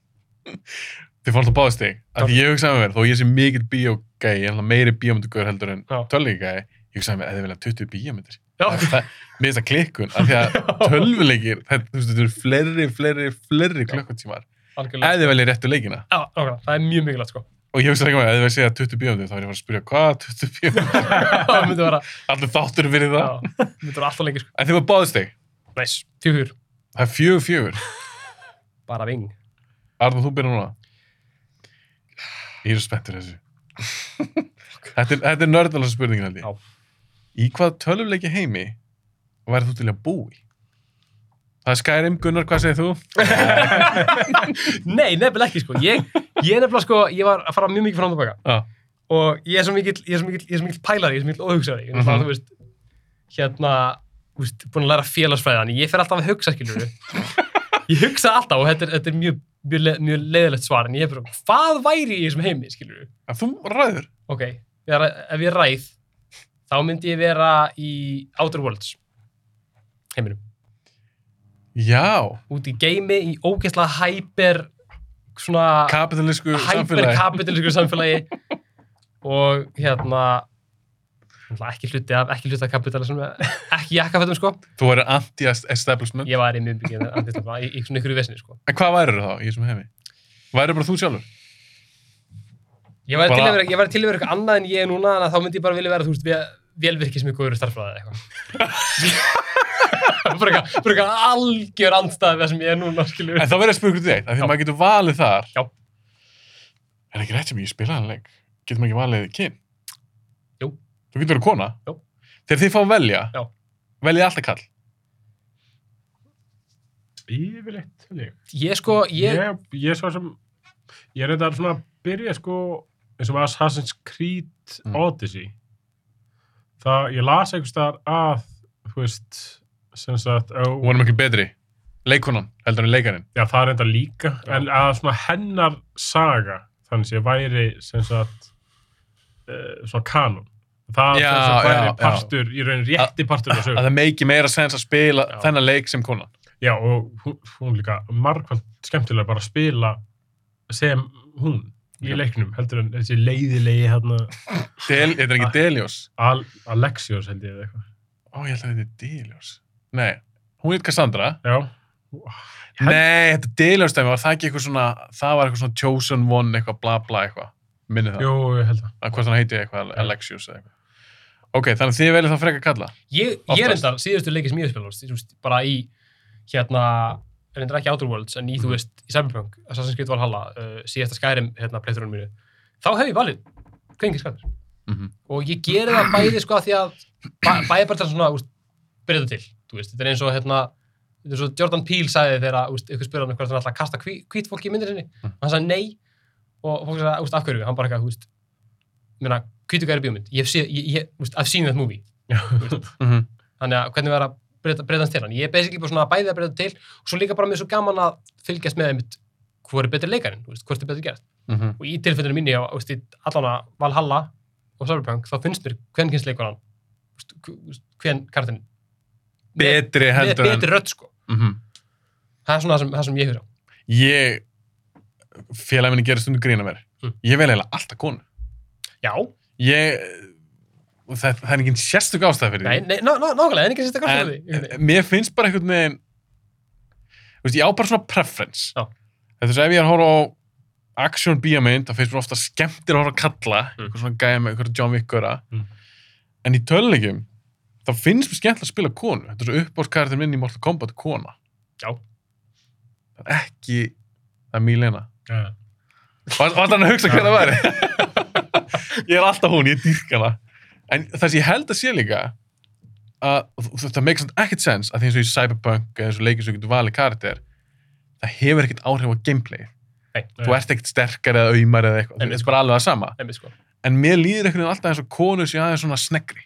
Þið fór alltaf báðið stig. Af því ég hugsaði með mér, þó ég sé mikill bíógæi, ég er alltaf meiri bíómyndugur heldur en Já. tölvuleikagæi, ég hugsaði með að þið vilja 20 bíómyndir. já, Það- það- Mér finnst það klikkun, af <laughs> því að tölvuleikir, þetta þú veist, þetta eru fleiri, fleiri, fleiri klukkutímar. algjörlega. Ef þið velja réttu leikina. Já, nákvæmlega, það er mjög mikilvægt sko. <laughs> Og ég hugsaði ekki með, ef þið vilja segja 20 bíómyndir, þá er ég bara að spyrja, hvað 20 bíómyndir? <laughs> það myndi vera, Allir þáttur fyrir já, það. myndi vera alltaf lengi sko. En þið var báðið stig. Næs, fjögur, Það er fjögur, fjögur. bara ving. Arnur, þú byrjar núna. Ég er svo spenntur <laughs> þessu. þetta er, þetta er nördalasa spurningin held ég. Já. Í hvað tölvuleiki heimi væri þú til að búa í? Það er Skyrim, Gunnar, hvað segir þú? Nei, nefnilega ekki sko. Ég, ég nefnilega sko, ég var að fara mjög mikið fram og tilbaka Já. og ég er svo mikill, ég er svo mikill, ég er svo mikill pælari, ég er svo mikill óhugsaði. Ég er náttúrulega, Mhm. þú veist, hérna, þú veist, búin að læra félagsfræðan, ég fer alltaf að hugsa skilur við. Ég hugsa alltaf og þetta er, þetta er mjög, mjög, le, mjög leiðilegt svar en ég er bara, hvað væri ég sem heimi skilur við? En þú ræður. Ok, ég er, ef ég ræð, þá myndi ég vera í Outer Worlds heiminum. Já, Út í geimi, í ógeðslega hyper, svona, kapitalísku samfélagi. hyperkapitalisku samfélagi og hérna, náttúrulega ekki hluti af, ekki hluti af kapitalism, ekki jakkafettum sko. Þú væri anti-establishment. Ég var í mjög byggið antislepa, í, í svona ykkur vesni sko. En hvað væri þá í þessum heimi? Væri bara þú sjálfur? Ég væri Bara- til að vera- ég væri til að vera eitthvað annað en ég er núna, en þá myndi ég bara vilja vera, þú veist, vel- velvirkis mjög góður starffræði eða eitthvað. <laughs> bara eitthvað, bara eitthvað algjör andstæði það sem ég er núna, skiljum. En þá verður að spyrja ykkur til eitt, af því Já. maður getur valið þar. Já. Er ekki rétt sem ég spilaði hann leik? Getur maður ekki valið kyn? Jú. Þú getur verið kona? Jú. Þegar þið fá að velja, Já. veljið alltaf kall. Yfirleitt, held ég. Ég sko, ég, Ég, ég er svo sem, ég er þetta svona að byrja sko, eins og Assassin's Creed Mm. Odyssey. Það, ég las einhvers staðar að, þú veist, sem sagt, ó, Hún var miklu betri. Leikonan, heldur en leikarinn. já það er enda líka, Já. en að svona hennar saga, þannig sé væri sem sagt, uh, svona kanon. Það Já, sem sagt já, væri já. partur, í raun rétti partur af Að sögum. það meiki meira sens að spila Já. þennan leik sem konan. Já, og hún, hún líka margfald skemmtilega bara að spila sem hún í Já. leiknum, heldur en þessi leiðilegi hérna Del, þetta er ekki Delios. Al Alexios held ég eða eitthvað. Ó, ég held að þetta er Delios. Nei, hún heit Cassandra. Já. Hel- Nei, þetta Delios dæmi var það ekki eitthvað svona, það var eitthvað svona chosen one, eitthvað bla bla eitthvað. Minni það. Jú, ég held það. Að hvort hann heiti eitthvað Já. Alexius eða eitthvað. Ok, þannig að þið veljið það frekar kalla. Ég, ég Oftast. er endar síðustu leiki sem ég hef spilað, þú veist, bara í, hérna, reyndar ekki Outer Worlds, en í, Mhm. þú veist, í Cyberpunk, Assassin's Creed Valhalla, uh, síðasta Skyrim, hérna, pleyturunum mínu, þá hef ég valið kveingir skattir. Mm -hmm. Og ég geri það bæði, sko, af því að bæ, bæði bara til að svona, úst, byrja þetta til, þú veist, þetta er eins og, hérna, þetta er svo Jordan Peele sagði þegar, úst, ykkur spurði hann hvort hann ætlaði að kasta hvít, hvít fólki í myndir sinni, Mhm. og hann sagði nei, og fólk sagði, úst, af hverju, hann bara eitthvað, úst, minna, hvítu gæri bíómynd, ég hef séð, ég, ég, úst, I've seen that movie, þú veist, Mhm, þannig að hvernig verða breyta, breytast til hann ég er basically bara svona bæðið að breyta til og svo líka bara mér er svo gaman að fylgjast með einmitt hvað er betri leikarinn, þú veist, hvort er betri gert mhm. og í tilfellinu mínu, ég, veist, í allana Valhalla og Cyberpunk, þá finnst mér hvern kynst leikurann hvern kartinn Betri heldur en... betri rödd sko, Mm -hmm. það er svona það sem, það sem ég hefur á Ég, félag minni gerir stundu grína mér. Mm. Ég vel eiginlega alltaf konu. já, Ég, og það, það er engin sérstök ástæð fyrir nei, því. nei, ná, ná, nákvæmlega en ekki sérst að Mm. En- kvarta því en Mér finnst bara einhvern veginn, þú veist, ég á bara svona preference. Já. Þetta er svo ef ég er að horfa á action bíamynd, þá finnst mér ofta skemmtir að horfa að kalla, Mm. einhver svona gæja með einhver John Wick-göra. Mm. En í tölulegjum, þá finnst mér skemmtilega að spila konu. Þetta er svo uppbórskartir minn í Mortal Kombat kona. Já. Það er ekki, það er Milena. Já. Var var hann að hugsa hver það væri? <laughs> ég er alltaf hún, ég dýrka hana. En það sem ég held að sé líka, að og þetta makes samt ekkert sense, að því eins og í Cyberpunk eða eins og leikir sem þú getur valið karakter, það hefur ekkert áhrif á gameplay. Þú ert ekkert sterkar eða auðmar eða eitthvað. Einmitt. Þetta er bara alveg það sama. einmitt sko En mér líður einhvern veginn alltaf eins og konur sé aðeins svona sneggri.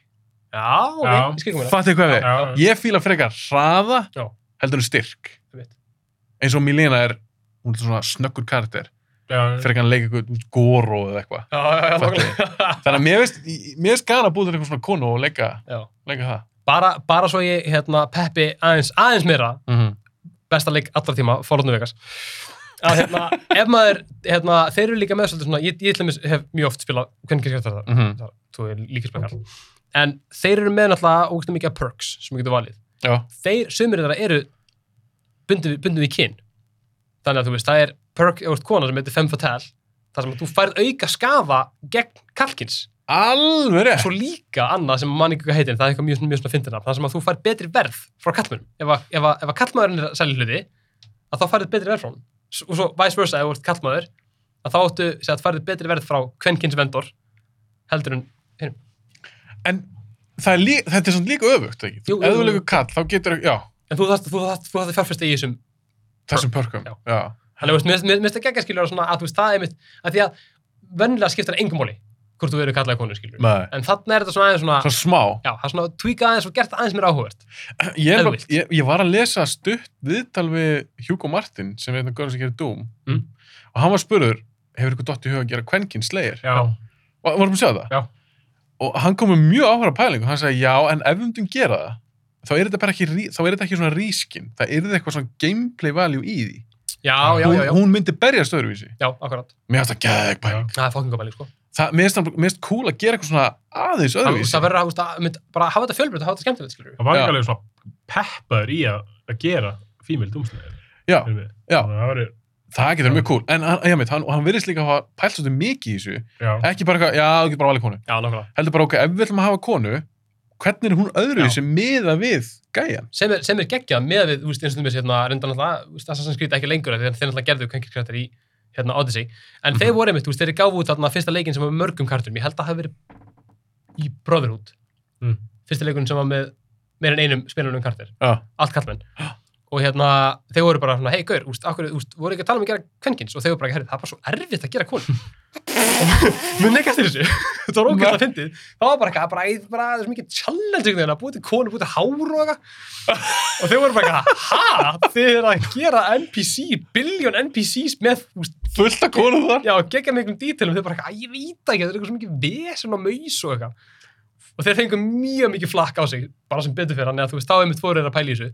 já, ok, Já. ég skil komið Fattu hvað við? Já. Ég fíla frekar hraða Já. heldur en styrk. Einmitt. Eins og Milena er, hún er svona snöggur karakter. Já. Frekar hann leika eitthvað Goro eða eitthvað. já, já, já, Fattu. nákvæmlega Þannig að mér veist, mér veist gana að búið til eitthvað svona konu og leika, Já. leika það. bara, bara svo ég, hérna, peppi aðeins, aðeins meira Mm -hmm. besta leik allra tíma, Forlorn Vegas að hérna, ef maður hérna, þeir eru líka með svolítið svona, ég, ég til dæmis hef mjög oft spilað, hvernig gerst þetta Mm -hmm. þar, þú er líka spilað en þeir eru með náttúrulega ógæstum mikið af perks sem við getum valið, Já. þeir, sömur þeirra eru bundum, bundum í kyn þannig að þú veist, það er perk, þú veist, kona sem heitir Femme Fatale þar sem að þú færð auka skafa gegn kalkins Alveg rétt. svo líka annað sem mann ekki hvað heitir en það er eitthvað mjög, mjög svona fyndina það sem að þú fær betri verð frá kallmönnum ef að, ef að, ef að kallmaðurinn er að selja hluti að þá færðu betri verð frá hann S- og svo vice versa ef þú ert kallmaður að þá áttu sem sagt, færðu betri verð frá kvenkins vendor heldur en En það er lí, þetta er svona líka öfugt, ekki? Jú, Jú, Ef jú, þú jú. leikur kall, þá getur ekki, já, en þú þarft þú þarft- þú þarft að fjárfesta í þessum þessum pörkum. Já. Já. þannig að þú veist, mér- mér mér finnst það gegga skilur svona að þú veist það er mitt að því að vennilega skiptar engum móli hvort þú verður kallaði konur skilur Nei. en þannig er þetta svona aðeins svona Svo smá. já, það er svona tweakað aðeins og gert aðeins mér áhugvert Ég, er Ef þú bara- vilt. ég, ég var að lesa stutt viðtal við Hugo Martin, sem er einn af görnum sem gerir Doom. Mm. Og hann var spurður, hefur ykkur dott í huga að gera kvenkin slegir? Já. Og vorum við að sjá það? Já. Og hann kom með mjög áhverja pælingu, hann sagði já, en ef við myndum gera það, þá er þetta bara ekki, re- þá er þetta ekki svona rískin, það er þetta eitthvað svona gameplay value í því. já, já, já, já, Hún, hún myndi berjast öðruvísi. já, akkurat Mér finnst það gegg pæling. það er fókingabæling sko Það, mér finnst það- mér finnst cool að gera eitthvað svona aðeins Það- þú veist, öðruvísi. það verður að, þú veist, að mynd- bara hafa þetta fjölbreytt og hafa þetta skemmtilegt, skilur við. Það var Já. ekki alveg svona peppaður í að, að gera fímild umsnæður. Já, já. Það var, það getur Já. mjög cool. En hann, já, mitt, hann, og hann virðist líka að hafa pælt svolítið mikið í þessu. já. Ekki bara eitthvað, já, þú getur bara valið konu. Já, nákvæmlega. Heldur bara, ok, ef við ætlum að hafa konu, hvernig er hún öðruvísi miða við gæjan? Sem er, sem er geggjað með við, þú veist, eins og þú veist, hérna, reynda náttúrulega, þú veist, Assassin's Creed ekki lengur, af því að þeir náttúrulega gerðu kvenkir karakter í, hérna, Odyssey. En þeir voru einmitt, þú veist, þeir gáfu út þarna fyrsta leikin sem var með mörgum kartum. Ég held að það hafi verið í Brotherhood. Mm. Fyrsta leikurinn sem var með meir en einum spilunum kartir. Já. Allt kallmenn. Og hérna, þeir voru bara svona, hei, gaur, úst, akkur, úst, voru ekki að tala um að gera kvenkins og þeir voru bara, herri, það er bara svo erfitt að gera kon Mér nekast þér þessu. þetta var ógæðlega fyndið. Það var bara eitthvað, bara, æ, bara þessu mikið challenge einhvern veginn að búið til konu, búið til hár og eitthvað. Og þau voru bara eitthvað, ha, þið er að gera NPC, billion NPCs með, úst, Fullt af konu þar. já, gegja miklum dítilum. Þau bara eitthvað, æ, ég veit það ekki, þetta er eitthvað svo mikið vesen og maus og eitthvað. Og þeir fengum mjög mikið flakk á sig, bara sem betur fyrir hann, eða þú veist, þá einmitt fóru þeir að pæla í þessu.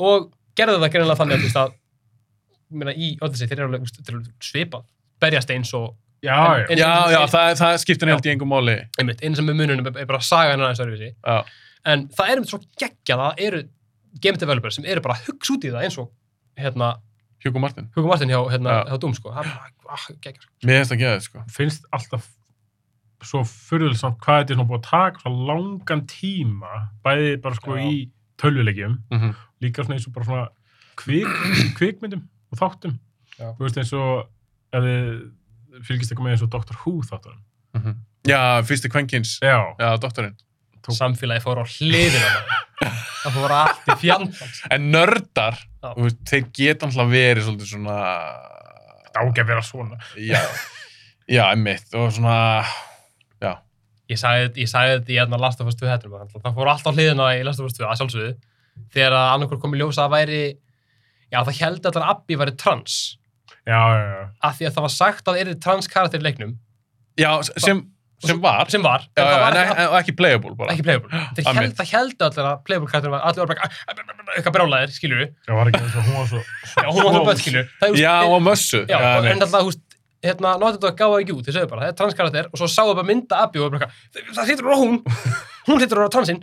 Og gerðu það gerðinlega þannig að, þú veist, að, ég meina, í Odyssey, þeir eru alveg, úst, þeir eru svipað, berjast eins og Já, já. En- Já, já, það, það skiptir neilt í engum máli. einmitt, einu sem er mununum er er bara sagan aðeins öðruvísi Já. en það er einmitt svo geggjað að það eru game developers sem eru bara að hugsa út í það eins og hérna, Hugo Martin. Hugo Martin hjá, hérna, Já. hjá Doom sko, það er bara ah, geggjað sko. Mér finnst það geðið, sko. finnst alltaf svo furðulegt samt hvað þetta er svona búið að taka svona langan tíma bæði bara sko Já. í tölvulegjum Mhm. líka svona eins og bara svona kvik, kvikmyndum og þáttum Já. þú veist eins og ef þið fylgist eitthvað með eins og Doctor Who þáttunum Mhm. Já, fyrsti kvenkins. já, Já, doktorinn. Tók- Samfélagi fór á hliðina maður. Það fór allt í fjandans. En nördar, Já. þú veist, þeir geta alltaf verið svolítið svona... þetta á ekki að vera svona Já, já, einmitt. Og svona, já. Ég sagði, ég sagði þetta í hérna Last of Us 2 hættur. Það fór allt á hliðina í Last of Us 2, að sjálfsögðu. Þegar að annarkur kom í ljósa að væri... Já, það held allar Abbi væri trans. já, já, já, Af því að það var sagt að það er trans karakter í leiknum. Já, sem, sem var. Sem var. já, en það já, var en, ekki, ekki, en ekki playable bara. ekki playable. Það einmitt. held, það held allar að playable karakterin var... Allir var bara eitthvað brjálæðir, skilur við. já, var ekki eins og hún var svo Já, hún var það börn, skilur við. Já, og mössu. Já, og nei. en alltaf, húst, hérna, Naughty Dog gáði ekki út, þeir sögðu bara, það er transkarakter og svo sáðu bara mynda Abbi og bara, eitthvað, það hittur hún á <laughs> hún, hún hittur hún á transinn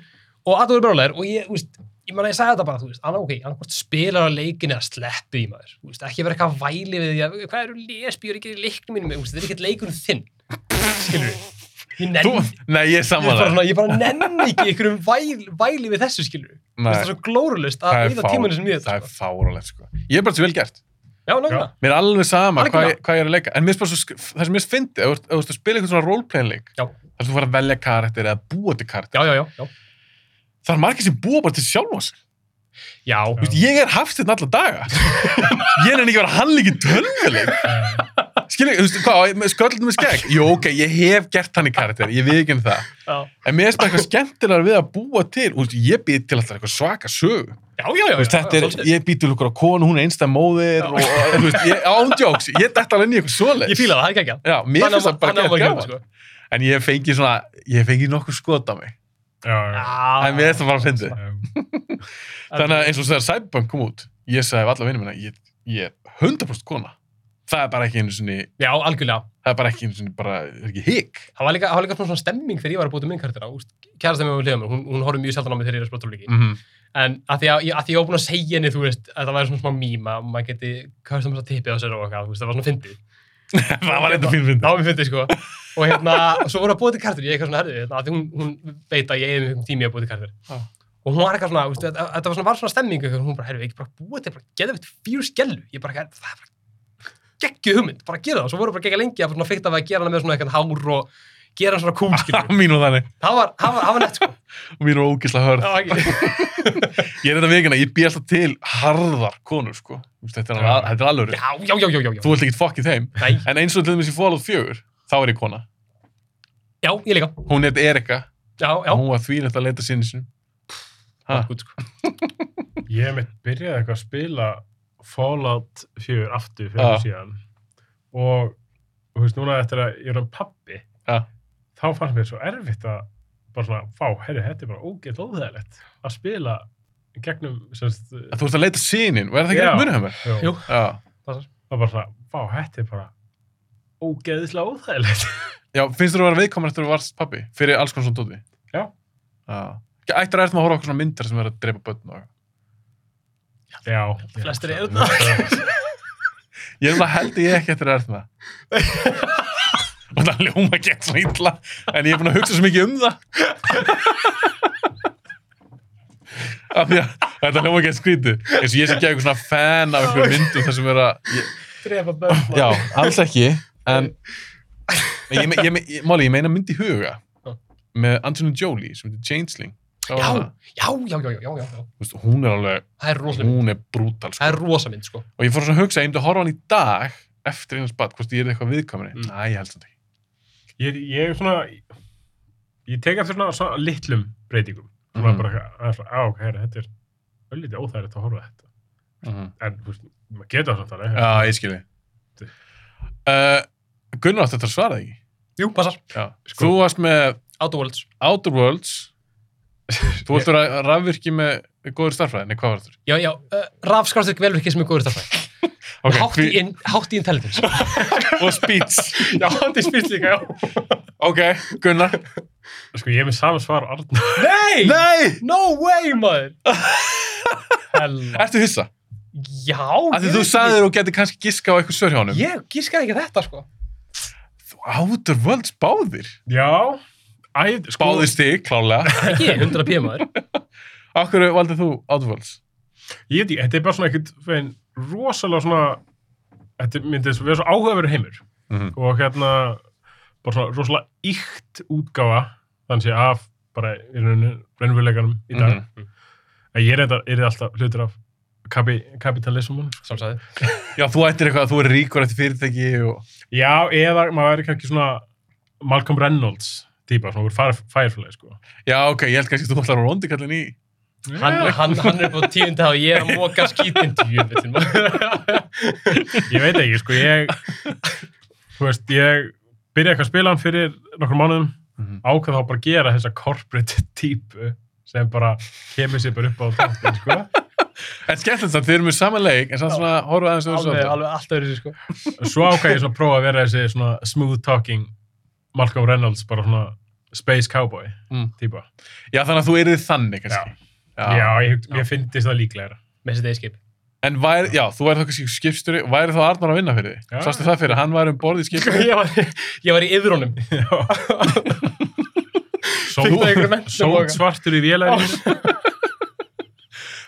og að þú er brjóðlegar og ég, húst, ég man að ég sagði þetta bara, þú veist, annað, ok, annað spilar á leikin eða sleppi í maður, húst, ekki vera eitthvað að væli við því að, hvað eru lesbíur ekki í leiknum mínum, húst, þetta er ekkert leikur um þinn, skilur ég nenni, Þú, nei, ég er ég, bara, samanlega. svona, ég bara nenni ekki einhverjum væli, væli við þessu, skilur það er svo glórulust það að er eða tímanu sem ég fá- það er fáralegt, sko. Ég er bara svo vel gert. já, nákvæmlega, Mér er alveg sama hvað Algjörlega. ég, hvað ég er að leika. En mér er bara svo, sk- það sem mér finnst, ef þú ert- ef þú ert að spila eitthvað svona roleplaying-leik, Já. þar sem þú fara að velja karakter eða búa til karakter, já, já, já, já, það er margir sem búa bara til sjálfa sig. já. Þú veist, ég er hafstinn alla <laughs> daga. ég er enn ekki að vera halvleikinn tölvuleik. Skilja, þú veist, hvað, sköldum með skegg? Jú, ok, ég hef gert hann í karakter, ég við ekki um það. Já. En mér er bara eitthvað skemmtilegar við að búa til, þú veist, ég býð til alltaf eitthvað svaka sögu. Já, já, já, Þú veist, já, þetta já, er, ég býð til okkur á konu, hún er einstæð móðir og, og, þú veist, ég, ándjóks, ég dætt alveg inn í eitthvað svoleiðs. Ég fíla það, það er ekki ekki. Já, mér finnst það bara gett gaman. Sko. En ég fengi svona, ég fengi nokkur skot á mig. já, já, Ah, en mér finnst það bara að fyndi. já, Þannig að eins og þegar Cyberpunk kom út, ég sagði við alla vinnum minna, ég, ég er 100% kona. Það er bara ekki einu sinni, Já, algjörlega. það er bara ekki einu sinni, bara, það er ekki hík. Það var líka, það var líka svona stemming þegar ég var að búið til minn karakter á. Kærasta mér var hljóðum, hún, hún horfði mjög sjaldan á mig þegar ég er að spila tólíki. Mm -hmm. En að því að, ég- að því ég var búin að segja henni, þú veist, að það væri svona smá mím að maður geti, hvað er það með það tippið á sér og eitthvað, þú veist, það var svona fyndið. <laughs> það var eitthvað fyrir Það fyndi. var mér fyndið, sko. Og hérna, og svo voru að búið til karakter, ég eitthvað svona herðið, hérna, að því hún, hún veit að ég eigi mjög tími í að búið til karakter. Já. Og hún var eitthvað svona, þú veist, þetta- þetta var svona, var svona stemming, eitthvað, hún bara, herru, ekki bara búið til, bara geða við fjúr skellu, ég bara, herru, það er bara geggju hugmynd, bara gera það, og svo voru bara gegga lengi að bara svona fyrta að gera hana með svona eitthvað hár og gera hana svona kúl, skiljum. Mín og þannig, það var, það var, það var nett, sko. mín og ógisla hörð. Það var ekki, Ég er þetta vikina, ég býð alltaf til harðar konur, sko. Þú veist, Þetta er, Já. alveg- þetta er alveg, já, já, já, já, já, já. þú vilt ekki fokkið þeim. Nei, En eins og til dæmis í Fallout 4, þá er ég kona. já, ég líka, Hún heit Erika, já, já. og hún var því að leita sinni sinum. Ha. Gútt, sko. Ég mitt byrjaði eitthvað að spila Fallout 4 aftur fyrir Já. ah. síðan og þú veist, núna eftir að ég er um pappi Já. þá fannst mér svo erfitt að bara svona, fá, herri, þetta er bara ógett óþægilegt að spila í gegnum semst, Að Þú ert að leita sinin, og er það ekki Já. rétt munið hjá mér? Jú. jú, Já. það var bara svona, fá, þetta er bara ógeðislega óþægilegt Já, finnst þú að vera viðkominn eftir að þú varst pappi? Fyrir alls konar svona dóti? Já. Já. Ekki, Ættir að ertum að horfa á okkur svona myndar sem er að dreipa börn og... Já, Flestir Já, eru það Ég er alveg held að ég ekki eftir að <laughs> ertum það. og það ljóma gett svona illa, en ég er búin að hugsa svo mikið um það. af því að þetta ljóma gett skrítið. Eins og ég sé ekki eitthvað svona fan af einhverjum myndum þar sem er að... Ég, Drefa börn. já, alls ekki, en... en Ég, me- ég, me- ég, Máli, ég meina mynd í huga Já. með Anthony Jolie sem heitir Changeling. Það var Já, hana. já, já, já, já, já, já, já. Þú veist, hún er alveg, Það er rosaleg mynd. hún er brútal Það sko. er rosamynd, sko. og ég fór svona að hugsa, ég myndi að horfa á hann í dag eftir einhvers bad, hvort ég er eitthvað viðkominni Mm. mm. næ, ég held þetta ekki Ég, ég er svona ég tek eftir svona, svona litlum breytingum svona Mhm. bara, eitthvað, aðeins svona, á, ok, herri, þetta er öllítið óþægilegt að horfa á þetta en þú veist, maður getur það samt alveg já, ég skilji uh, Gunnar átti þetta að svara ekki Jú, passar. já. Sko. þú varst með Autoworlds. Outer Worlds þú varst að rafvirki með góður starfræði, nei, hvað var þetta? Já, já, uh, rafskrástir velvirkið sem er góður starfræði. <laughs> Okay, hátt, í hví- in, hátt í intelligence. og speech já, hátt í spýst líka, já. <laughs> ok, Gunnar Sko, ég er með sama svar á Arnar. <laughs> Nei! nei, No way, <laughs> maður! Hella. ertu hissa? Já. af því ég þú veit sagðir og getur kannski giska á eitthvað svör hjá ekki- honum Ég gískaði ekki þetta, sko. Þú- Outer Worlds báðir. Já, æð, sko, Báðir stig, klálega. <laughs> Ekki, 100 p maður. Akkur valdið þú Outer Worlds? ég veit ekki, þetta er bara svona ekkert veginn rosalega svona, þetta myndi vera svo áhugaveru heimur Mhm. og hérna, bara svona rosalega íkt útgáfa, þannig sé af bara í rauninu, raunveruleikanum í dag. Mhm. Mm En ég er þetta, er þetta alltaf hlutur af kapi, kapitalismun. Sjálfsæði. Já, þú ættir eitthvað að þú er ríkur eftir fyrirtæki og... Já, eða maður væri kannski svona Malcolm Reynolds típa, svona úr Fire- Firefly, sko. Já, ok, ég held kannski að þú ætlar að rondi kallin í. Hann, hann, hann er upp á tíundi og ég er að móka skítin djúvillin maður. Ég veit ekki, sko, ég þú veist, ég byrjaði eitthvað að spila hann fyrir nokkur mánuðum Mhm. ákvað þá bara að gera þessa corporate <laughs> típu sem bara kemur sér bara upp á tóttin, sko. En skemmtilegt það, þið eru með sama leik, en samt svona horfa aðeins öðru <laughs> Alveg, svolítið. alveg alltaf öðru sko. Svo ákvað ég svona að prófa að vera þessi svona smooth talking Malcolm Reynolds, bara svona space cowboy Mm. típa. Já, þannig að þú erið þannig kannski. Já, ég, ég fyndist það líklegra. Með þessi dagskip. En væri, já, þú væri þá kannski skipstjóri, væri þá Arnar að vinna fyrir Já. þið? Sástu það fyrir, hann væri um borð í <laughs> skipstjóri. <laughs> Ég var, ég var í yðrunum. Fikta einhverju menntun Sót og- svartur í vélæðinu.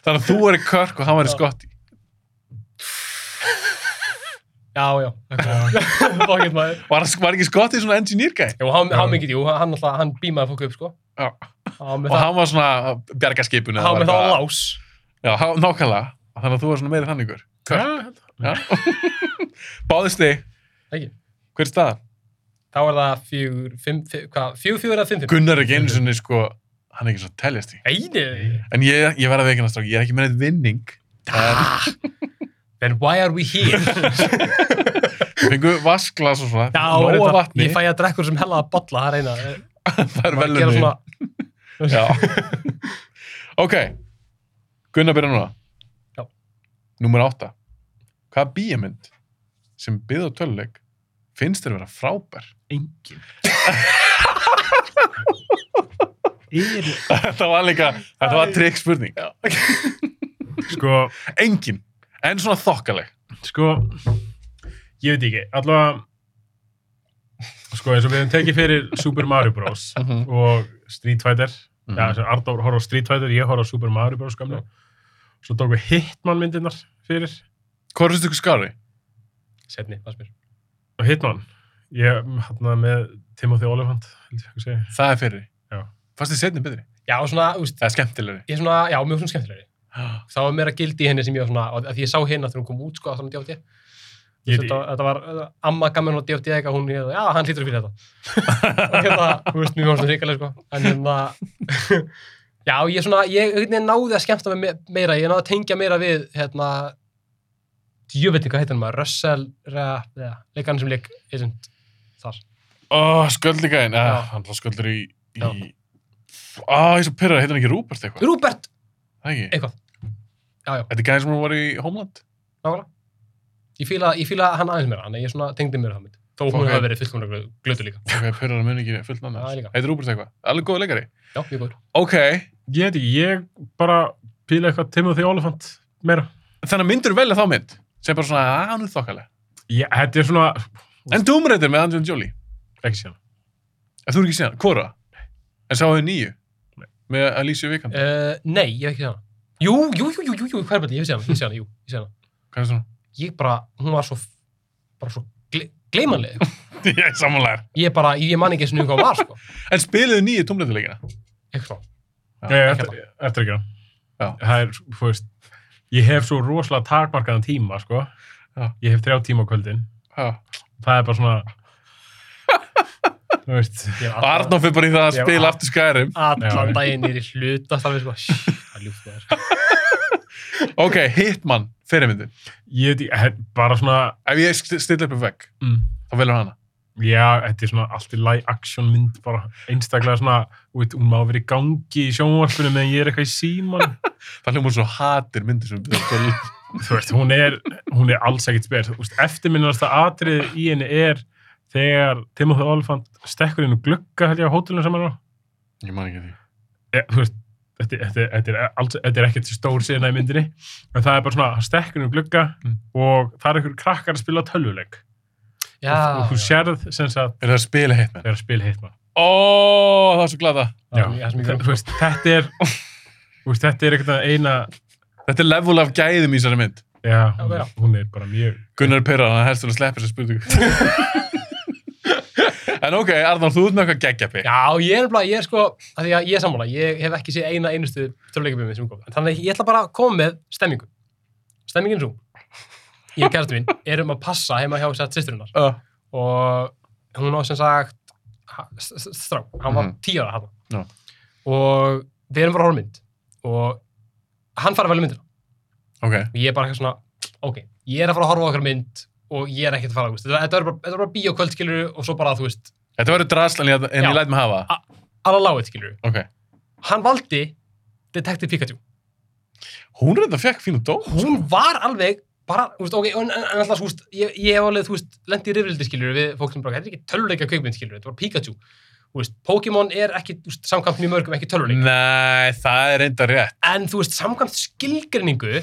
Þannig að þú væri Körk og hann væri Já. Skotti. Já, <laughs> já. Fokkitt maður. Var, var ekki Skotti svona engineer guy? Jú, hann, hann mikið, jú, hann alltaf, hann bímaði fólk upp, sko. Já. Hann var með Og það, hann var svona bjargaskipinu. hann var með það á lás. Já, há- nákvæmlega. Þannig að þú var svona meiri þannigur. Körk. <laughs> Báðist þig. Ekki. Hver er staðan? Þá er það fjögur, fimm, fimm, hvað, fjögur, fjögur eða fimm, fimm? Gunnar er ekki einu sinni sko, hann er ekki svona teljast í. Einu. En ég, ég verði að veikina strák, ég er ekki með neitt vinning. En <laughs> Then why are we <laughs> here? fengu vasklas og svona, Já, nóg reyndar, af vatni, <laughs> Ég fæ að drekkur sem hella að bolla, það er eina. það er Bara að gera velunni. svona- Já. ok. Gunnar byrja núna. Já. Númer átta. Hvaða bíjamynd sem byggði á töluleik finnst þér vera frábær? Engin. Eru. <laughs> þetta var líka, þetta var trikk spurning. Sko, Engin. En svona þokkaleg. sko, ég veit ekki, allavega, sko, eins og við höfum tekið fyrir Super Mario Bros. Mhm. og Street Fighter, Mhm. já, sem Ardór horfði á Street Fighter, ég horfði á Super Mario Bros. gamla. Svo tók við Hitman myndirnar fyrir, Hvað finnst ykkur skári? Setni, fannst mér. og Hitman, ég hann með Timothy Olyphant, held ég að segja. Það er fyrir. Já. Fannst þið setni betri? Já, svona, úst, Það er skemmtilegri. ég er svona, já, mjög svona skemmtilegri. Þá var meira gildi í henni sem ég var svona, og að því ég sá hérna þegar hún kom út, sko, að þannig djátti. Ég- Þetta, þetta var uh, amma gaman og djátti eitthvað, hún, ég, já, hann hlýtur fyrir þetta. og hérna, þú veist, mjög svona hrikaleg, sko. En hérna, <laughs> já, ég svona, ég einhvern veginn náði að skemmta mig me- meira, ég náði að tengja meira við, hérna, djöfetni, hvað heitir hann maður, Russell, ja, leikarinn sem leik, Agent, þar. Ó, sköldlíkaðin. Já. Ah, hann var sköldur í... í... Já. Á, ég er svo pyrrað, heitir hann ekki Rúbert eitthvað? Rúbert, Það ekki? eitthvað. Já, já, Þetta er gæðin sem hún var í Homeland? nákvæmlega. Ég fíla, ég fíla hann aðeins meira, hann, ég svona tengdi mér það mitt. Þó hún Ok. hafi verið fullkomlega glötu líka. Ok, pyrrar að muni ekki fullt nafn Já, hans. líka. Heitir Rúbert eitthvað. Alveg góð leikari. Já, mjög góður. Ok, Ég veit ekki, ég bara píla eitthvað Timothy Olyphant meira. þannig að myndur velja þá mynd sem bara svona, að hann er þokkalega. Ég, þetta er svona, En Doom Raider með Angelina Jolie. ekki síðan. Ef þú er ekki síðan, hvora? En sáu þau nýju? Nei. Með Alicia Vikander. Uh, nei, ég hef ekki séð hana. Jú, jú, jú, jú, jú, jú, hvað er betið? Ég hef séð hana, ég hef séð hana, jú, ég hef séð hana. Hvað er svona? <laughs> Ég bara, hún var svo, bara svo gle gleimanlega. Ég er samanlegar. Ég bara, ég man ekki eins og nýjum hvað hún var, sko. En spiluðu nýju Doom Raider leikina? Eitthvað svona. Já, já, ekki eftir, eftir ekki hann. hérna. Já. Það er, þú veist, ég hef svo rosalega takmarkaðan tíma, sko. Já. Ég hef þrjá tíma á kvöldin. Já. Það er bara <laughs> svona, þú veist, Ég er Og allan, Arnof er bara í það að Já. spila aftur skærum. allan Já. daginn er í hluta, það er sko, shh, það er ljúft með þér. Ok, Hitman, fyrirmyndin. ég veit, ég, bara svona, Ef ég st- stilla upp um vegg, þá velur hana. já, þetta er svona allt í læg action mynd, bara einstaklega svona, þú veit, hún má verið í gangi í sjónvarpunum meðan ég er eitthvað í síman. Það hljómar svo hatir myndir sem við byrjum að þú veist, hún er, hún er alls ekkert spyr. Þú veist, eftirminnasta atrið í henni er þegar Timothy Olyphant stekkur inn og glugga, held ég, á hótelinu sem hann var á. Ég man ekki því. e, þú veist, þetta, þetta, þetta, er alls, þetta er ekkert stór síðan í myndinni, en það er bara svona, hann stekkur um glugga Mm. og það er einhver krakkar að spila tölvuleik. Já, og þú sérð sem sagt Er það að spila hitman? þegar spil hitma Ó, það er svo glada. já, já, sem ég gerði. Þa- þú veist, þetta er þú veist, þetta er eitthvað eina Þetta er level af gæðum í þessari mynd. Já, já, já. hún, hún er bara mjög Gunnar er Perra, hann helst til að sleppa þessar spurningu. <laughs> en ok, Arnar, þú ert með eitthvað geggjapi. Já, ég er bara, ég er sko, að því að ég er sammála, ég hef ekki séð eina einustu töluleikabjöfum sem er góð. En Þannig að ég ætla bara að koma með stemmingu. Stemmingin er svo. Ég og kærastu mín erum að passa heima hjá sér sýsturinnar Uh, og hún á sem sagt ha- s- s- strák, hann var Mhm. tíu ára hann. Já. Og við erum bara að horfa á mynd og hann fara vel myndina ok, og ég er bara eitthvað svona, ok, ég er að fara að horfa á okkar mynd og ég er ekkert að fara, þú veist, þetta þetta er bara, þetta er bara bíókvöld, skilur, og svo bara, þú veist, þetta verður drasl en ég, en Já. ég læt mig hafa. það. alveg láið, skilur. Ok, Hann valdi Detective Pikachu. hún reynda fekk fínu dóm. Hún var alveg bara, þú veist, ok, en, en, en alltaf, þú veist, ég, ég hef alveg, þú veist, lendi í rifrildi, skilur, við fólk sem bara, þetta er ekki töluleika kveikmynd, skilur, þetta var Pikachu. Þú veist, Pokémon er ekki, þú veist, samkvæmt mjög mörgum ekki töluleika. Nei, það er reynda rétt. En, þú veist, samkvæmt skilgreiningu,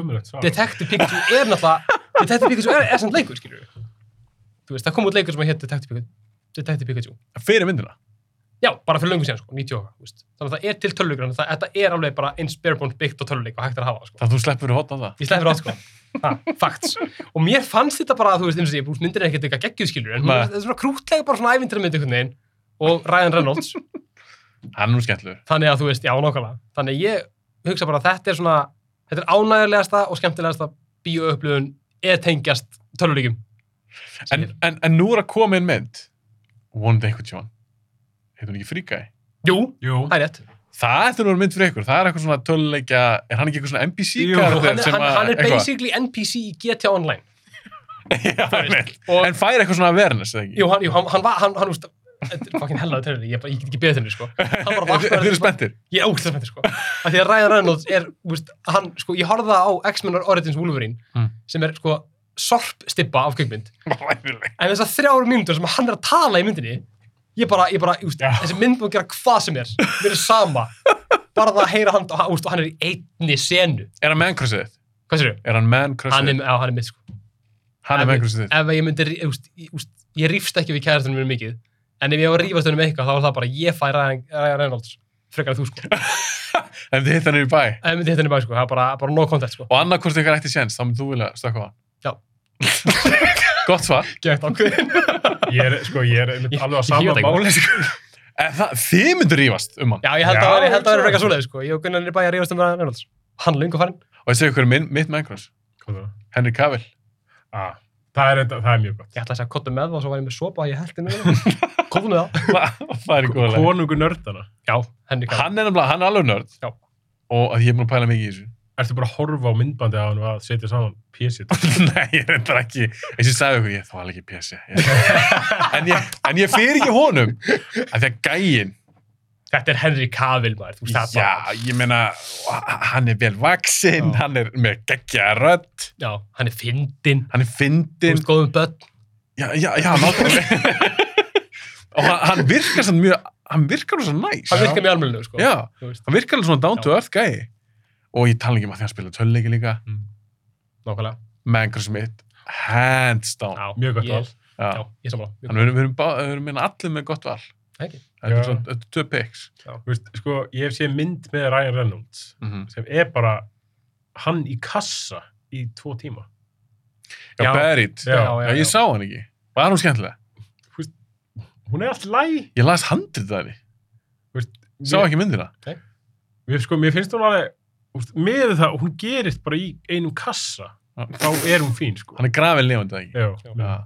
umrætt svar Detective Pikachu er náttúrulega Detective Pikachu er, er samt leikur, skilur við Þú veist, það kom út leikur sem að hétt Detective Pikachu Detective Pikachu Fyrir myndina. Já, bara fyrir löngu síðan, sko, 90 okkar, þú veist Þannig að það er til töluleikur, þannig að þetta er alveg bara eins barebones byggt á töluleik og hægt er að hafa, sko Það þú sleppur fyrir hotna það. Ég slæði fyrir átt, sko <laughs> ha, Facts Og mér fannst þetta bara, þú veist, eins og ég búst myndir ekkert eitthvað geggjuð, skilur En hún Nei. er- þetta er svona krútlega bara svona ævintra mynd einhvern veginn Og Ryan Reynolds Hann er nú skemmtilegur. Þannig að þú veist, já, nokkala Þannig að ég hugsa bara að þetta er svona Þetta er ánægulegasta og skemmtilegasta bíóupplöfun eða tengjast töluleikum En, en, en nú er að koma inn mynd. One Day with John. Heitir hún ekki fríkæði? Jú, jú, það er rétt. Það ætti nú að vera mynd fyrir ykkur. Það er eitthvað svona töluleikja, er hann ekki eitthvað svona Jú, Hann NPC-karakter er, sem hann, að... hann er eitthvað- basically NPC í GTA Online. Já, einmitt. Og, En fær eitthvað svona awareness, eða ekki? jú, hann, jú, hann, hann var, hann, hann, úst, þetta er fucking hellaðu törnir, ég, bara- ég get ekki beðið þenni, sko. <laughs> Hann bara Þið vaknaði. þið eru spenntir. Ég er ógæslega spenntir, sko. Af því að Ryan Reynolds er, úst, hann, sko, ég horfði á X-Men Origins Wolverine, Mm. sem er, sko, sorpstippa af kvikmynd. Ræðileg. En þessar þrjáru mínútur sem hann er að tala í myndinni, ég bara, ég bara, úst, Já. þessi mynd múið gera hvað sem er, mér er sama. Bara það að heyra hann, úst, og hann er í einni senu. Er hann man crushið þitt? Hvað sér Er hann man Hann crushið er, þitt? á, hann er mitt, sko. Hann er ef- man crushið þitt. ef að ég myndi, rí- úst, ég- úst, ég rífst ekki við kærastunum minn mikið, en ef ég á að rífast henni með eitthvað, þá er það bara ég fæ Ryan Ryan Reynolds, frekar en þú sko. Ef En þið hitt hann yfir bæ. ég myndi hitt henni bæði sko, það er bara, bara no contact sko. Og annarkvort ykkar ætti séns, þá myndir þú vilja stökka á hann. Já. <laughs> Gott svar. Gett ákveðin. ég er, sko, ég er einmitt Ég- alveg á ég sama veit ekki. máli sko. En það, þið myndir rífast um hann. Já, ég held Já, að það hugsa er frekar það. svoleið sko. Ég og Gunnar er bæði að rífast um Ryan Reynolds. Hann er lungu farinn. Og ég segi ykkur minn, mitt man crush. Hvað var það? Henry Cavill. <laughs> Ah, það er enda- það er mjög gott Ég ætla að segja kottu með það og svo var ég með sopa að ég held henni. Kottu með það. það er í góða leið. konungu nördana Já, henni gaf. Hann er nefnilega, hann er alveg nörd. Já. Og að ég er búin að pæla mikið í þessu. <laughs> ertu bara að horfa á myndbandi á hann og að setja saman pjesið Nei, ég reyndar ekki, eins og ég sagði ykkur, ég þvál ekki pjessi. <laughs> en, ég, en ég fyrir ekki honum, af því að gæinn, Þetta er Henry Cavill maður, þú veist það bara. já, ég meina, hann er vel vaksinn, Já. hann er með geggja rödd, Já, hann er fyndinn, hann er þú fyndinn, veist góðum börn. já, já, já, nákvæmlega. <laughs> Og hann, hann virkar svona mjög, hann virkar svona næs. Hann virkar mjög almennilegu sko. Já, Þú veist, hann virkar alveg svona down to earth gæi. Og ég tala ekki um að því að hann spila tölleiki líka, nákvæmlega. mengur sem mitt, hands down. Já, mjög gott ég- val Já. Já, ég er sammála. Mjög Þannig við erum, við erum, bá, við erum meina allir með gott val. Thank you. Þetta er Já. svona, þetta er tvö picks. Þú veist, sko, ég hef séð mynd með Ryan Reynolds sem er bara hann í kassa í tvo tíma Já, Já. Buried. Já, Já, já, ég sá hann ekki. Var hún skemmtilega? hún er allt læg Ég las handrið það henni. Sá ekki myndina. Mér, sko, mér finnst hún alveg, úst, með það, hún gerist bara í einum kassa, þá er hún fín, sko. Hann er grafin lefandi það ekki. Já, Já. já,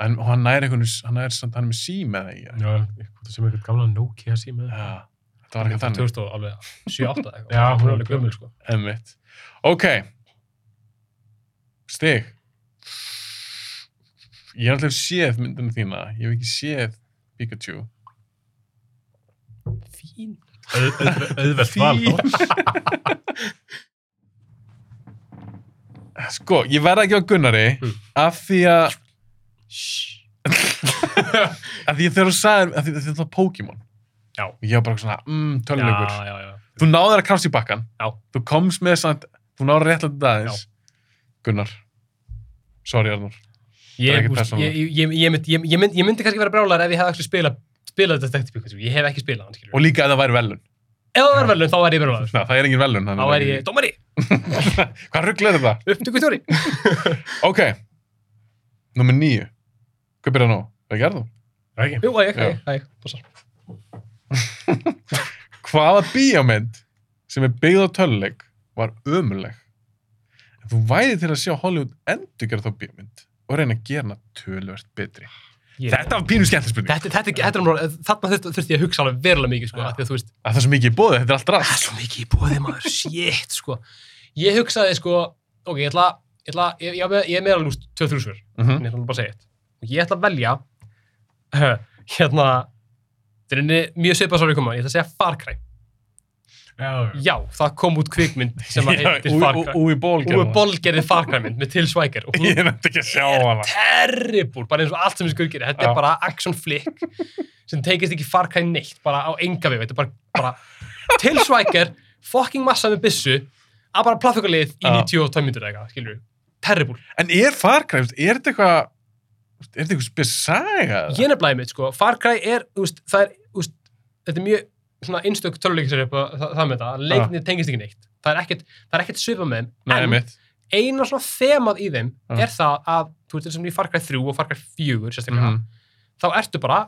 En og hann næri einhvern, hann er, samt- hann er með síma eða ekki. já, eitthvað sem eitthvað gamla Nokia síma. Já. Þetta var eitthvað þannig. 2000 og alveg 7-8 eitthvað. hún Já, er hún- alveg gömul sko. Emmitt. Ok. Stig. Ég er alltaf séð myndina þína. Ég hef ekki séð Pikachu. Fín. Auð- auð- Auðvelt val, þá. Sko, ég verð ekki á Gunnari Hm. Mm. af því að af því að þegar þú sagðir af því að þetta var Pokémon Já. og ég var bara svona, mmm, tölulegur Já, já, já. þú náður að krafst í bakkan Já. þú komst með samt, þú náður réttlega aðeins Gunnar sorry Arnur er Ég, ekkert úst, ég, persónulegt. ég, ég, ég, mynd, ég, ég, mynd, ég myndi kannski vera brjálar ef ég hefði ekki spilað spila þetta detektíf Pikachu. Ég hef ekki spilað hann, skilur. Og líka ef það væri velun. Ef það verður velun, þá er ég brjálar. Na, það er engin velun. Þá er ég, dómari, <laughs> Hvað ruggla er þetta? upptökustjóri. Ok. Númer nýju. Hvað byrjar nú? Það gerðu. Það er ekki. Jú, æg, Já. æg, æg, bósar. Hvaða bíómynd sem er byggð á töluleik var ömuleg? En þú væri til að sjá Hollywood endur gera þá bíómynd og reyna að gera hana töluvert betri. Þetta, Þetta var pínu skemmtispurning. þetta, þetta, þetta, þetta, þarna þurfti, þurfti ég að hugsa alveg verulega mikið, sko, af því að þú veist, Það er svo mikið í bóði, þetta er allt það rast. er svo mikið í bóði, maður, shit, sko. Ég hugsaði, sko, ok, ég ætla, ég ætla, ég, ég, ég, ég er meðal úst, tvö, þrjú svör. Mm en ég ætla nú bara að segja eitt og ég ætla að velja <laughs> hérna þetta er einni mjög svipað svar ég koma ég ætla að segja Far Cry Já, já. já, það kom út kvikmynd sem <laughs> að heitir Far Cry Úi ból og gerði er það. bolgerðið Far Cry mynd með Til Svæker og hún Ég nefndi ekki að sjá hana. terribúr, bara eins og allt sem við skurkir þetta Já. er bara action flick sem teikist ekki Far Cry neitt, bara á enga við þetta er bara, bara Til Svæker fucking massa með byssu að bara plattfugalið í Já. 92 myndur eða eitthvað, skilur við terribúr En er Far Cry, veist, er þetta eitthvað veist, er þetta eitthvað spesaga? ég nefnilega einmitt sko, Far Cry er, úst, það er úst, þetta er mjög svona einstök töluleikisar upp að það, það með það, leiknir tengist ekki neitt það er ekkert, það er ekkert svipað með þeim Nei, en mitt. eina svona þemað í þeim Já. er það að, þú veist, sem í Far Cry 3 og Far Cry 4 sérstaklega, Mhm. þá ertu bara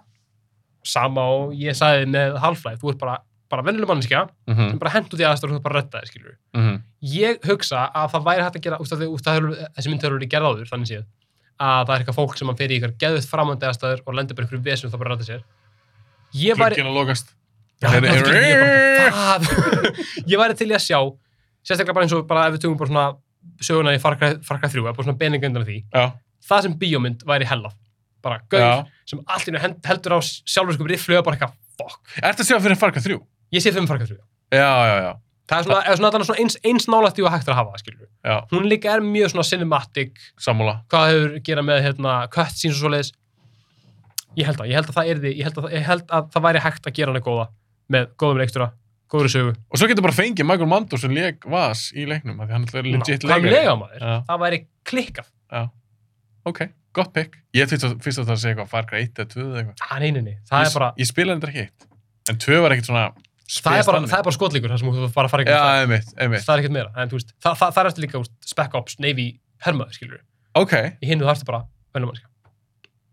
sama og ég sagði með Half-Life, þú ert bara, bara vennileg manneskja Mhm, sem bara hendur því aðstæður og þú ert bara að redda þér, skilur mhm. ég hugsa að það væri hægt að gera úst, að, úst, að eru, þessi mynd hefur verið gerð áður þannig séð að það er eitthvað fólk sem að fyrir ykkur geðuð framandi aðstæður og lendur bara ykkur vesum það bara ræta sér ég væri Glugginn að lokast. Já, Þeir- já, skilur, ég bara, "Hvað?" <laughs> ég væri til í að sjá sérstaklega bara eins og bara ef við tökum bara svona söguna í farka, farka þrjú eða bara svona beiningöndan af því Já, það sem bíómynd væri hella bara já. gauð sem allt í einu hend- heldur á sjálfur sko rifflu og bara eitthvað fuck Ertu að sjá fyrir Far Cry 3? ég sé fimm farka þrjú Já, já, já. það er svona, er svona, allavega svona eins, eins nálægt í og hægt er að hafa skilur. já. hún líka er mjög svona cinematic Sammála. hvað hefur gera með hérna, cutscenes og svoleiðis ég held að, ég held að það erði ég held að, ég held að það væri hægt að gera hana góða með góðum leikstjóra, góður sögu Og svo getur bara fengið Michael Mando sem leik vas í leiknum, af því hann er legit Ná, hvað leikari. lega maður, Já. það væri klikkað Ok, gott pick. Ég fyrst að, fyrst að það segja eitthvað Far Cry 1 eða 2 eða eitthvað. það, Ah, nei, nei, nei, það Ég- er bara Ég spilaði þetta ekki eitt. En 2 var ekkert svona... það spes er bara, þannig. það er bara skotlíkur, það sem þú bara farið Já, einmitt, einmitt. það er ekkert meira, en þú veist það, það, það er eftir líka úst, spec ops, navy, hermaður, skilur Ok, í hinnu þarftu bara, vennum mannska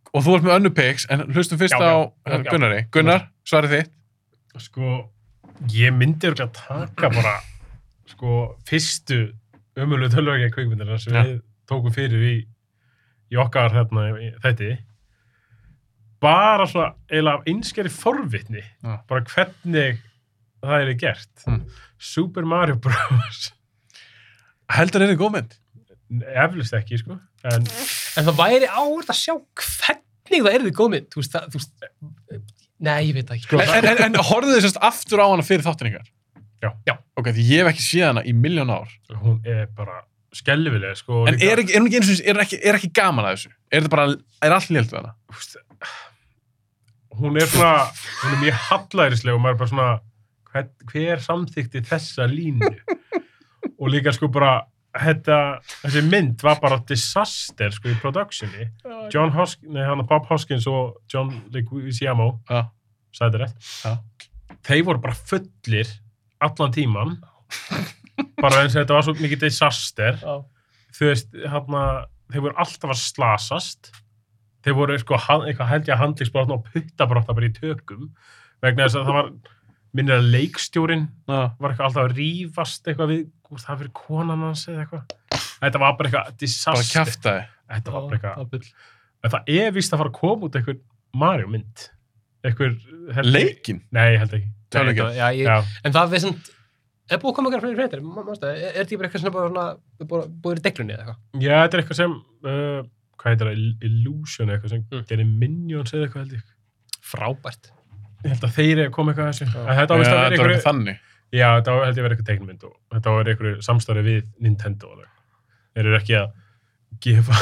og þú ert með önnu picks, en hlustum fyrst Já, á eh, já, já. Gunnari. Gunnar, svarið þitt. Sko, ég myndi örgulega taka bara, sko, fyrstu ömulegu tölvöggja kvikmyndirna sem Já. við tókum fyrir í, í okkar hérna, í- þetta. Bara svona, eiginlega af einskjæri forvitni, Já. bara hvernig það er gert. Mm. Super Mario Bros. <laughs> Heldur er þið góð mynd? Eflust ekki, sko. En en það væri áhverð að sjá hvernig það erði góð mynd, þú veist, það, þú veist nei, ég veit það ekki Sko, En, en, en, en horfðu þið sérst aftur á hana fyrir þáttinningar? Já. Já. Ok, því ég hef ekki séð hana í miljón ár. hún er bara skelvileg, sko. En líka- er ekki, er, hún ekki, einu sinni- er, ekki, er ekki gaman að þessu? Er þetta bara, er allt lélt við hana? þú veist, hún er svona hún er mjög hallærisleg og maður er bara svona hver, hver samþykti þessa línu og líka sko bara þetta, þessi mynd var bara disaster sko í productioni John Hoskins, nei hann Bob Hoskins og John Leguizamo Já. sagði þetta Já. rétt þeir voru bara fullir allan tíman bara eins og þetta var svo mikið disaster Já. þú veist, hérna þeir voru alltaf að slasast þeir voru sko, hann- eitthvað held ég að handlingsbrotna og puttabrotna bara í tökum vegna þess að það var minnir að leikstjórin Já. var eitthvað alltaf að rífast eitthvað við, úr það fyrir konan hans eða eitthvað þetta var bara eitthvað Bara disaster kjæfta þið. þetta var bara eitthvað, Það bull. en það er víst að fara að koma út eitthvað Mario mynd eitthvað held ég- Leikin? Nei, ég held ekki. Tölum ekki. Þetta- já, ég, Já, en það er samt er búið að koma að gera fleiri fréttir Ma- manstu það? er er þetta ekki bara eitthvað svona bara svona bara- búið í deglunni eða eitthvað já þetta er eitthvað sem, uh, hvað heitir það, Ill- Illusion eitthvað sem Mm. gerir Minions eða eitthvað held ég. frábært Ég held að þeir eru komið eitthvað að þessu. Já. En Já, Þetta ávist að þetta vera var eitthvað eitthvað, þannig. já þetta á- held ég að vera eitthvað teiknmynd og þetta á að vera eitthvað samstarfi við Nintendo. og það. Þeir eru ekki að gefa.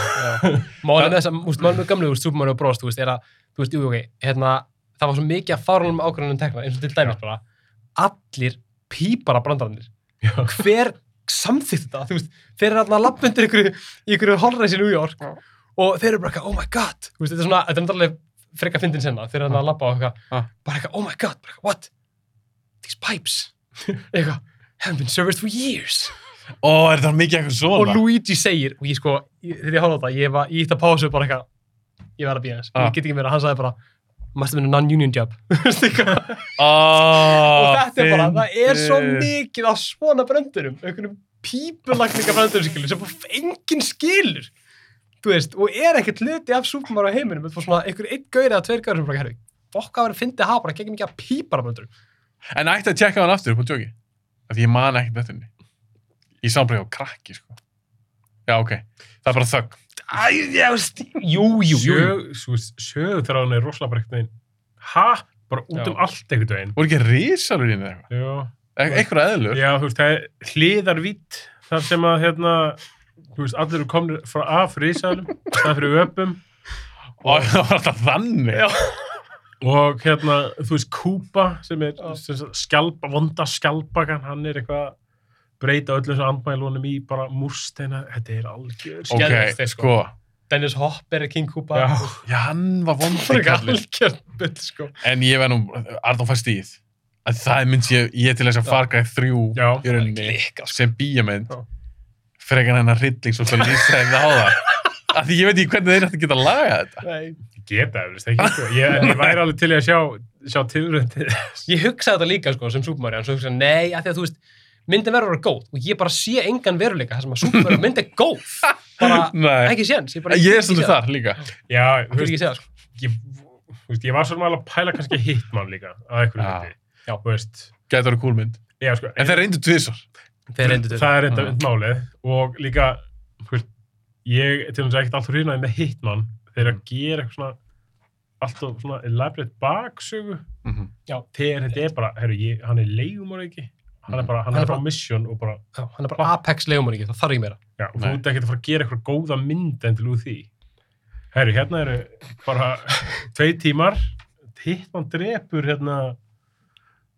málið með þess að, úst, málið með gamlu úr Super Mario Bros, þú veist, er að þú veist, jú, ok, hérna, það var svo mikið að fárunum ákvörðunum um tekna, eins og til dæmis bara allir pípara brandarannir Já. hver samþýtt þetta, þú veist þeir eru alltaf að lappa undir ykkur, ykkur holræs í New York og þeir eru bara eitthvað, oh my god Þú veist, þetta er svona, þetta er náttúrulega frekka fyndin sinna þeir eru hann að labba og eitthvað, Ah. bara eitthvað, oh my god bara eitthvað, what, these pipes <laughs> eitthvað, haven't been serviced for years Ó, er það mikið eitthvað og svona? Luigi segir, og ég sko ég- þegar ég horfði á þetta, ég var, ég ítti að pásu og bara eitthvað, ég verð að býja hans, Ah. ég get ekki meira hann sagði bara, must have been a non-union job <laughs> Þú veist, eitthvað. og og þetta er bara, það er svo mikið á svona bröndurum, einhvernum pípulagninga bröndurum skilur, sem bara enginn skilur þú veist, og er ekkert hluti af súpumar á heiminum, þetta var svona einhver einn gaur eða tveir gaur sem bara, herru, fokk að vera fyndi að hafa bara gegn mikið að pípara bröndurum En ætti að tjekka hann aftur upp á tjóki. Því ég man ekkert eftir henni. Ég sá hann bara hjá krakki, sko. Já, ok. Það er bara þögg. Æ, já, stíf, jú, jú, jú, jú. Sög- þú veist, Sögutráðan er rosalega bara einhvern veginn. Ha? Bara út Já. um allt einhvern veginn. Voru ekki risalur í henni eða eitthvað? Já. E eitthvað eðlur? Já, þú veist, það er hliðarvitt þar sem að, hérna, þú veist, allir eru komnir frá af friðsælum, það fyrir öpum Og það var alltaf þannig. Já. og, hérna, þú veist, Kúpa sem er Já. sem sagt, skjálpa, vonda skjálpakan, hann er eitthvað að breyta öllu þessu andmælunum í bara múrsteina, þetta er algjör Ok, Skelfilegt, þeir, sko. sko. Dennis Hopper er King Koopa <laughs> Já. Já, hann var Það vondi er kallið. algjörn bull, sko. En ég verð nú, Arnón fær stíð. Að það mynd ég, ég til þess að farga í þrjú Já. í rauninni Líka, sko. sem bíjamynd. Já. Frekar hennar hrylling svo það lýsaði það á það. Af því ég veit ekki hvernig þeir ætti að geta að laga þetta. Nei. Geta, þú veist, ekki, sko. ég, en ég væri alveg til í að sjá, sjá tilrönd til Ég hugsaði þetta líka, sko, sem Supermarjan, svo hugsaði, nei, af því að þú veist, myndin verður að vera góð og ég bara sé engan veruleika þar sem að Supermarjan mynd er góð. Bara, Nei. ekki séns. Ég, bara, Ég er get svolítið séð það. þar líka. Já, Ég vil þú veist, ekki segja það, sko. ég, þú veist, ég var svona alveg að pæla kannski hitmann líka að einhverju Já. hundi. Já. Þú veist, Gæti að vera kúlmynd. já, sko, En það reyndu tvisar. Þeir reyndu Mm. þetta. það er enda Já. málið og líka, þú veist, ég til dæmis ekkert alltaf hrýnaði með hitmann þegar Mm. að gera eitthvað svona alltaf svona elaborate baksögu Mhm. þegar þetta er bara, herru, ég, hann er leigumor ekki, hann er bara, hann, Mm. Hann er er bara bara- mission og bara, Já, Hann er bara Apex legumanningi, það þarf ekki meira. já, og þú Nei. ert ekkert að fara að gera eitthvað góða mynd enn til úr því. Herru, hérna eru bara tvei tímar, hitmann drepur hérna,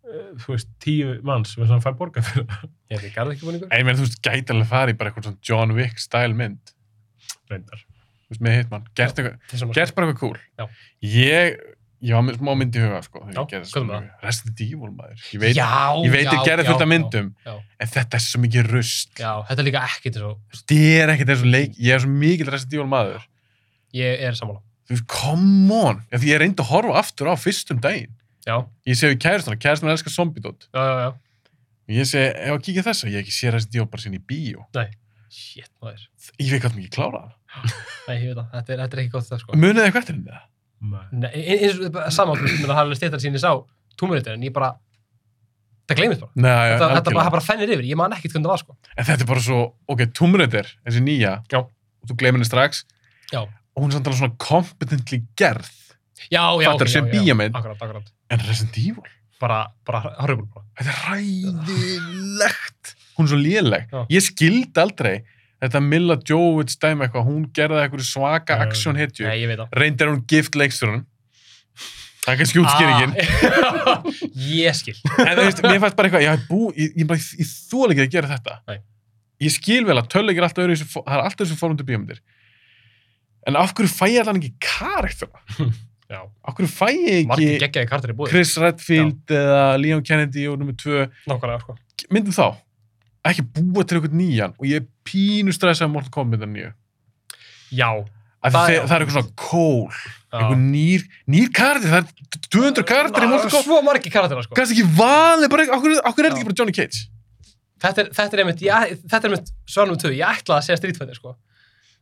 eh, þú veist, tíu manns sem hann fær borgað fyrir það. Ég veit, garði ekki búin ykkur. En ég meina, þú veist, gæti alveg farið í bara eitthvað svona John Wick style mynd. reyndar. Þú veist, með hitmann. Gert, eitthvað, sko. gert bara eitthvað cool. Já. Ég, ég var með smá mynd í huga, sko. þegar Já, ég gerði hvað svona- var Resident Evil, maður. Ég veit, Veit, já, ég veit, ég já, gerði já, fullt af já, myndum. Já, En þetta er svo mikið rust. já, þetta er líka ekkert svo, Þetta er ekkert eins og leik. Ég er svo mikið Resident Evil maður. ég er sammála. Þú veist, come on. Ef ég reyndi að horfa aftur á fyrstum daginn. Já, Ég segi kæristana, kæristana elskar zombidót. já, já, já. Ég segi, ef að kíkja þessa, ég hef ekki sé Resident Evil bara sinni í bíó. Shit, maður. Ég veit hvað mikið klára það. Nei, ég veit það, þetta er, þetta er ekki gott það, sko. Munið þið hvert er þetta? Nei. Nei, eins og bara saman með það hafði stýttar sín ég sá túmuritur en ég bara það gleymist bara. Nei, já, Þetta, þetta algjörlega. bara, það bara fennir yfir, ég man ekkert hvernig það var sko. En þetta er bara svo, ok, Tomb Raider, þessi nýja, Já. og þú gleymir henni strax, Já. og hún er samt alveg svona competently gerð, Já, já, Fattar, sem bíómynd. Akkurát, akkurát. en Resident Evil, Bara, bara, horfum bara. þetta er ræðilegt. Hún er svo léleg. Já. Ég skildi aldrei þetta Milla Jovovich dæmi eitthvað, hún gerði eitthvað svaka Já. aksjónhetju. Nei, ég veit það. Reyndar hún gift leiksturinn. Það er kannski útskýringin. Ah, <laughs> ég skil. en þú veist, mér fannst bara eitthvað, ég hef bú, ég, ég, bara- ég þól ekki að gera þetta. Nei. Ég skil vel að tölleikir alltaf öðru, það er alltaf þessu formundu bíómyndir. En af hverju fæ ég allan ekki karakter? Já. Af hverju fæ ég Margir ekki geggjaði kartir í búið. Chris Redfield eða Leon Kennedy og nummer tvö, Nákvæmlega, sko. myndum þá? Ekki búa til eitthvað nýjan og ég er pínu stressað um Mortal Kombat myndar nýju. Já. Ah. Af Það því er- það, það er eitthvað svona kól, já. eitthvað nýr, nýr karakter, það er 200 karakter í Ná, Mortal Kombat. Ah, Svo margir kartir, sko. Kannski ekki valið, bara, okkur, okkur er þetta Já. ekki bara Johnny Cage? þetta er, þetta er einmitt, ég, þetta er einmitt svarnum töðu, ég ætlaði að segja strítfættir, sko.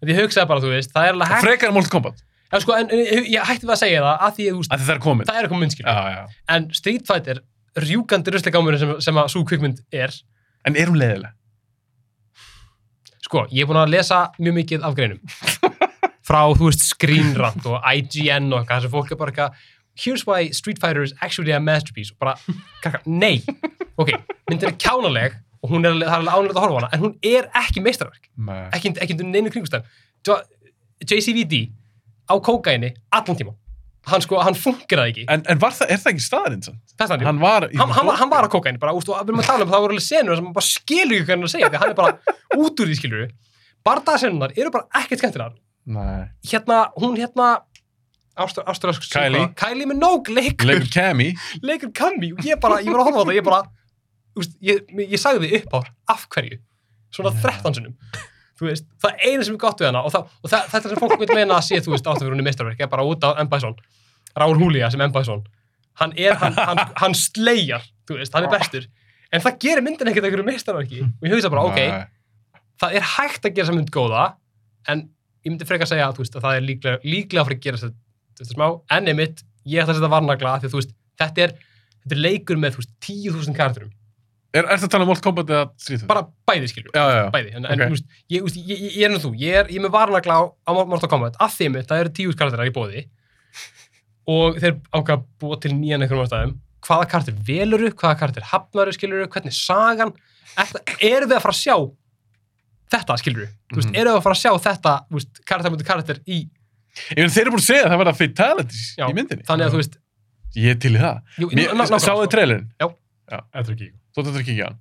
En ég hugsaði bara, þú veist, það er alveg hægt. Frekar en Mortal Kombat, Já, sko, en en ég hætti við að segja það, að því, þú veist, af því það er komin. það er eitthvað myndskil. Já, já. en Street Fighter rjúkandi ruslegámurinn sem, sem að svo kvikmynd er En er hún leiðileg? sko, ég er búin að lesa mjög mikið af greinum frá, þú veist, Screen Rant og IGN og eitthvað, þessu fólk er bara eitthvað here's why Street Fighter is actually a masterpiece og bara, kaka, nei ok, myndin er kjánaleg og hún er, alveg- það er alveg ánlega að horfa á hana, en hún er ekki meistarverk, Nei. ekki, ekki undir neinu kringustæðum JCVD á kókaini allan tíma hann sko, hann fungerði ekki En, en var það, er það ekki staðarinn samt? þetta er hann Hann var... í- hann, hann, var- hann var að kóka henni bara, úst, og við erum að tala um það voru alveg senur sem hann bara <laughs> skilur ekki hvernig að segja því hann er bara út úr því skilur bardaðasennunar eru bara ekkert skemmtilegar Nei. hérna, hún hérna Ástralask Kylie. Kylie Minogue leikur, Leikur Kemi. leikur Cammy og ég bara, ég var að horfa á þetta, ég bara úst, ég, ég sagði því upp ár, af hverju svona Já. 13 sinnum þú veist, það er eina sem er gott við hana og, það, og það, þetta sem fólk vil meina að sé, þú veist, áttafur hún er meistarverk, er bara út á M. Bison Ráur Húlía sem M. Bison hann er, hann, hann, hann slejar þú veist, hann er bestur en það gerir myndin ekkert einhverju meistarverki og ég hugsa bara, ok, Nei. það er hægt að gera þessa mynd góða en ég myndi frekar að segja að, þú veist, að það er líklega, líklega fyrir að gera þetta þetta smá en einmitt, ég ætla að setja varnagla af því að þú veist, þetta er, þetta er leikur með þú veist, 10.000 karakterum, Er þetta að tala um Mortal Kombat eða Street Fighter? bara bæði skilur Já, já, já. bæði, en, en Ok. þú veist, ég, þú veist, ég, ég, ég er nú þú ég er, ég er með varnagla á, á Mortal Kombat af því einmitt, það eru 10.000 karakterar í bóði og þeir ákveða að búa til nýjan einhverjum ástæðum, hvaða karakter veluru hvaða karakter hafnaru skilur hvernig er sagan, Þetta- erum við að fara að sjá þetta skilur þú veist, Mhm. erum við að fara að sjá þetta þú veist, karakter mútið karakter í, Ég meina, þeir eru búin að segja að það verða fatalities Já, í myndinni. þannig að þú veist Ég er til í það. jú, Mér- ná- nákvæmlega, Sáuðu sko. trailerinn? Þetta er ekki ég. Þú ættir að kíkja á hann.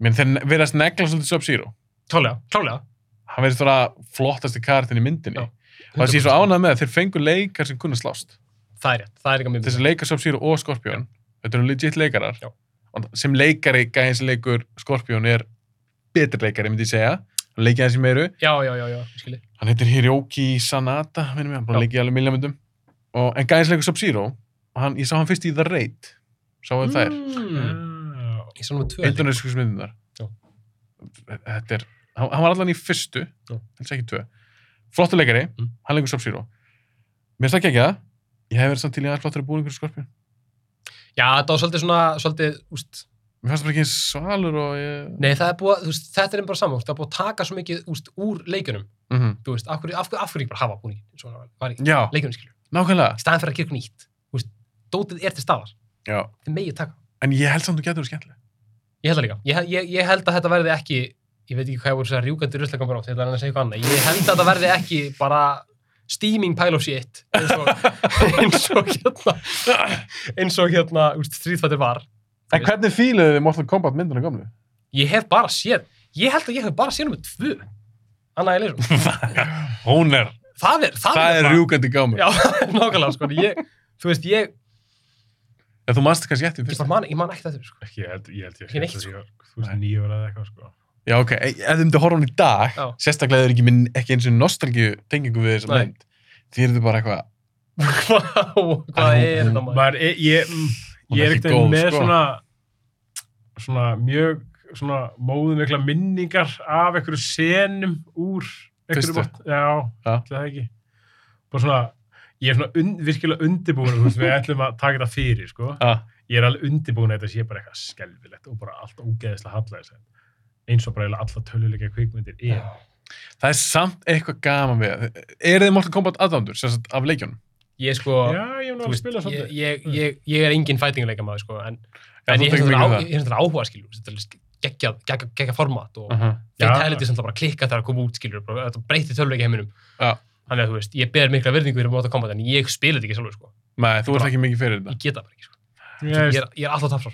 Mér finnst þeir verðast negla svolítið Sub-Zero. klálega, klálega Hann verðist vera flottasti karakterinn í myndinni. Já, og það sé ég svo ánað með að þeir fengu leikar sem kunna slást. það er rétt, það er eitthvað mjög mjög Þessi leikar Sub-Zero og Scorpion, þetta eru legit leikarar. Já. Og sem leikari, gæðin sem leikur Scorpion er betri leikari, myndi ég segja. Hann leikið hans í meiru. já, já, já, já, skilji hann heitir Hiroki Sanada minnum ég, hann bara Já. leikið í alveg miljómyndum og en gæðis leikur Sub-Zero og hann, ég sá hann fyrst í The Raid sá hann þær, mm. ég sá nú tvö leik. indonesísku myndinnar Já. þetta er, hann, hann var allan í fyrstu Já. helst ekki tvö flottu leikari, Mm. hann leikur Sub-Zero mér finnst það ekki að ég hef verið samt til í aðeins flottur að búningur í Skorpjón já, það var svolítið svona, svolítið, úst mér fannst það bara ekki eins svalur og ég... Nei, það er búið, að- þú veist, þetta er bara saman, það er búið að taka svo mikið úst, úr leikunum, mm þú veist, af hverju, af hverju, af hverju ekki bara hafa búningin, svona var í já, leikunum, skilur, nákvæmlega í staðan fyrir að gera eitthvað nýtt, þú veist, dótið er til staðar, já. þið megið taka. en ég held samt að þú getur það skemmtileg Ég held það líka, ég, ég, ég held að þetta verði ekki, ég veit ekki hvað ég voru sér rjúkandi ruslakambar átt, ég ætla að reyna að segja eitthvað annað, ég held að þetta verði ekki bara steaming pile of shit, eins og, <laughs> eins og hérna, eins og hérna, úst, stríðfættir var. Þú en veist. hvernig fíluðu þið Mortal Kombat myndina gömlu? Ég hef bara séð, ég held að ég hef bara séð nummer tvö, annað ég leysum. hún er, Það er, það, það er bara- rjúkandi gámur Já, nákvæmlega, sko. Ég, þú veist, ég, En þú mannst kannski eftir ég, fyrst. bara man, ég man ekkert eftir, sko. <laughs> Ég held ég held ég Ekki neitt, sko. sé þetta þegar Þú veist, nýjur eða eitthvað, sko. Já, ok. Ef þið myndi horfa á hún í dag, Já. sérstaklega þau ekki, minn, ekki eins og nostalgíu tengingu við þessa Nei. mynd, því eru þau bara eitthvað, Vá, Hvað Æ, er hún- þetta, maður? Maður, ég, ég, mm, Hún ég er er ekki ekkert góð, með sko. svona, svona mjög svona móðum ykkur minningar af einhverju senum úr einhverju Fyrstu. bótt. Já, Já. ætli það ekki. Bara svona, ég er svona un, virkilega undirbúin, þú veist, við ætlum að taka þetta fyrir, sko. að, Ég er alveg undirbúin að þetta sé bara eitthvað skelvilegt og bara allt ógeðislega hallæðis. Eins og bara eiginlega allar töluleika kvikmyndir er. Já. það er samt eitthvað gaman við. það. Eru þið Mortal Kombat aðdándur, sérstaklega af leikjónum? Ég, sko, þú Já, ég hef náttúrulega veist, spilað ég, svolítið. ég, ég, ég er engin fætinguleika maður, sko, en, Já, en þú ég tekur hef líka þetta það. á- ég hef þetta áhuga, skilur, þú veist, þetta er sk- geggjað, geggjað, geggjað format og Aha. Já. fatality sem það bara klikka þegar það kom út, skilur, bara, þetta breytir tölvleika heiminum. Já. Þannig að, þú veist, ég ber mikla verðingu fyrir móta að koma, en ég spila þetta ekki sjálfur, sko. Nei, þú ert Bara- ekki mikið fyrir þetta. Ég get það bara ekki, sko. Ég, Ég er, ég er alltaf tapsar.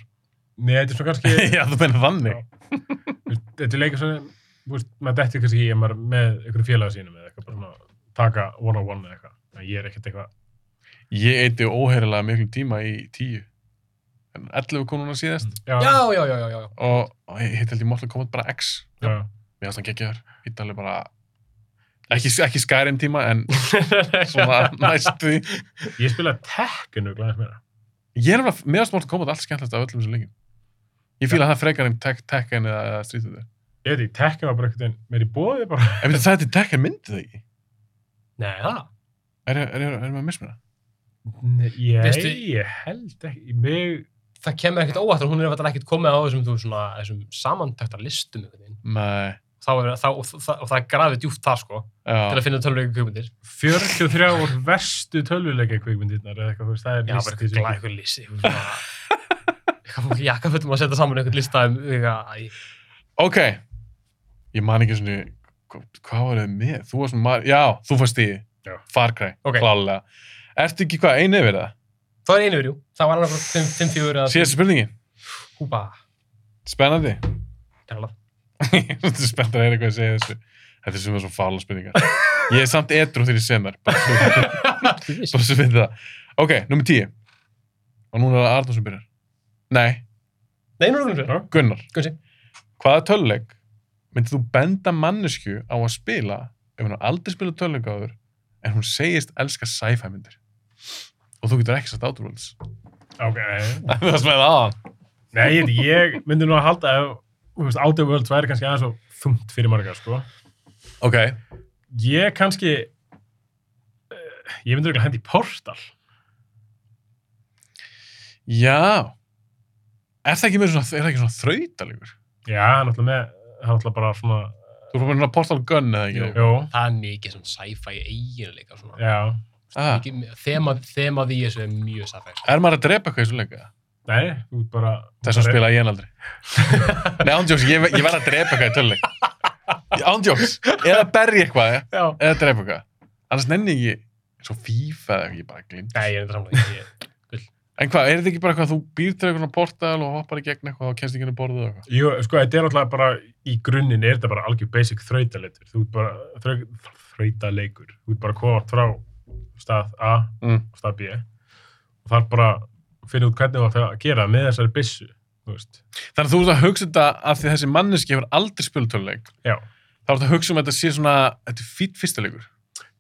Nei, þetta er svona <laughs> kannski... Já, þú menna þannig. Já. Þú veist, þetta er leika svona, þú veist, maður dettir kannski í að maður er með einhverju félaga sínum eða eitthvað, bara svona taka one on one eða eitthvað. En ég er ekkert eitthvað, Ég eiti óheirilega miklum tíma í tíu. En 11 kom núna síðast já, Já, já, já, já, já. já. og, og ég hitt held ég Mortal Kombat bara X. já. Mér fannst hann geggjaður. Hitt alveg bara, ekki, ekki Skyrim tíma en <laughs> <laughs> svona næstu því. Ég spilaði tekkinu glæðis meira. Ég er alveg, mér finnst Mortal Kombat allt skemmtilegt af öllum sem lengjum. Ég fýla það frekar en tek, Tekken eða, eða Street Fighter. Ég veit ekki, tekkinu var bara einhvern veginn meir í bóði bara. En veitir, það er til Tekken myndið það ekki. Nei, það. Er, er, er, er maður að mismuna? Nei, ég, Veistu- ég held ekki, mig, það kemur ekkert óvært og hún er ekkert komið á þessum, þú, veist, svona, þessum samantöktar listum einhvern veginn. Nei. Þá er, þá, og, það, og það er grafið djúpt þar sko til Já. að finna um tölvöku kjökmundir 43 úr verstu töluleika kvikmyndirnar eða eitthvað, þú veist, það er Já, bara eitthvað sem- glæð, eitthvað listi eitthvað svona- eitthvað fólk í jakkafötum að setja saman eitthvað lista um eitthvað, æ, Ok. Ég man ekki svona, hva- hvað var þið með? Þú varst með, Mar- já, þú fannst í Já. Far Cry, Ok. klálega. Ertu ekki hvað, einu yfir það? Það er einu verjú, það var annað 5-4 eða Síðast spurningi. húpa Spennandi. Talað. Þetta er spennt að heyra hvað ég segja þessu. Þetta er sem er svo fála spurningar. Ég er samt edru þegar ég sem þær. Bara svo- bara svo við það. Ok, nummer 10. Og núna er það Arnur sem byrjar. Nei, Nei, nú erum við Já. fyrir. Gunnar. Guðsi. Hvaða töluleik myndir þú benda mannesku á að spila ef hún har aldrei spilað töluleik áður en hún segist elska sci-fi myndir? Og þú getur ekki satt átrúvölds. Ok, nei. <laughs> það er smæðið aðan. Nei, ég, veit, ég myndi nú að halda ef, þú veist, Outer Worlds væri kannski aðeins og þungt fyrir marga, sko. Ok, Ég kannski, eh, ég myndi örugglega hendi í Portal. já. Er það ekki, meira svona, er það ekki svona þrautalegur? Já, hann ætla með, hann ætla bara svona, Þú erum bara svona Portal Gun eða ekki? jú, Það er mikið svona sci-fi eiginleika svona. já. Ah, Mikið- Þema, þema því þessu er mjög sci-fi. er maður að drepa eitthvað í svo leika? Nei, þú ert bara... Þess að spila ég en aldrei. Nei, ándjóks, ég, ve- ég verð að drepa eitthvað í töluleik. Ándjóks, eða berja eitthvað Já. eða drepa eitthvað. Annars nenni ég ekki, svo FIFA eða ekki, ég bara glimt. Nei, ég er þetta samlega. Ég... En hvað, er þetta ekki bara eitthvað að þú býr til eitthvað portal og hoppar í gegn eitthvað og kemst ekki inn að borðið eitthvað? Jú, sko, þetta er náttúrulega bara, í grunninn er þetta bara algjör basic þrautaleitur. Þú ert bara, þra, þrautaleikur. Þú ert bara komað frá stað A Mm. og stað B. Og það er bara að finna út hvernig þú átt að gera með þessari byssu, þú veist. Þannig að þú ert að hugsa þetta af því að þessi manneski hefur aldrei spilað töluleik. Já, Þá ert að hugsa um að þetta sé svona, þetta er fýtt fyrstuleikur.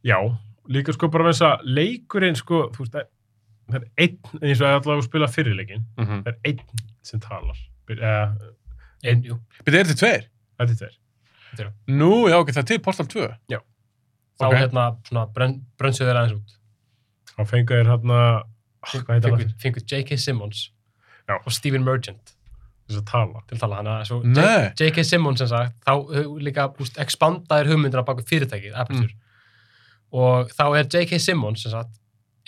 já. Líka sko bara með þess að leikurinn, sko, þú veist, það- það er einn, eins og allavega að spila fyrirleikin, Mm -hmm. það er einn sem talar. Uh, En, jú, Þetta er þetta tveir? þetta er þeir. Nú, já, ok, það er til Portal 2. þá Ok. hérna svona brenn- brönsuðu þeir aðeins út. Þá fengu þeir hérna, hvað heitir það? Fengu- Fengu J.K. Simmons Já. og Stephen Merchant Þess að tala. til að tala hann að svo Nei. J.K. Simmons sem sagt, þá hu- líka úst, expandaðir hugmyndina baku fyrirtækið, Aperture og þá er J.K. Simmons sem sagt,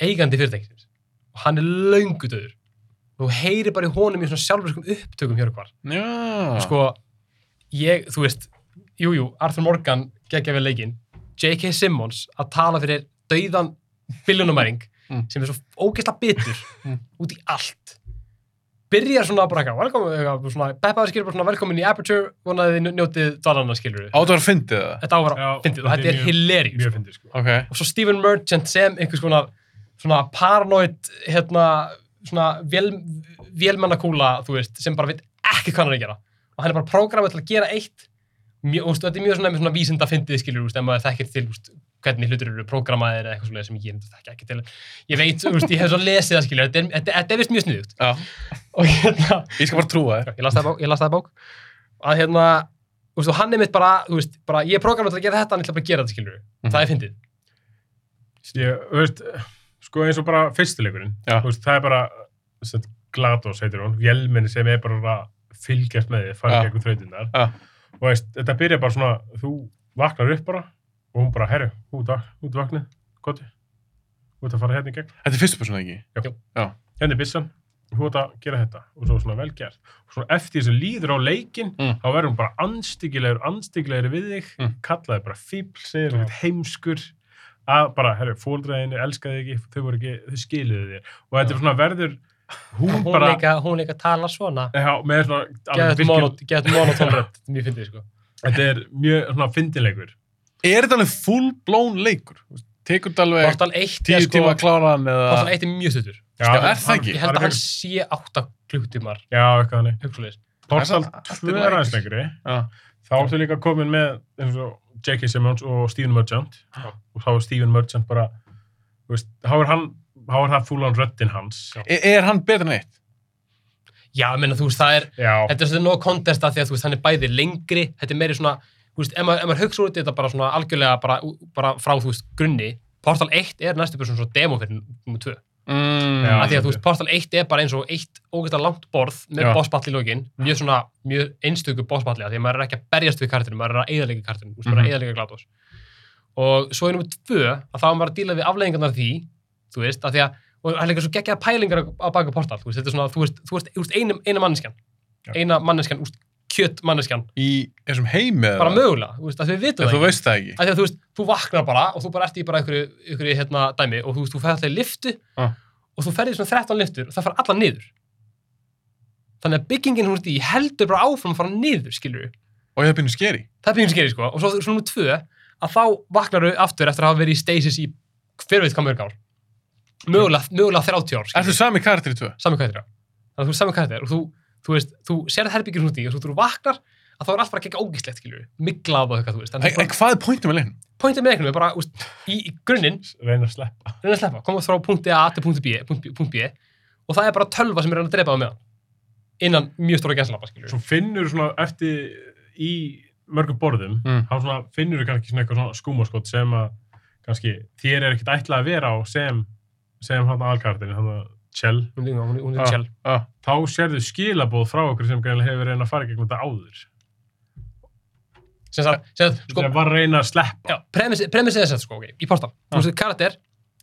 eigandi fyrirtækið og hann er löngu döður þú heyri bara í honum í svona sjálfurskum upptökum hér og hvar Já. sko, ég, þú veist jújú, jú, Arthur Morgan geggja við leikinn J.K. Simmons að tala fyrir dauðan billunumæring Mm. sem er svo ógeðsla bitur Mm. út í allt byrjar svona bara eitthvað velkomin, eitthvað svona, Beppaður skilur bara svona velkomin í Aperture vonaði þið njótið dvalana skilur Áttu að vera að fyndið það? þetta á að vera Já, fyndið og þetta þetta er er mjög- hilarjus Mjög fyndið, sko. Ok. og svo Stephen Merchant sem einhvers konar svona paranoid hérna svona vél, vélmennakúla þú veist sem bara veit ekki hvað hann er að gera og hann er bara prógramið til að gera eitt mjö, og þú veist, þetta er mjög svona, svona vísinda fyndið skilur úst, en maður þekkir til úst, hvernig hlutur eru prógramaðir eða eitthvað svona sem ég þekki ekki til ég veit, úst, ég hef svo lesið það skilur þetta er, þetta, þetta er vist mjög sniðugt <laughs> Já. og hérna Ég skal bara trúa þér. ég las það í bók, ég las það í bók að hérna, þú veist, og hann er mitt bara, þú veist, bara ég er prógramið til að gera þetta, hann ætla bara að gera þetta skilur Mhm. það er fyndið Ég, þú veist, sko eins og bara fyrstileikurinn, Já. þú veist, það er bara, sem sagt, GLaDOS heitir hún, vélmenni sem er bara að fylgjast með þið, fara Já. gegnum þrautinnar. Já. Og veist, þetta byrja bara svona, þú vaknar upp bara og hún bara, herru, út, vak- út vaknið, koti, út að fara hérna í gegn, Þetta er fyrstu persónu, ekki? hérna er byssan, þú út að gera þetta og svo svona vel gert. Og svona eftir þessu líður á leikinn, Mm. þá verður hún bara anstíkilegur, anstíkilegur við þig, Mm. kallaði bara fíbl, segir Já. ja. heimskur, að bara, herru, fóldraðinu, elskaði ekki, þau voru ekki, þau skiluðu þér. Og þetta er svona verður, hún, hún, bara, líka, hún líka tala svona já, með svona, alveg geðað virkil- monotón <laughs> rödd þetta er mjög fyndið sko þetta er mjög svona fyndilegur. Er þetta alveg full blown leikur? Tekur þetta alveg Portal 1 tíu er tíma sko að klára hann eða... Portal 1 er mjög stuttur Já, Sko, er það ekki? ég held að hann sé 8 klukktímar Já, eitthvað hann hugsulegis Portal Það er allt í 2 lagi. er aðeins lengri. Já. Þá ertu líka komin með eins og J.K. Simmons og Stephen Merchant Já. og þá er Stephen Merchant bara þú veist, þá er hann þá er það fúlan röddinn hans Já, Er, er hann betur en eitt? já, ég meina þú veist það er já, þetta er svona nóg kontest að því að þú veist hann er bæði lengri þetta er meiri svona þú veist ef maður, ef maður hugsa út í þetta bara svona algjörlega bara, bara frá þú veist grunni Portal 1 er næstu byrjun svona demo fyrir nummer 2 Mm. Já. að því að þú veist Portal 1 er bara eins og eitt ógeðslega langt borð með Já. bossball í lokin mjög svona, mjög einstöku bossballi að því að maður er ekki að berjast við kartinu, maður er að eðalega kartinu þú veist, maður er Mhm. að eðalega glatos og svo er nummer tvö að þá er maður að díla við afleggingarnar af því, þú veist, að því að og það er líka svo geggjaða pælingar á- á baka Portal þú veist, þetta er svona, þú veist, þú veist, þú veist einu, einu manneskjan Já. eina manneskjan, úst, kjött manneskjan Í þessum heimi eða? bara mögulega, þú veist, að við vitum Ef það þú ekki. veist það ekki. Af því að þú veist, þú vaknar bara og þú bara ert í bara einhverju, einhverju hérna, dæmi og þú veist, þú fer alltaf í liftu Ah. og þú ferði svona 13 liftur og það fara allar niður þannig að byggingin hún ert í heldur bara áfram að fara niður, skilur Og ég hef bínu skeri. það er byggjum skeri, sko, og svo, svo nummer tvö að þá vaknaru aftur eftir að hafa verið í stasis í hver veit hvað mörg ár mögulega, mögulega 30 ár Ertu sami karakter í tvö? sami karakter já. þannig að þú er sami karakter og þú, þú veist, þú serð herbyggjur út í og svo þú vaknar að þá er allt bara ekki ógislegt, skilur miglað og eitthvað, þú veist, En þannig en að hvað er pointið með leiknum? pointið með leiknum er bara, úst, í, í grunninn reyna að sleppa. reyna að sleppa, koma frá punkti A til punkti B, punkt B, punkt B og það er bara tölva sem er að reyna að drepa það meðan innan mjög stóra genslapa, skilur Svo finnur svona eftir í mörgum borðum, Mm. þá svona finnur kannski svona eitthvað svona skúmaskot sem að kannski þér er ekkit ætlað að vera á sem, sem hann aðalkartin, hann að Kjell. hún, hún, hún, hún er Ah. sjálf Ah, Þá sérðu skilaboð frá okkur sem greinlega hefur reynað að fara í gegnum þetta áður. sem sagt, sem sagt, sko, Sko, var að reyna að sleppa. já, premissi premissi er þess að sko, ok, í portan Ah. þú veist, karakter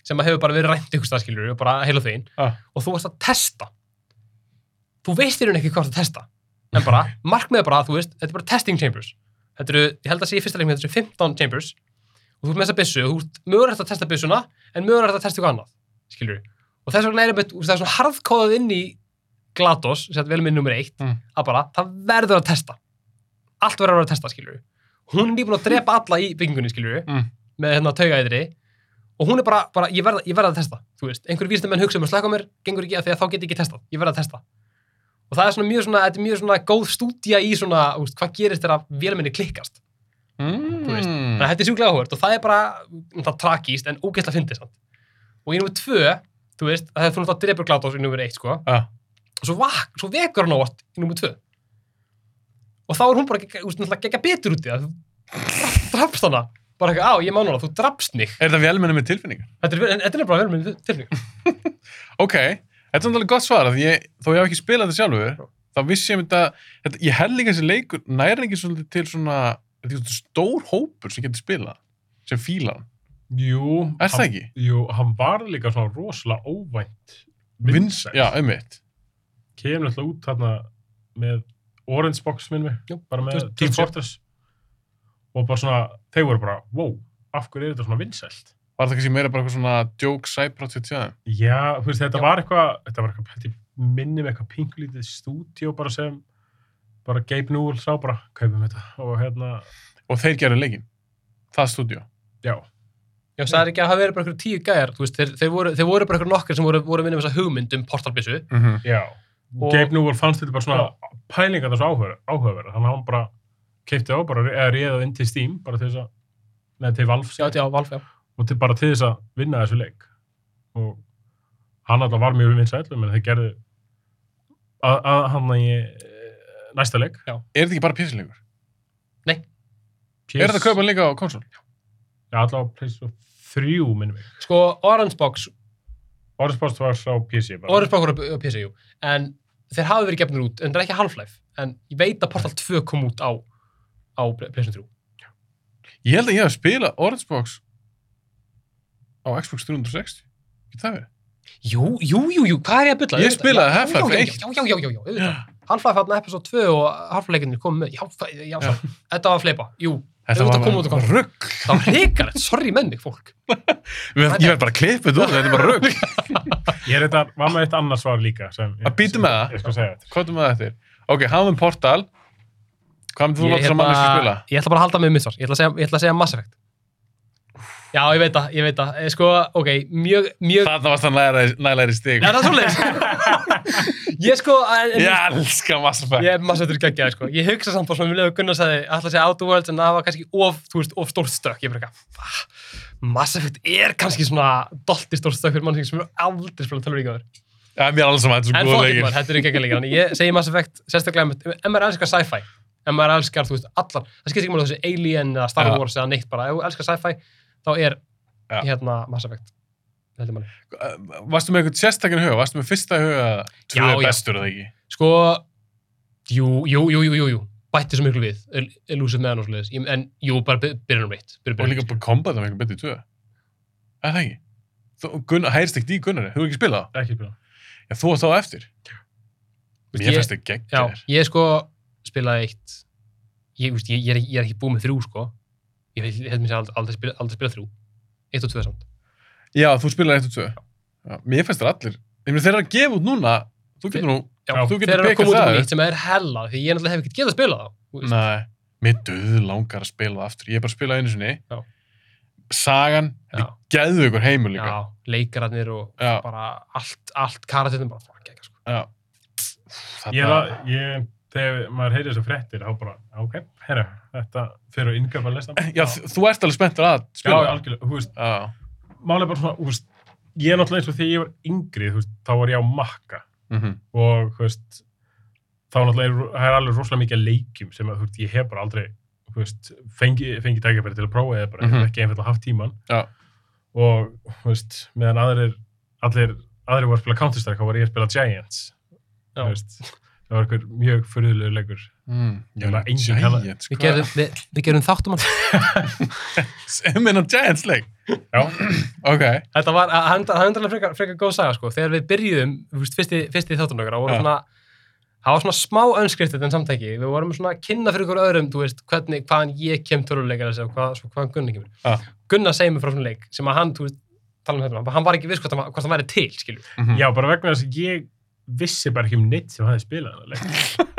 sem að hefur bara verið rænt ykkur staðskilur og bara heila þegin Ah. og þú varst að testa þú veist þér hún ekki hvað þú ert að testa en bara, <laughs> markmið er bara að þú veist þetta er bara testing chambers þetta eru, ég held að sé í fyrsta leikmi, þetta eru 15 chambers og þú ert með þessa byssu og þú ert mögulegt að testa byssuna en mögulegt að testa eitthvað annað skilur og þess vegna er einmitt, þú veist, það er svona harðkóðað inn í GLaDOS, sem þetta vel minn nummer eitt Mm. að bara, það verður að testa allt verður að vera að testa, skilur hún er nýbúin að drepa alla í byggingunni, skilur Mm. með hérna taugaæðri og hún er bara, bara ég, verð, ég verð að testa, þú veist einhverjir vísindamenn hugsa um að slaka á mér, gengur ekki að því að þá get ég ekki testað, ég verð að testa og það er svona mjög svona, þetta er mjög svona góð stúdía í svona, þú veist, hvað gerist þegar vélminni klikkast, Þú veist. veist. þannig að þetta er sjúklega áhvert og það er bara, það tragíst en ógeðslega fyndið samt. og í nummer tvö, þú veist, að það er þú náttúrulega drepur glátás í nummer eitt, sko, Ah, og svo, vak, svo vekur hann óvart í nummer tvö og þá er hún bara gegga- þú veist, náttúrulega gegga betur út í það þú drapst hana bara eitthvað, á, ég má núna, þú drapst mig Er þetta vélmenni með tilfinningar? þetta er, en, þetta er bara vel með tilfinningar Ok, þetta er náttúrulega gott svar að ég, þó ég hef ekki spilað þetta sjálfur, þá vissi ég mynda, þetta, ég held líka þessi leikur næringi svolítið til svona, þetta er svolítið stór hópur sem getur spilað, sem fílar hann. Jú, Er það hann- ekki? Jú, hann var líka svona rosalega óvænt Vins- vinsæl. Já, einmitt. Kemur alltaf út þarna með Orange Box minn við, Jú, bara með 2007. Team Fortress og bara svona, þeir voru bara, wow, af hverju er þetta svona vinsælt? Var það kannski meira bara eitthvað svona joke sæprát hjá þeim? Já, þú veist, þetta Já. var eitthvað, þetta var eitthvað, held ég minni með eitthvað pinkulítið stúdíó bara sem bara Gabe Newell sá bara, kaupum þetta og hérna, Og þeir gerðu leikinn. Það stúdíu. já, Já, það er ekki að hafa verið bara einhverjum tíu gæjar, þú veist, þeir, þeir, voru, þeir voru bara einhverjum nokkar sem voru, voru að vinna með þessa hugmynd um portalbissu. Mm -hmm. já. Og- Gabe Newell fannst þetta bara svona pælingar þessu áhugaverð, áhugaverð, þannig að hann bara keipti á, bara, eða réðið inn til Steam, bara til þess að, neða til Valve, Já, já, Valve, já. og til, bara til þess að vinna þessu leik og hann alltaf var mjög vinsæll menn þeir gerðu að, að hann í eh, næsta leik Er þetta ekki bara písilegur? PS, Er þetta kaupan líka á konsól? Já, alltaf PS3 minnum við Sko, Orange Box, Orðspost var sá PC bara Orange Box voru á PC, jú, en þeir hafa verið gefnir út, en það er ekki Half-Life, en ég veit að Portal 2 kom út á, á PlayStation 3. Ég held að ég hef spilað Orange Box á Xbox 360. Getur það verið? Jú, jú, jú, jú, hvað er ég að bylla? Ég spilaði Half-Life 1. Já, já, já, já, já, auðvitað. Half-Life hann episode 2 og Half-Life-leikinni kom með, já, það- já, svo, þetta var að fleipa, jú, Auðvitað kom út á bara konsól. rugg. það var hrikalegt, sorry með mig, fólk. Ég verð bara klippið út, þetta er bara rugg. Ég er þetta, var með eitt annars svar líka sem, Að býtum með það? Ég skal segja <laughs> þetta Hvað er maður eftir? Ok, hafa með Portal. Hvað myndir þú ég láta sem ætla- mannist að spila? Ég ætla bara að halda mig um mitt svar. Ég ætla að segja, ég ætla að segja Mass Effect. Já, ég veit það, ég veit það. Eh, Sko, ok, mjög, mjög... Þarna varst hann nælæri- nælæri stig. Já, það er svolítið. <laughs> ég sko... En, en- Ég elska Mass Effect. Ég er Mass Effect er geggjað, sko. Ég hugsa samt bara svona, við leðum Gunnar sagði, ætla að segja Outer Worlds, en það var kannski of, þú veist, of stórt stök. Ég bara ekki, "Ah, Mass Effect er kannski svona dolti stórt stök fyrir mann sem er aldrei spilað tölur ykkur. Já, mér er alls saman, þetta er svo En góð fólkið leikir. maður, þetta eru geggjað leikir. Þannig ég segi Mass Effect, sérstaklega, með- ef maður elskar sci-fi, ef maður elskar, þú veist, allar, það skiptir ekki máli þó þessi Alien eða Star Já. Wars eða neitt bara, ef þú elskar sci-fi, þá er Já. hérna Mass Effect. heldur manni. Uh, varstu með einhvern sérstakann huga, varstu með fyrsta huga tvö Já, er já. bestur eða ekki Sko, jú, jú, jú, jú, jú, jú, bætti svo miklu við, El- Elusive Man og svoleiðis, Ég- en jú, bara by- byrjunum reitt, og líka byrjunum reitt. bara kombat með einhvern betið tvö er það ekki þú, Gunnar, heyrst ekki í Gunnari, þú hefur ekki spilað Ekki spila það já, þú varst þá á eftir, mér fannst það Já, geggjær ég sko spilaði eitt, ég, þú veist, ég, ég, er, ekki- ég er ekki búið með þrjú, sko, ég held- ég held mér sér aldrei, aldrei, spila, aldrei spila þrjú, eitt og tvö samt. já, þú spilaði eitt og tvö já, mér fannst það allir, ég meina þeir eru að gefa út núna þú getur nú, Já, þú þeir getur eru að koma pekað út um það nýtt sem er hella því ég náttúrulega hef ekkert getað að spila þá þú veist. Nei. mér döðu langar að spila það aftur ég er bara að spila einu sinni Já. sagan, Já. þetta geðu ykkur heimur líka Já, leikararnir og Já. bara allt, allt karatinn bara fuck ekki, sko. Já. Ég, er Þetta, að- ég, þegar maður heyrir þessu fréttir, þá bara, ok, herra, þetta fyrir að inngöpa að lesa. já, þ- þú ert alveg spenntur að Já, spila það. algjörlega, þú veist, Já. mál er bara svona, þú veist, ég er náttúrulega eins og þegar ég var yngri, þú veist, þá var ég á makka Mhm. og, þú veist, þá náttúrulega er, það er alveg rosalega mikið af leikjum sem að, þú veist, ég hef bara aldrei, þú veist, fengi, fengi tækifæri til að prófa eða bara, mm Mhm. ekki einfallega haft tíman Já. og, þú veist, meðan aðrir, allir, aðrir voru að spila Counter-Strike, þá var ég að spila Giants, Já. þú veist, það var einhver mjög fyrðulegur leikur. Mm. Ég meina, enginn kalla- Giants, Við hvað- gerum, við, við gerum þáttum hann. Ég meina Giants leik Já. <clears throat> Ok Þetta var, að- hann- það er endalega frekar, frekar góð saga, sko. Þegar við byrjuðum, þú veist, fyrsti, fyrsti þáttum okkar, það voru Já. svona, það var svona smá önskriftir en samtæki. Við vorum svona að kynna fyrir ykkur öðrum, þú veist, hvernig, hvaðan ég kem töruleikar þessi og hvað, svo, hvaðan Gunnar kemur. Já. Gunnar segir mér frá svona leik sem að hann, þú veist, tala um þetta, hann- hann var ekki viss hvort, hann var- hvort hann væri til, skilju. Mhm. Já, bara vegna þess að ég vissi bara ekki um neitt sem hafði spilað hana leik.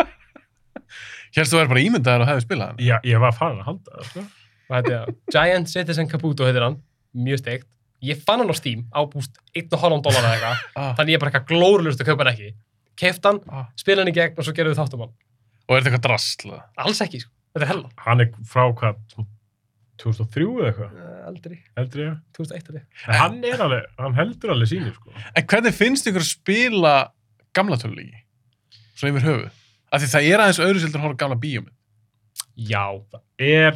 Hérstu að vera bara ímyndaður og hefði spilað hann Já, ég var farin að halda það, sko. Hvað heitir <laughs> það? Giant Citizen Kabuto heitir hann, mjög steikt. Ég fann hann á Steam á búst 1,5 dólar <laughs> eða eitthvað, ah. þannig ég er bara eitthvað glórlust að kaupa hann ekki. Keift hann, ah. spila hann í gegn og svo gerum við þáttum hann. Og er þetta eitthvað drasl eða? Alls ekki, sko. Þetta er hella. Hann er frá hvað, 2003 eða eitthvað, Uh, aldrei, heldur ég. 2001 aldrei. En hann er alveg, hann heldur alveg sínu, sko. En hvernig finnst ykkur að spila gamla töluleiki? Svona yfir höfuð Af því það er aðeins öðru sildur að horfa á gamla bíómynd Já. Er,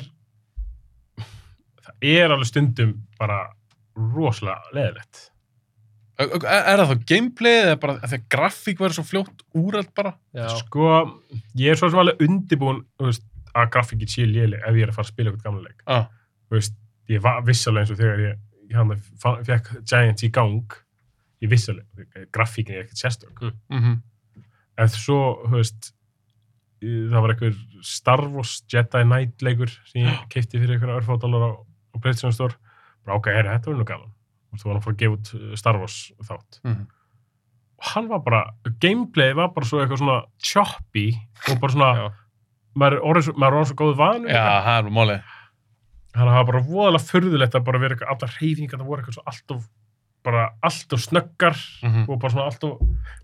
það er alveg stundum bara rosalega leðilegt. Ö- ö- Er það þá gameplay eða bara af því að graffík verður svo fljótt úrælt bara? Já. Sko, ég er svo sem alveg undibúin, þú veist, að grafíkinn sé léleg ef ég er að fara að spila eitthvað gamla leik. Ah. þú veist, ég var vissalega eins og þegar ég, ég hann fekk Giants í gang, ég vissalega, grafíkin er ekkert sérstök. Mm -hmm. En svo, þú veist, í- það var einhver Star Wars Jedi Knight leikur sem ég keipti fyrir einhverja örfóttalar á, á PlayStation Store. Bara ok, herri, þetta var nú gaman. Og svo var hann að fara að gefa út uh, Star Wars þátt. Mhm. Og hann var bara, gameplayið var bara svo eitthvað svona choppy og bara svona, Já. maður er orðið svo- maður er orðið svo góð vanur. Já, það er nú málið þannig að það var bara voðalega furðulegt að bara vera eitthvað, allar hreyfingar, það voru eitthvað svo alltof bara alltof snöggar Mhm. og bara svona alltof,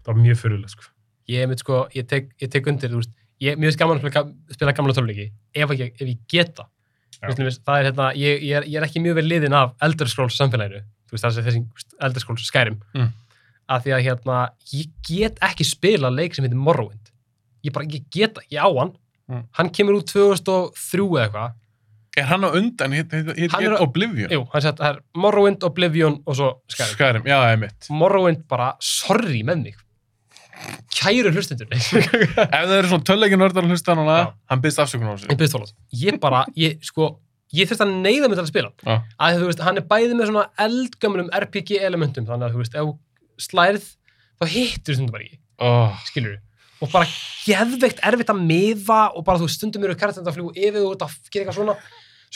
það var mjög furðulegt sko. Ég er mitt, sko, ég tek, ég tek undir, þú veist, ég, mér finnst gaman að spila, ga- spila gamla töluleiki, ef ég, ef ég geta. Já. Þú veist, það er hérna, ég, ég, er, ég er ekki mjög vel liðin af Elder Scrolls samfélaginu, þú veist, það er þessi þú veist, Elder Scrolls skærim, Mm. að því að hérna, ég get ekki spila leik sem heitir Morrowind. Ég bara, ég geta, ég á hann, Mm. hann kemur úr 2003 eða eitthvað, Er hann á undan, hitt hit, hit, Hann er hit á- Oblivion? jú, hann sett, það er Morrowind, Oblivion og svo skærim. Skyrim, já, það er mitt Morrowind bara, sorry með mig, kæru hlustendur, <laughs> Ef það eru svona töluleikin nördar að hlusta núna Já. Hann byrst afsökunar á ég sig byrðist þólat, ég bara, ég, sko, ég þurfti að neyða mig til að spila hann. Já, að þú veist, hann er bæðið með svona eldgömlum RPG elementum, þannig að þú veist, ef þú slærð, þá hittur stundum bara ekki, oh. skilur við. Og bara geðveikt erfitt að miða og bara þú veist, stundum eru karakterinn að fljú yfir og út að gera eitthvað svona,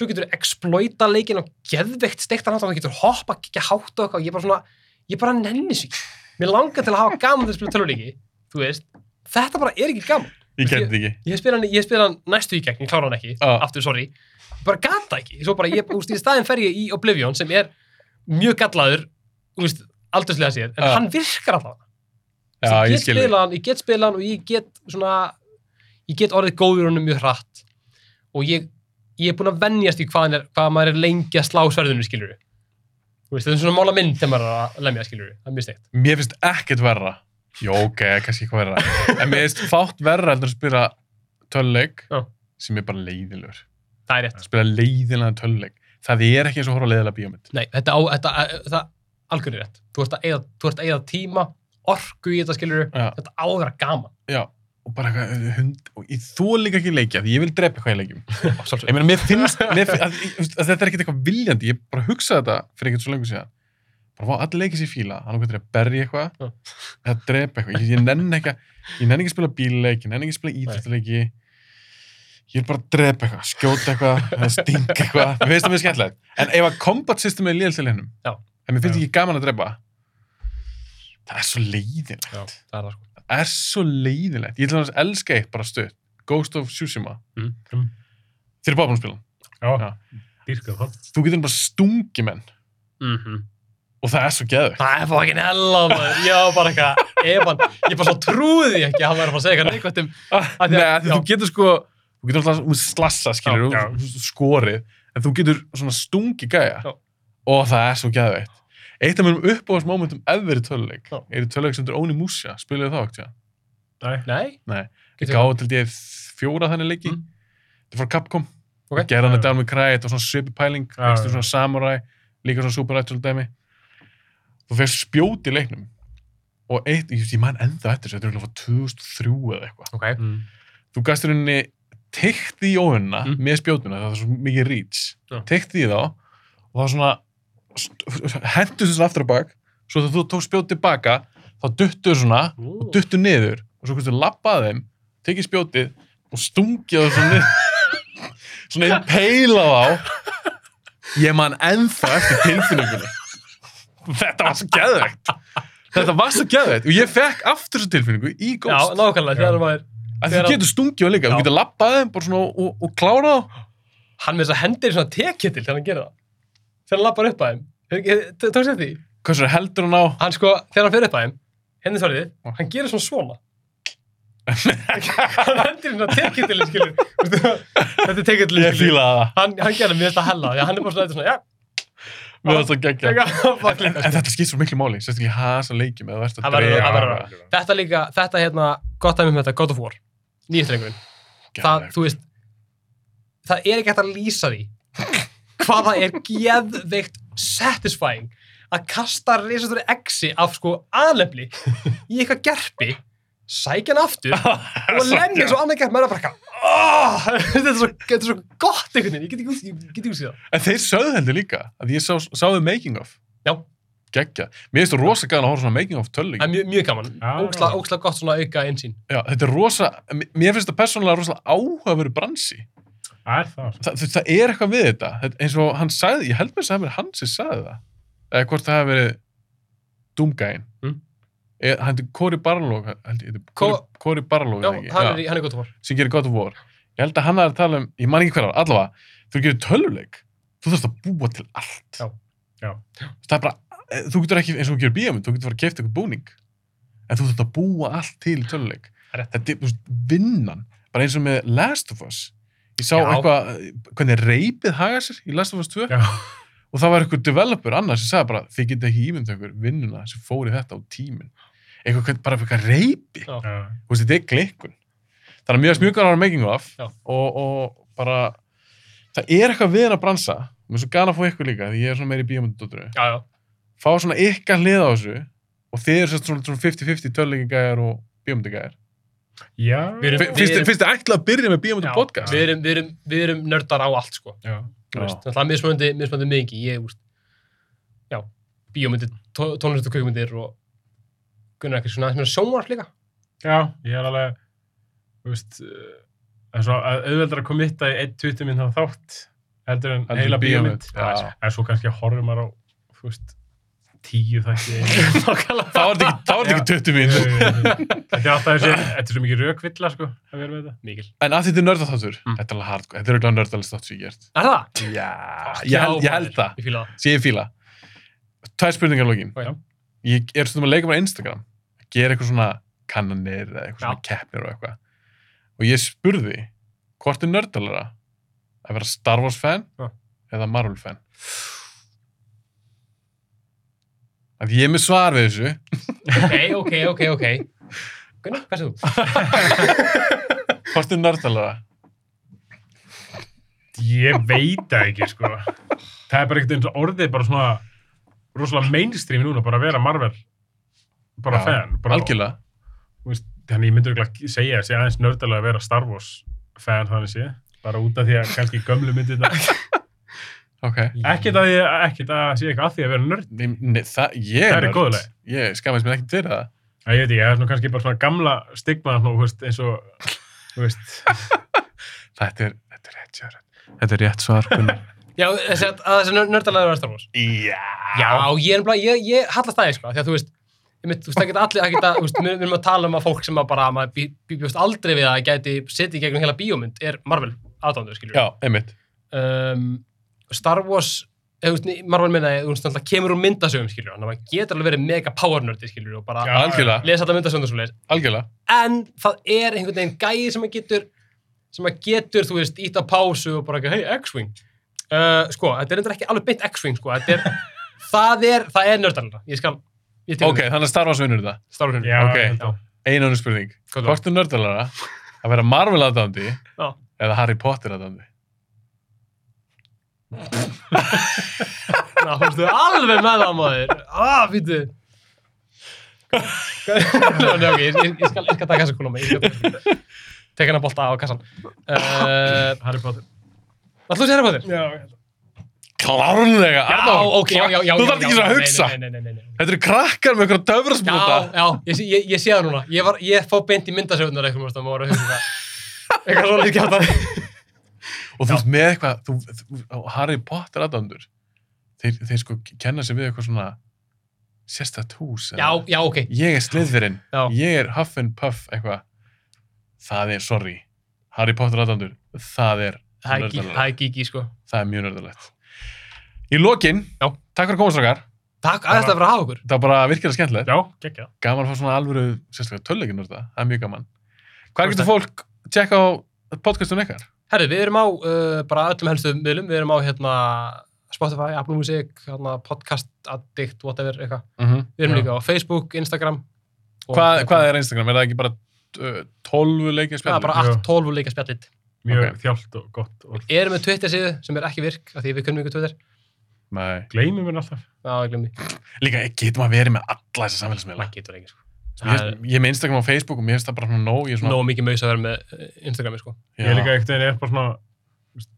svo getur þú exploita leikin og geðveikt steiktan hátt og þú getur hoppa, ekki hátt og eitthvað, ég bara svona, ég bara nenni sig. Mér langar til að hafa gaman til að spila töluleiki, þú veist, þetta bara er ekki gaman. Ég get þetta ekki Ég spila hann, ég spila hann næstu í gegn, ég klára hann ekki, Já. aftur, sorry. Bara gata ekki. Svo bara, ég, úst, í staðin fer ég í Oblivion sem er mjög gallaður, úst, aldurslega séð, en Já. hann virkar alltaf. Já, ég, ég get skil þig. spila hann, ég get spila hann og ég get svona, ég get orðið góður honum mjög hratt. Og ég, ég er búinn að venjast í hvað, hann er, hvað maður er lengi að slá sverðinu, skilur við. Veist, þetta er svona mála mynd þegar maður er að lemja, skilur við. Það er mjög steikt. Mér finnst ekkert verra Jó, ok, kannski eitthvað <laughs> verra En mér finnst fátt verra heldur að spila töluleik Já. sem er bara leiðilegur Það er rétt. Spila leiðilegan töluleik Það er ekki eins og horfa á leiðilega bíómynd Nei, þetta á, þetta, þetta algjörlega rétt. Þú ert að eyða, þú ert að eyða tíma, orku í þetta skilur, Já. þetta á að vera gaman. Já, og bara eitthvað eh, hund og ég þó líka ekki leikja því ég vil drepa eitthvað í <laughs> leikjum Á Ég sjálfsögðu. meina, mér <laughs> finnst mér, fin- að, að, að þetta er ekkert eitthvað viljandi ég bara hugsaði þetta fyrir ekkert svo lengur síðan bara vá, allir leikir sér fíla hann okkur til að berja eitthvað Já. eða drepa eitthvað ég, ég nenni ekki að ég nenni ekki að spila bílleik ég nenni ekki að spila íþjóttleiki ég vil bara drepa eitthvað skjóta eitthvað eða stinga eitthvað mér finnst það mjög skemmtilegt en ef að combat system er liðal til hennum Já. en mér finnst Já. ekki gaman að drepa það er svo leiðilegt Já, það er það sko. er svo leiðilegt. Ég til dæmis elska eitt bara stutt, Ghost of Tsushima. Mm. Mm. Þeir eru bara búin að spila hann. Já, Já. dýrkað það. Þú getur bara stungi menn og það er svo geðvegt. Mhm. Það er fokkin hella, maður. Ég var bara eitthvað, Evan, ég bara svo trúði því ekki að hann væri að fara að segja eitthvað neikvæmt um... Nei, að- af því já. þú getur sko, þú getur alltaf þú slassa, skilur, Já, þú- þú skorið, en þú getur svona stungi gæja Já. og það er svo geðvegt. Eitt af mjög uppáhaldsmomentum ever í töluleik Já. er í töluleik sem þetta er Oni Musha, spilaði það ekki? Nei, Nei? Nei. Ég Getur- gáði til því fjóra þannig leiki. Mm. Þetta er frá Capcom. Ok. Okay. Gerðan Já. þetta alveg kræði, þetta var svona svipi pæling, Já, ekki já. svona samurai, líka svona supernatural dæmi. Þú fyrst spjót í leiknum og eitt, ég, ég man enda eftir þessu, þetta er örugglega frá 2003 eða eitthvað. Ok. Mm. Þú gæst rauninni teikt í óunna Mm. með spjótuna, það var svo mikið reach. Já. Teikt í þá og það var svona, hendur þessu aftur á bak, svo þegar þú tók spjót tilbaka, þá duttur svona og duttu niður og svo hversu lappaði þeim, tekið spjótið og stungið það svona niður <laughs> svona einn peila þá ég man ennþá eftir tilfinningunni þetta var svo geðveikt þetta var svo geðveikt og ég fekk aftur þessu tilfinningu í Já, góðst nákvæmlega, Já. þegar maður... að þú þegar- getur stungið á líka, Já. þú getur lappað þeim bara svona og, og klárað þá Hann með þess að hendir í svona tekjittil þegar hann gerir það. Þegar hann lappar upp að þeim. Tókst þetta því? hvað svo heldur hann á Hann sko, þegar hann fyrir upp að þeim, henni svarðið, hann gerir svona <laughs> svona. hann hendir í svona tekjittil, skilur. Veistu, þetta er tekjittil, ég skilur. fílaði Hann, hann gerir mér þetta hella, því að hann er bara svona, þetta svona, já, það mér varst það geggja Teka, <laughs> fuck, en, en þetta skipt svo miklu máli, sérstaklega í hasa leikjum eða verðst að Það verður- það verður- drefa þetta líka, þetta hérna, gott dæmi með þetta, God of War, nýjastrengur, það, Geðveikt. þú veist, það er ekki hægt að lýsa því hvað það er geðveikt satisfying að kasta risastóri exi af sko aðlefli í eitthvað gerpi, sækja hann <laughs> aftur og lemja svo annað gerp, maður er bara eitthvað, oh, <laughs> þetta, er svo, þetta er svo gott einhvern veginn, ég get ekki úr- ég get ekki úr síðan. En þeir sögðu heldur líka, að ég sá, sá þau making of. Já. Gekkja. Mér finnst þú rosa gæðan að horfa á svona making of Það tölvík. er mjög, mjög gaman, Já. óksla, óksla gott svona auka einsýn. Já, þetta er rosa, mér finnst það persónulega rosa áhugaveru bransi. Það er það. Þa, það, það er eitthvað við þetta. þetta. Eins og hann sagði, ég held með þess að það hafi verið hann sem sagði það. Eða hvort það hafi verið Doomgæin. Mm. Eða, hann heitir Cory Barlog, held ég, Co- Cory- Cory Barlog, Já, eða ekki? hann er, í- hann er gott að fór. sem gerir God of War ég held að hann er að tala um, ég man ekki hverjar allavega, þú gerir tölvuleik þú þarfst að búa til allt Já. Já. það er bara, eh, þú getur ekki eins og þú gerir bíómynd, þú getur bara að keifta eitthvað búning en þú þarfst að búa allt til í tölvuleik Rétt. þetta er þú veist, vinnan bara eins og með Last of Us ég sá Já. eitthvað, eh, hvernig reypið haga sér í Last of Us 2 Já. og það var einhver developer annar sem sagði bara þið geta ekki ímynd einhver vinnuna sem fóri þetta á tíminn eitthvað, hvern- bara eitthvað reypi Já. þú veist, þetta er glikkun þannig að mjög smjúkar ára making of Já. og, og bara það er eitthvað við hann að bransa mér er svo gana að fá ykkur líka, því ég er svona meiri bíómyndadóttur Já, já. fá svona ykkar hlið á þessu og þið eru sem sagt svona svona 50-50 töluleikingæjar og bíómyndagæjar Já. Við erum- Fi- finnst við þið- finnst þið ætla að byrja með bíómyndu podcast Við erum, við, erum, við erum nördar á allt, sko. Já. Þú veist, Það er mismunandi, mismunandi mingi. Ég, úst, já, bíómyndir, tó- tónlist og kvikmyndir og gunnar ekkert svona, svona sjónvarp <laughs> líka. Já, ég er alveg, þú veist, eh, það er svo að auðveldar að komitta í 1-20 minn þá þátt, heldur en Heldur en heila bíómynd. bíómynd, Já, já. svo- En svo kannski horfum maður á, þú veist, tíu þætti. þá er þetta ekki- þá er þetta ekki 20 mín <laughs> Þetta er alltaf þessi, þetta er svo mikið rökvilla, sko, að vera með þetta. Mikil. en að þetta er nördaþáttur Mm. þetta er alveg hard, þetta er alveg nördalist þáttur sem ég gert Er það? já, ég held, ég held það Ég fíla það. sem ég fíla tvær spurningar að lokin Ok. Já. ég er stundum að leika bara Instagram að gera eitthvað svona kannanir eða eitthvað svona keppnir og eitthvað og ég spurði hvort er nördalara að vera Star Wars fan Já. eða Marvel fan að ég er með svar við þessu Ok, ok, ok, ok. Gunnar, hvað sér þú? hvort er nördalara Ég veit það ekki, sko. Það er bara ekkert eins og orðið bara svona rosalega mainstream núna, bara að vera Marvel bara Já, fan. Bara, algjörlega þú veist, Þannig ég myndi ekki segja að segja aðeins nördalega að vera Star Wars fan þannig sé. Bara út af því að kannski gömlu myndir <laughs> þetta. ok Ekkert að ég, ekkert að sé eitthvað að því að vera nörd. Nei, nei, það, ég Það er nörd. góðleg. Ég skamast mér ekki til það. Það ég veit ekki, það er svona kannski bara svona gamla stigma svona, þú veist, eins og, þú <laughs> veist, Þetta er, þetta er rétt, Jörg. Þetta er rétt svar, <laughs> Gunnar. Já, þessi að að þessi nördarlega er að starfa. Já. Já, ég er bara, ég, ég hallast það, sko, af því að þú veist, ég mynd, þú veist, það geta allir, það geta, þú veist, við við erum að tala um að fólk sem að bara, maður bý- bý- bjóst aldrei við að gæti setið gegnum heila bíómynd er Marvel aðdándur, skilur Já, einmitt. um, Star Wars eða, þú veist, Marvel minna, þú veist, náttúrulega kemur úr myndasögum skilur, þannig að maður getur alveg verið mega power nerdi skilur, og bara Já, algjörlega, lesa alltaf myndasögum og svo algjörlega. en það er einhvern veginn gæi sem maður getur sem maður getur, þú veist, ít á pásu og bara ekki, hei, X-Wing uh, sko, þetta er endur ekki alveg beint X-Wing sko, þetta <laughs> er, það er, það er nördalega ég skal, ég tek Ok, þannig að Star Wars vinnur þetta. Star Wars Já, Ok. ég held að- Einu önnur spurning. Hvað þá? Hvort er nördalara að vera Marvel aðdándi Já. eða Harry Potter aðdándi? Ná, fórstu alveg með það maður Ah, fýttu Nei, ok, ég, ég, skal, ég skal taka þessa kúlum Tek hann að bolta á kassan uh, Harry Potter. Alltaf sér hefðir Já, ég held að- Klárlega, Arnór. ok, já, já, já Þú þarf já, ekki svo já, að hugsa. Nei, nei, nei, nei, nei. Þetta eru krakkar með einhverja Já, töfrasplota. já, ég, sé- ég, ég sé það núna Ég, var, ég fó beint í myndasöfunar eitthvað mjög stóma Eitthvað svona líka það Og þú veist með eitthvað, þú, þú, og Harry Potter aðdándur, þeir, þeir sko kenna sig við eitthvað svona sérstætt hús. eða- Já, já, ok Ég er Slytherin, Já. ég er Huffenpuff, eitthvað. Það er, sorry, Harry Potter aðdándur, það er Það er gí- nördalegt. það er gíki, sko Það er mjög nördalegt. Í lokin, Já. takk fyrir komastrakar, Takk, aðeins það fyrir að hafa okkur það var bara virkilega skemmtilegt. Já, geggja. Gaman að fá svona alvöru, sérstaklega töluleikinn úr þetta, það er mjög gaman. Hvað Þú getur fólk tjekka á podcastum ykkar? Herri, við erum á uh, bara öllum helstu miðlum, við erum á hérna Spotify, Apple Music, hérna, podcast, Addict, whatever, eitthvað. Mm Við erum Mhm. Já. líka á Facebook, Instagram. og- Hvað, hérna, hvað er Instagram? Er það ekki bara uh, 12 leikja Það er spjallur? bara Jú. 12 líka spjallit. Mjög Ok. þjált og gott. Og Við erum með Twitter síðu sem er ekki virk, af því við kunnum ykkur Twitter. Nei. gleymum mér alltaf. Já, ég glemni. Líka, getur maður verið með alla þessa samfélagsmiðla? Maður getur ekki, sko. Mér finnst- Ég er með Instagram og Facebook og mér finnst það bara svona nóg. Ég er svona... Nó mikið maus að vera með eh, Instagrami, sko. Já. Ég er líka eitthvað, ég er bara svona, þú veist,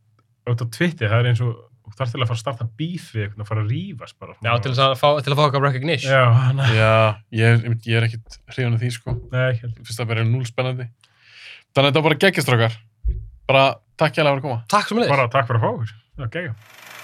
auðvitað á Twitter, það er eins og, þú þarf til að fara að starta bíf við eitthvað, að fara að rífast bara. Já, til þess að fá, til að fá okkar recognition. Já, næ, Já, ég er, einmitt- ég er ekkit hrifun af því, sko. nei, ekki heldur. Ég finnst það bara núl spennandi. Þannig að þetta var bara geggjastrákar. Bara takk hjá að vera að koma. Takk svo mjög. Bara takk fyrir að fá okkur. Það er geggja.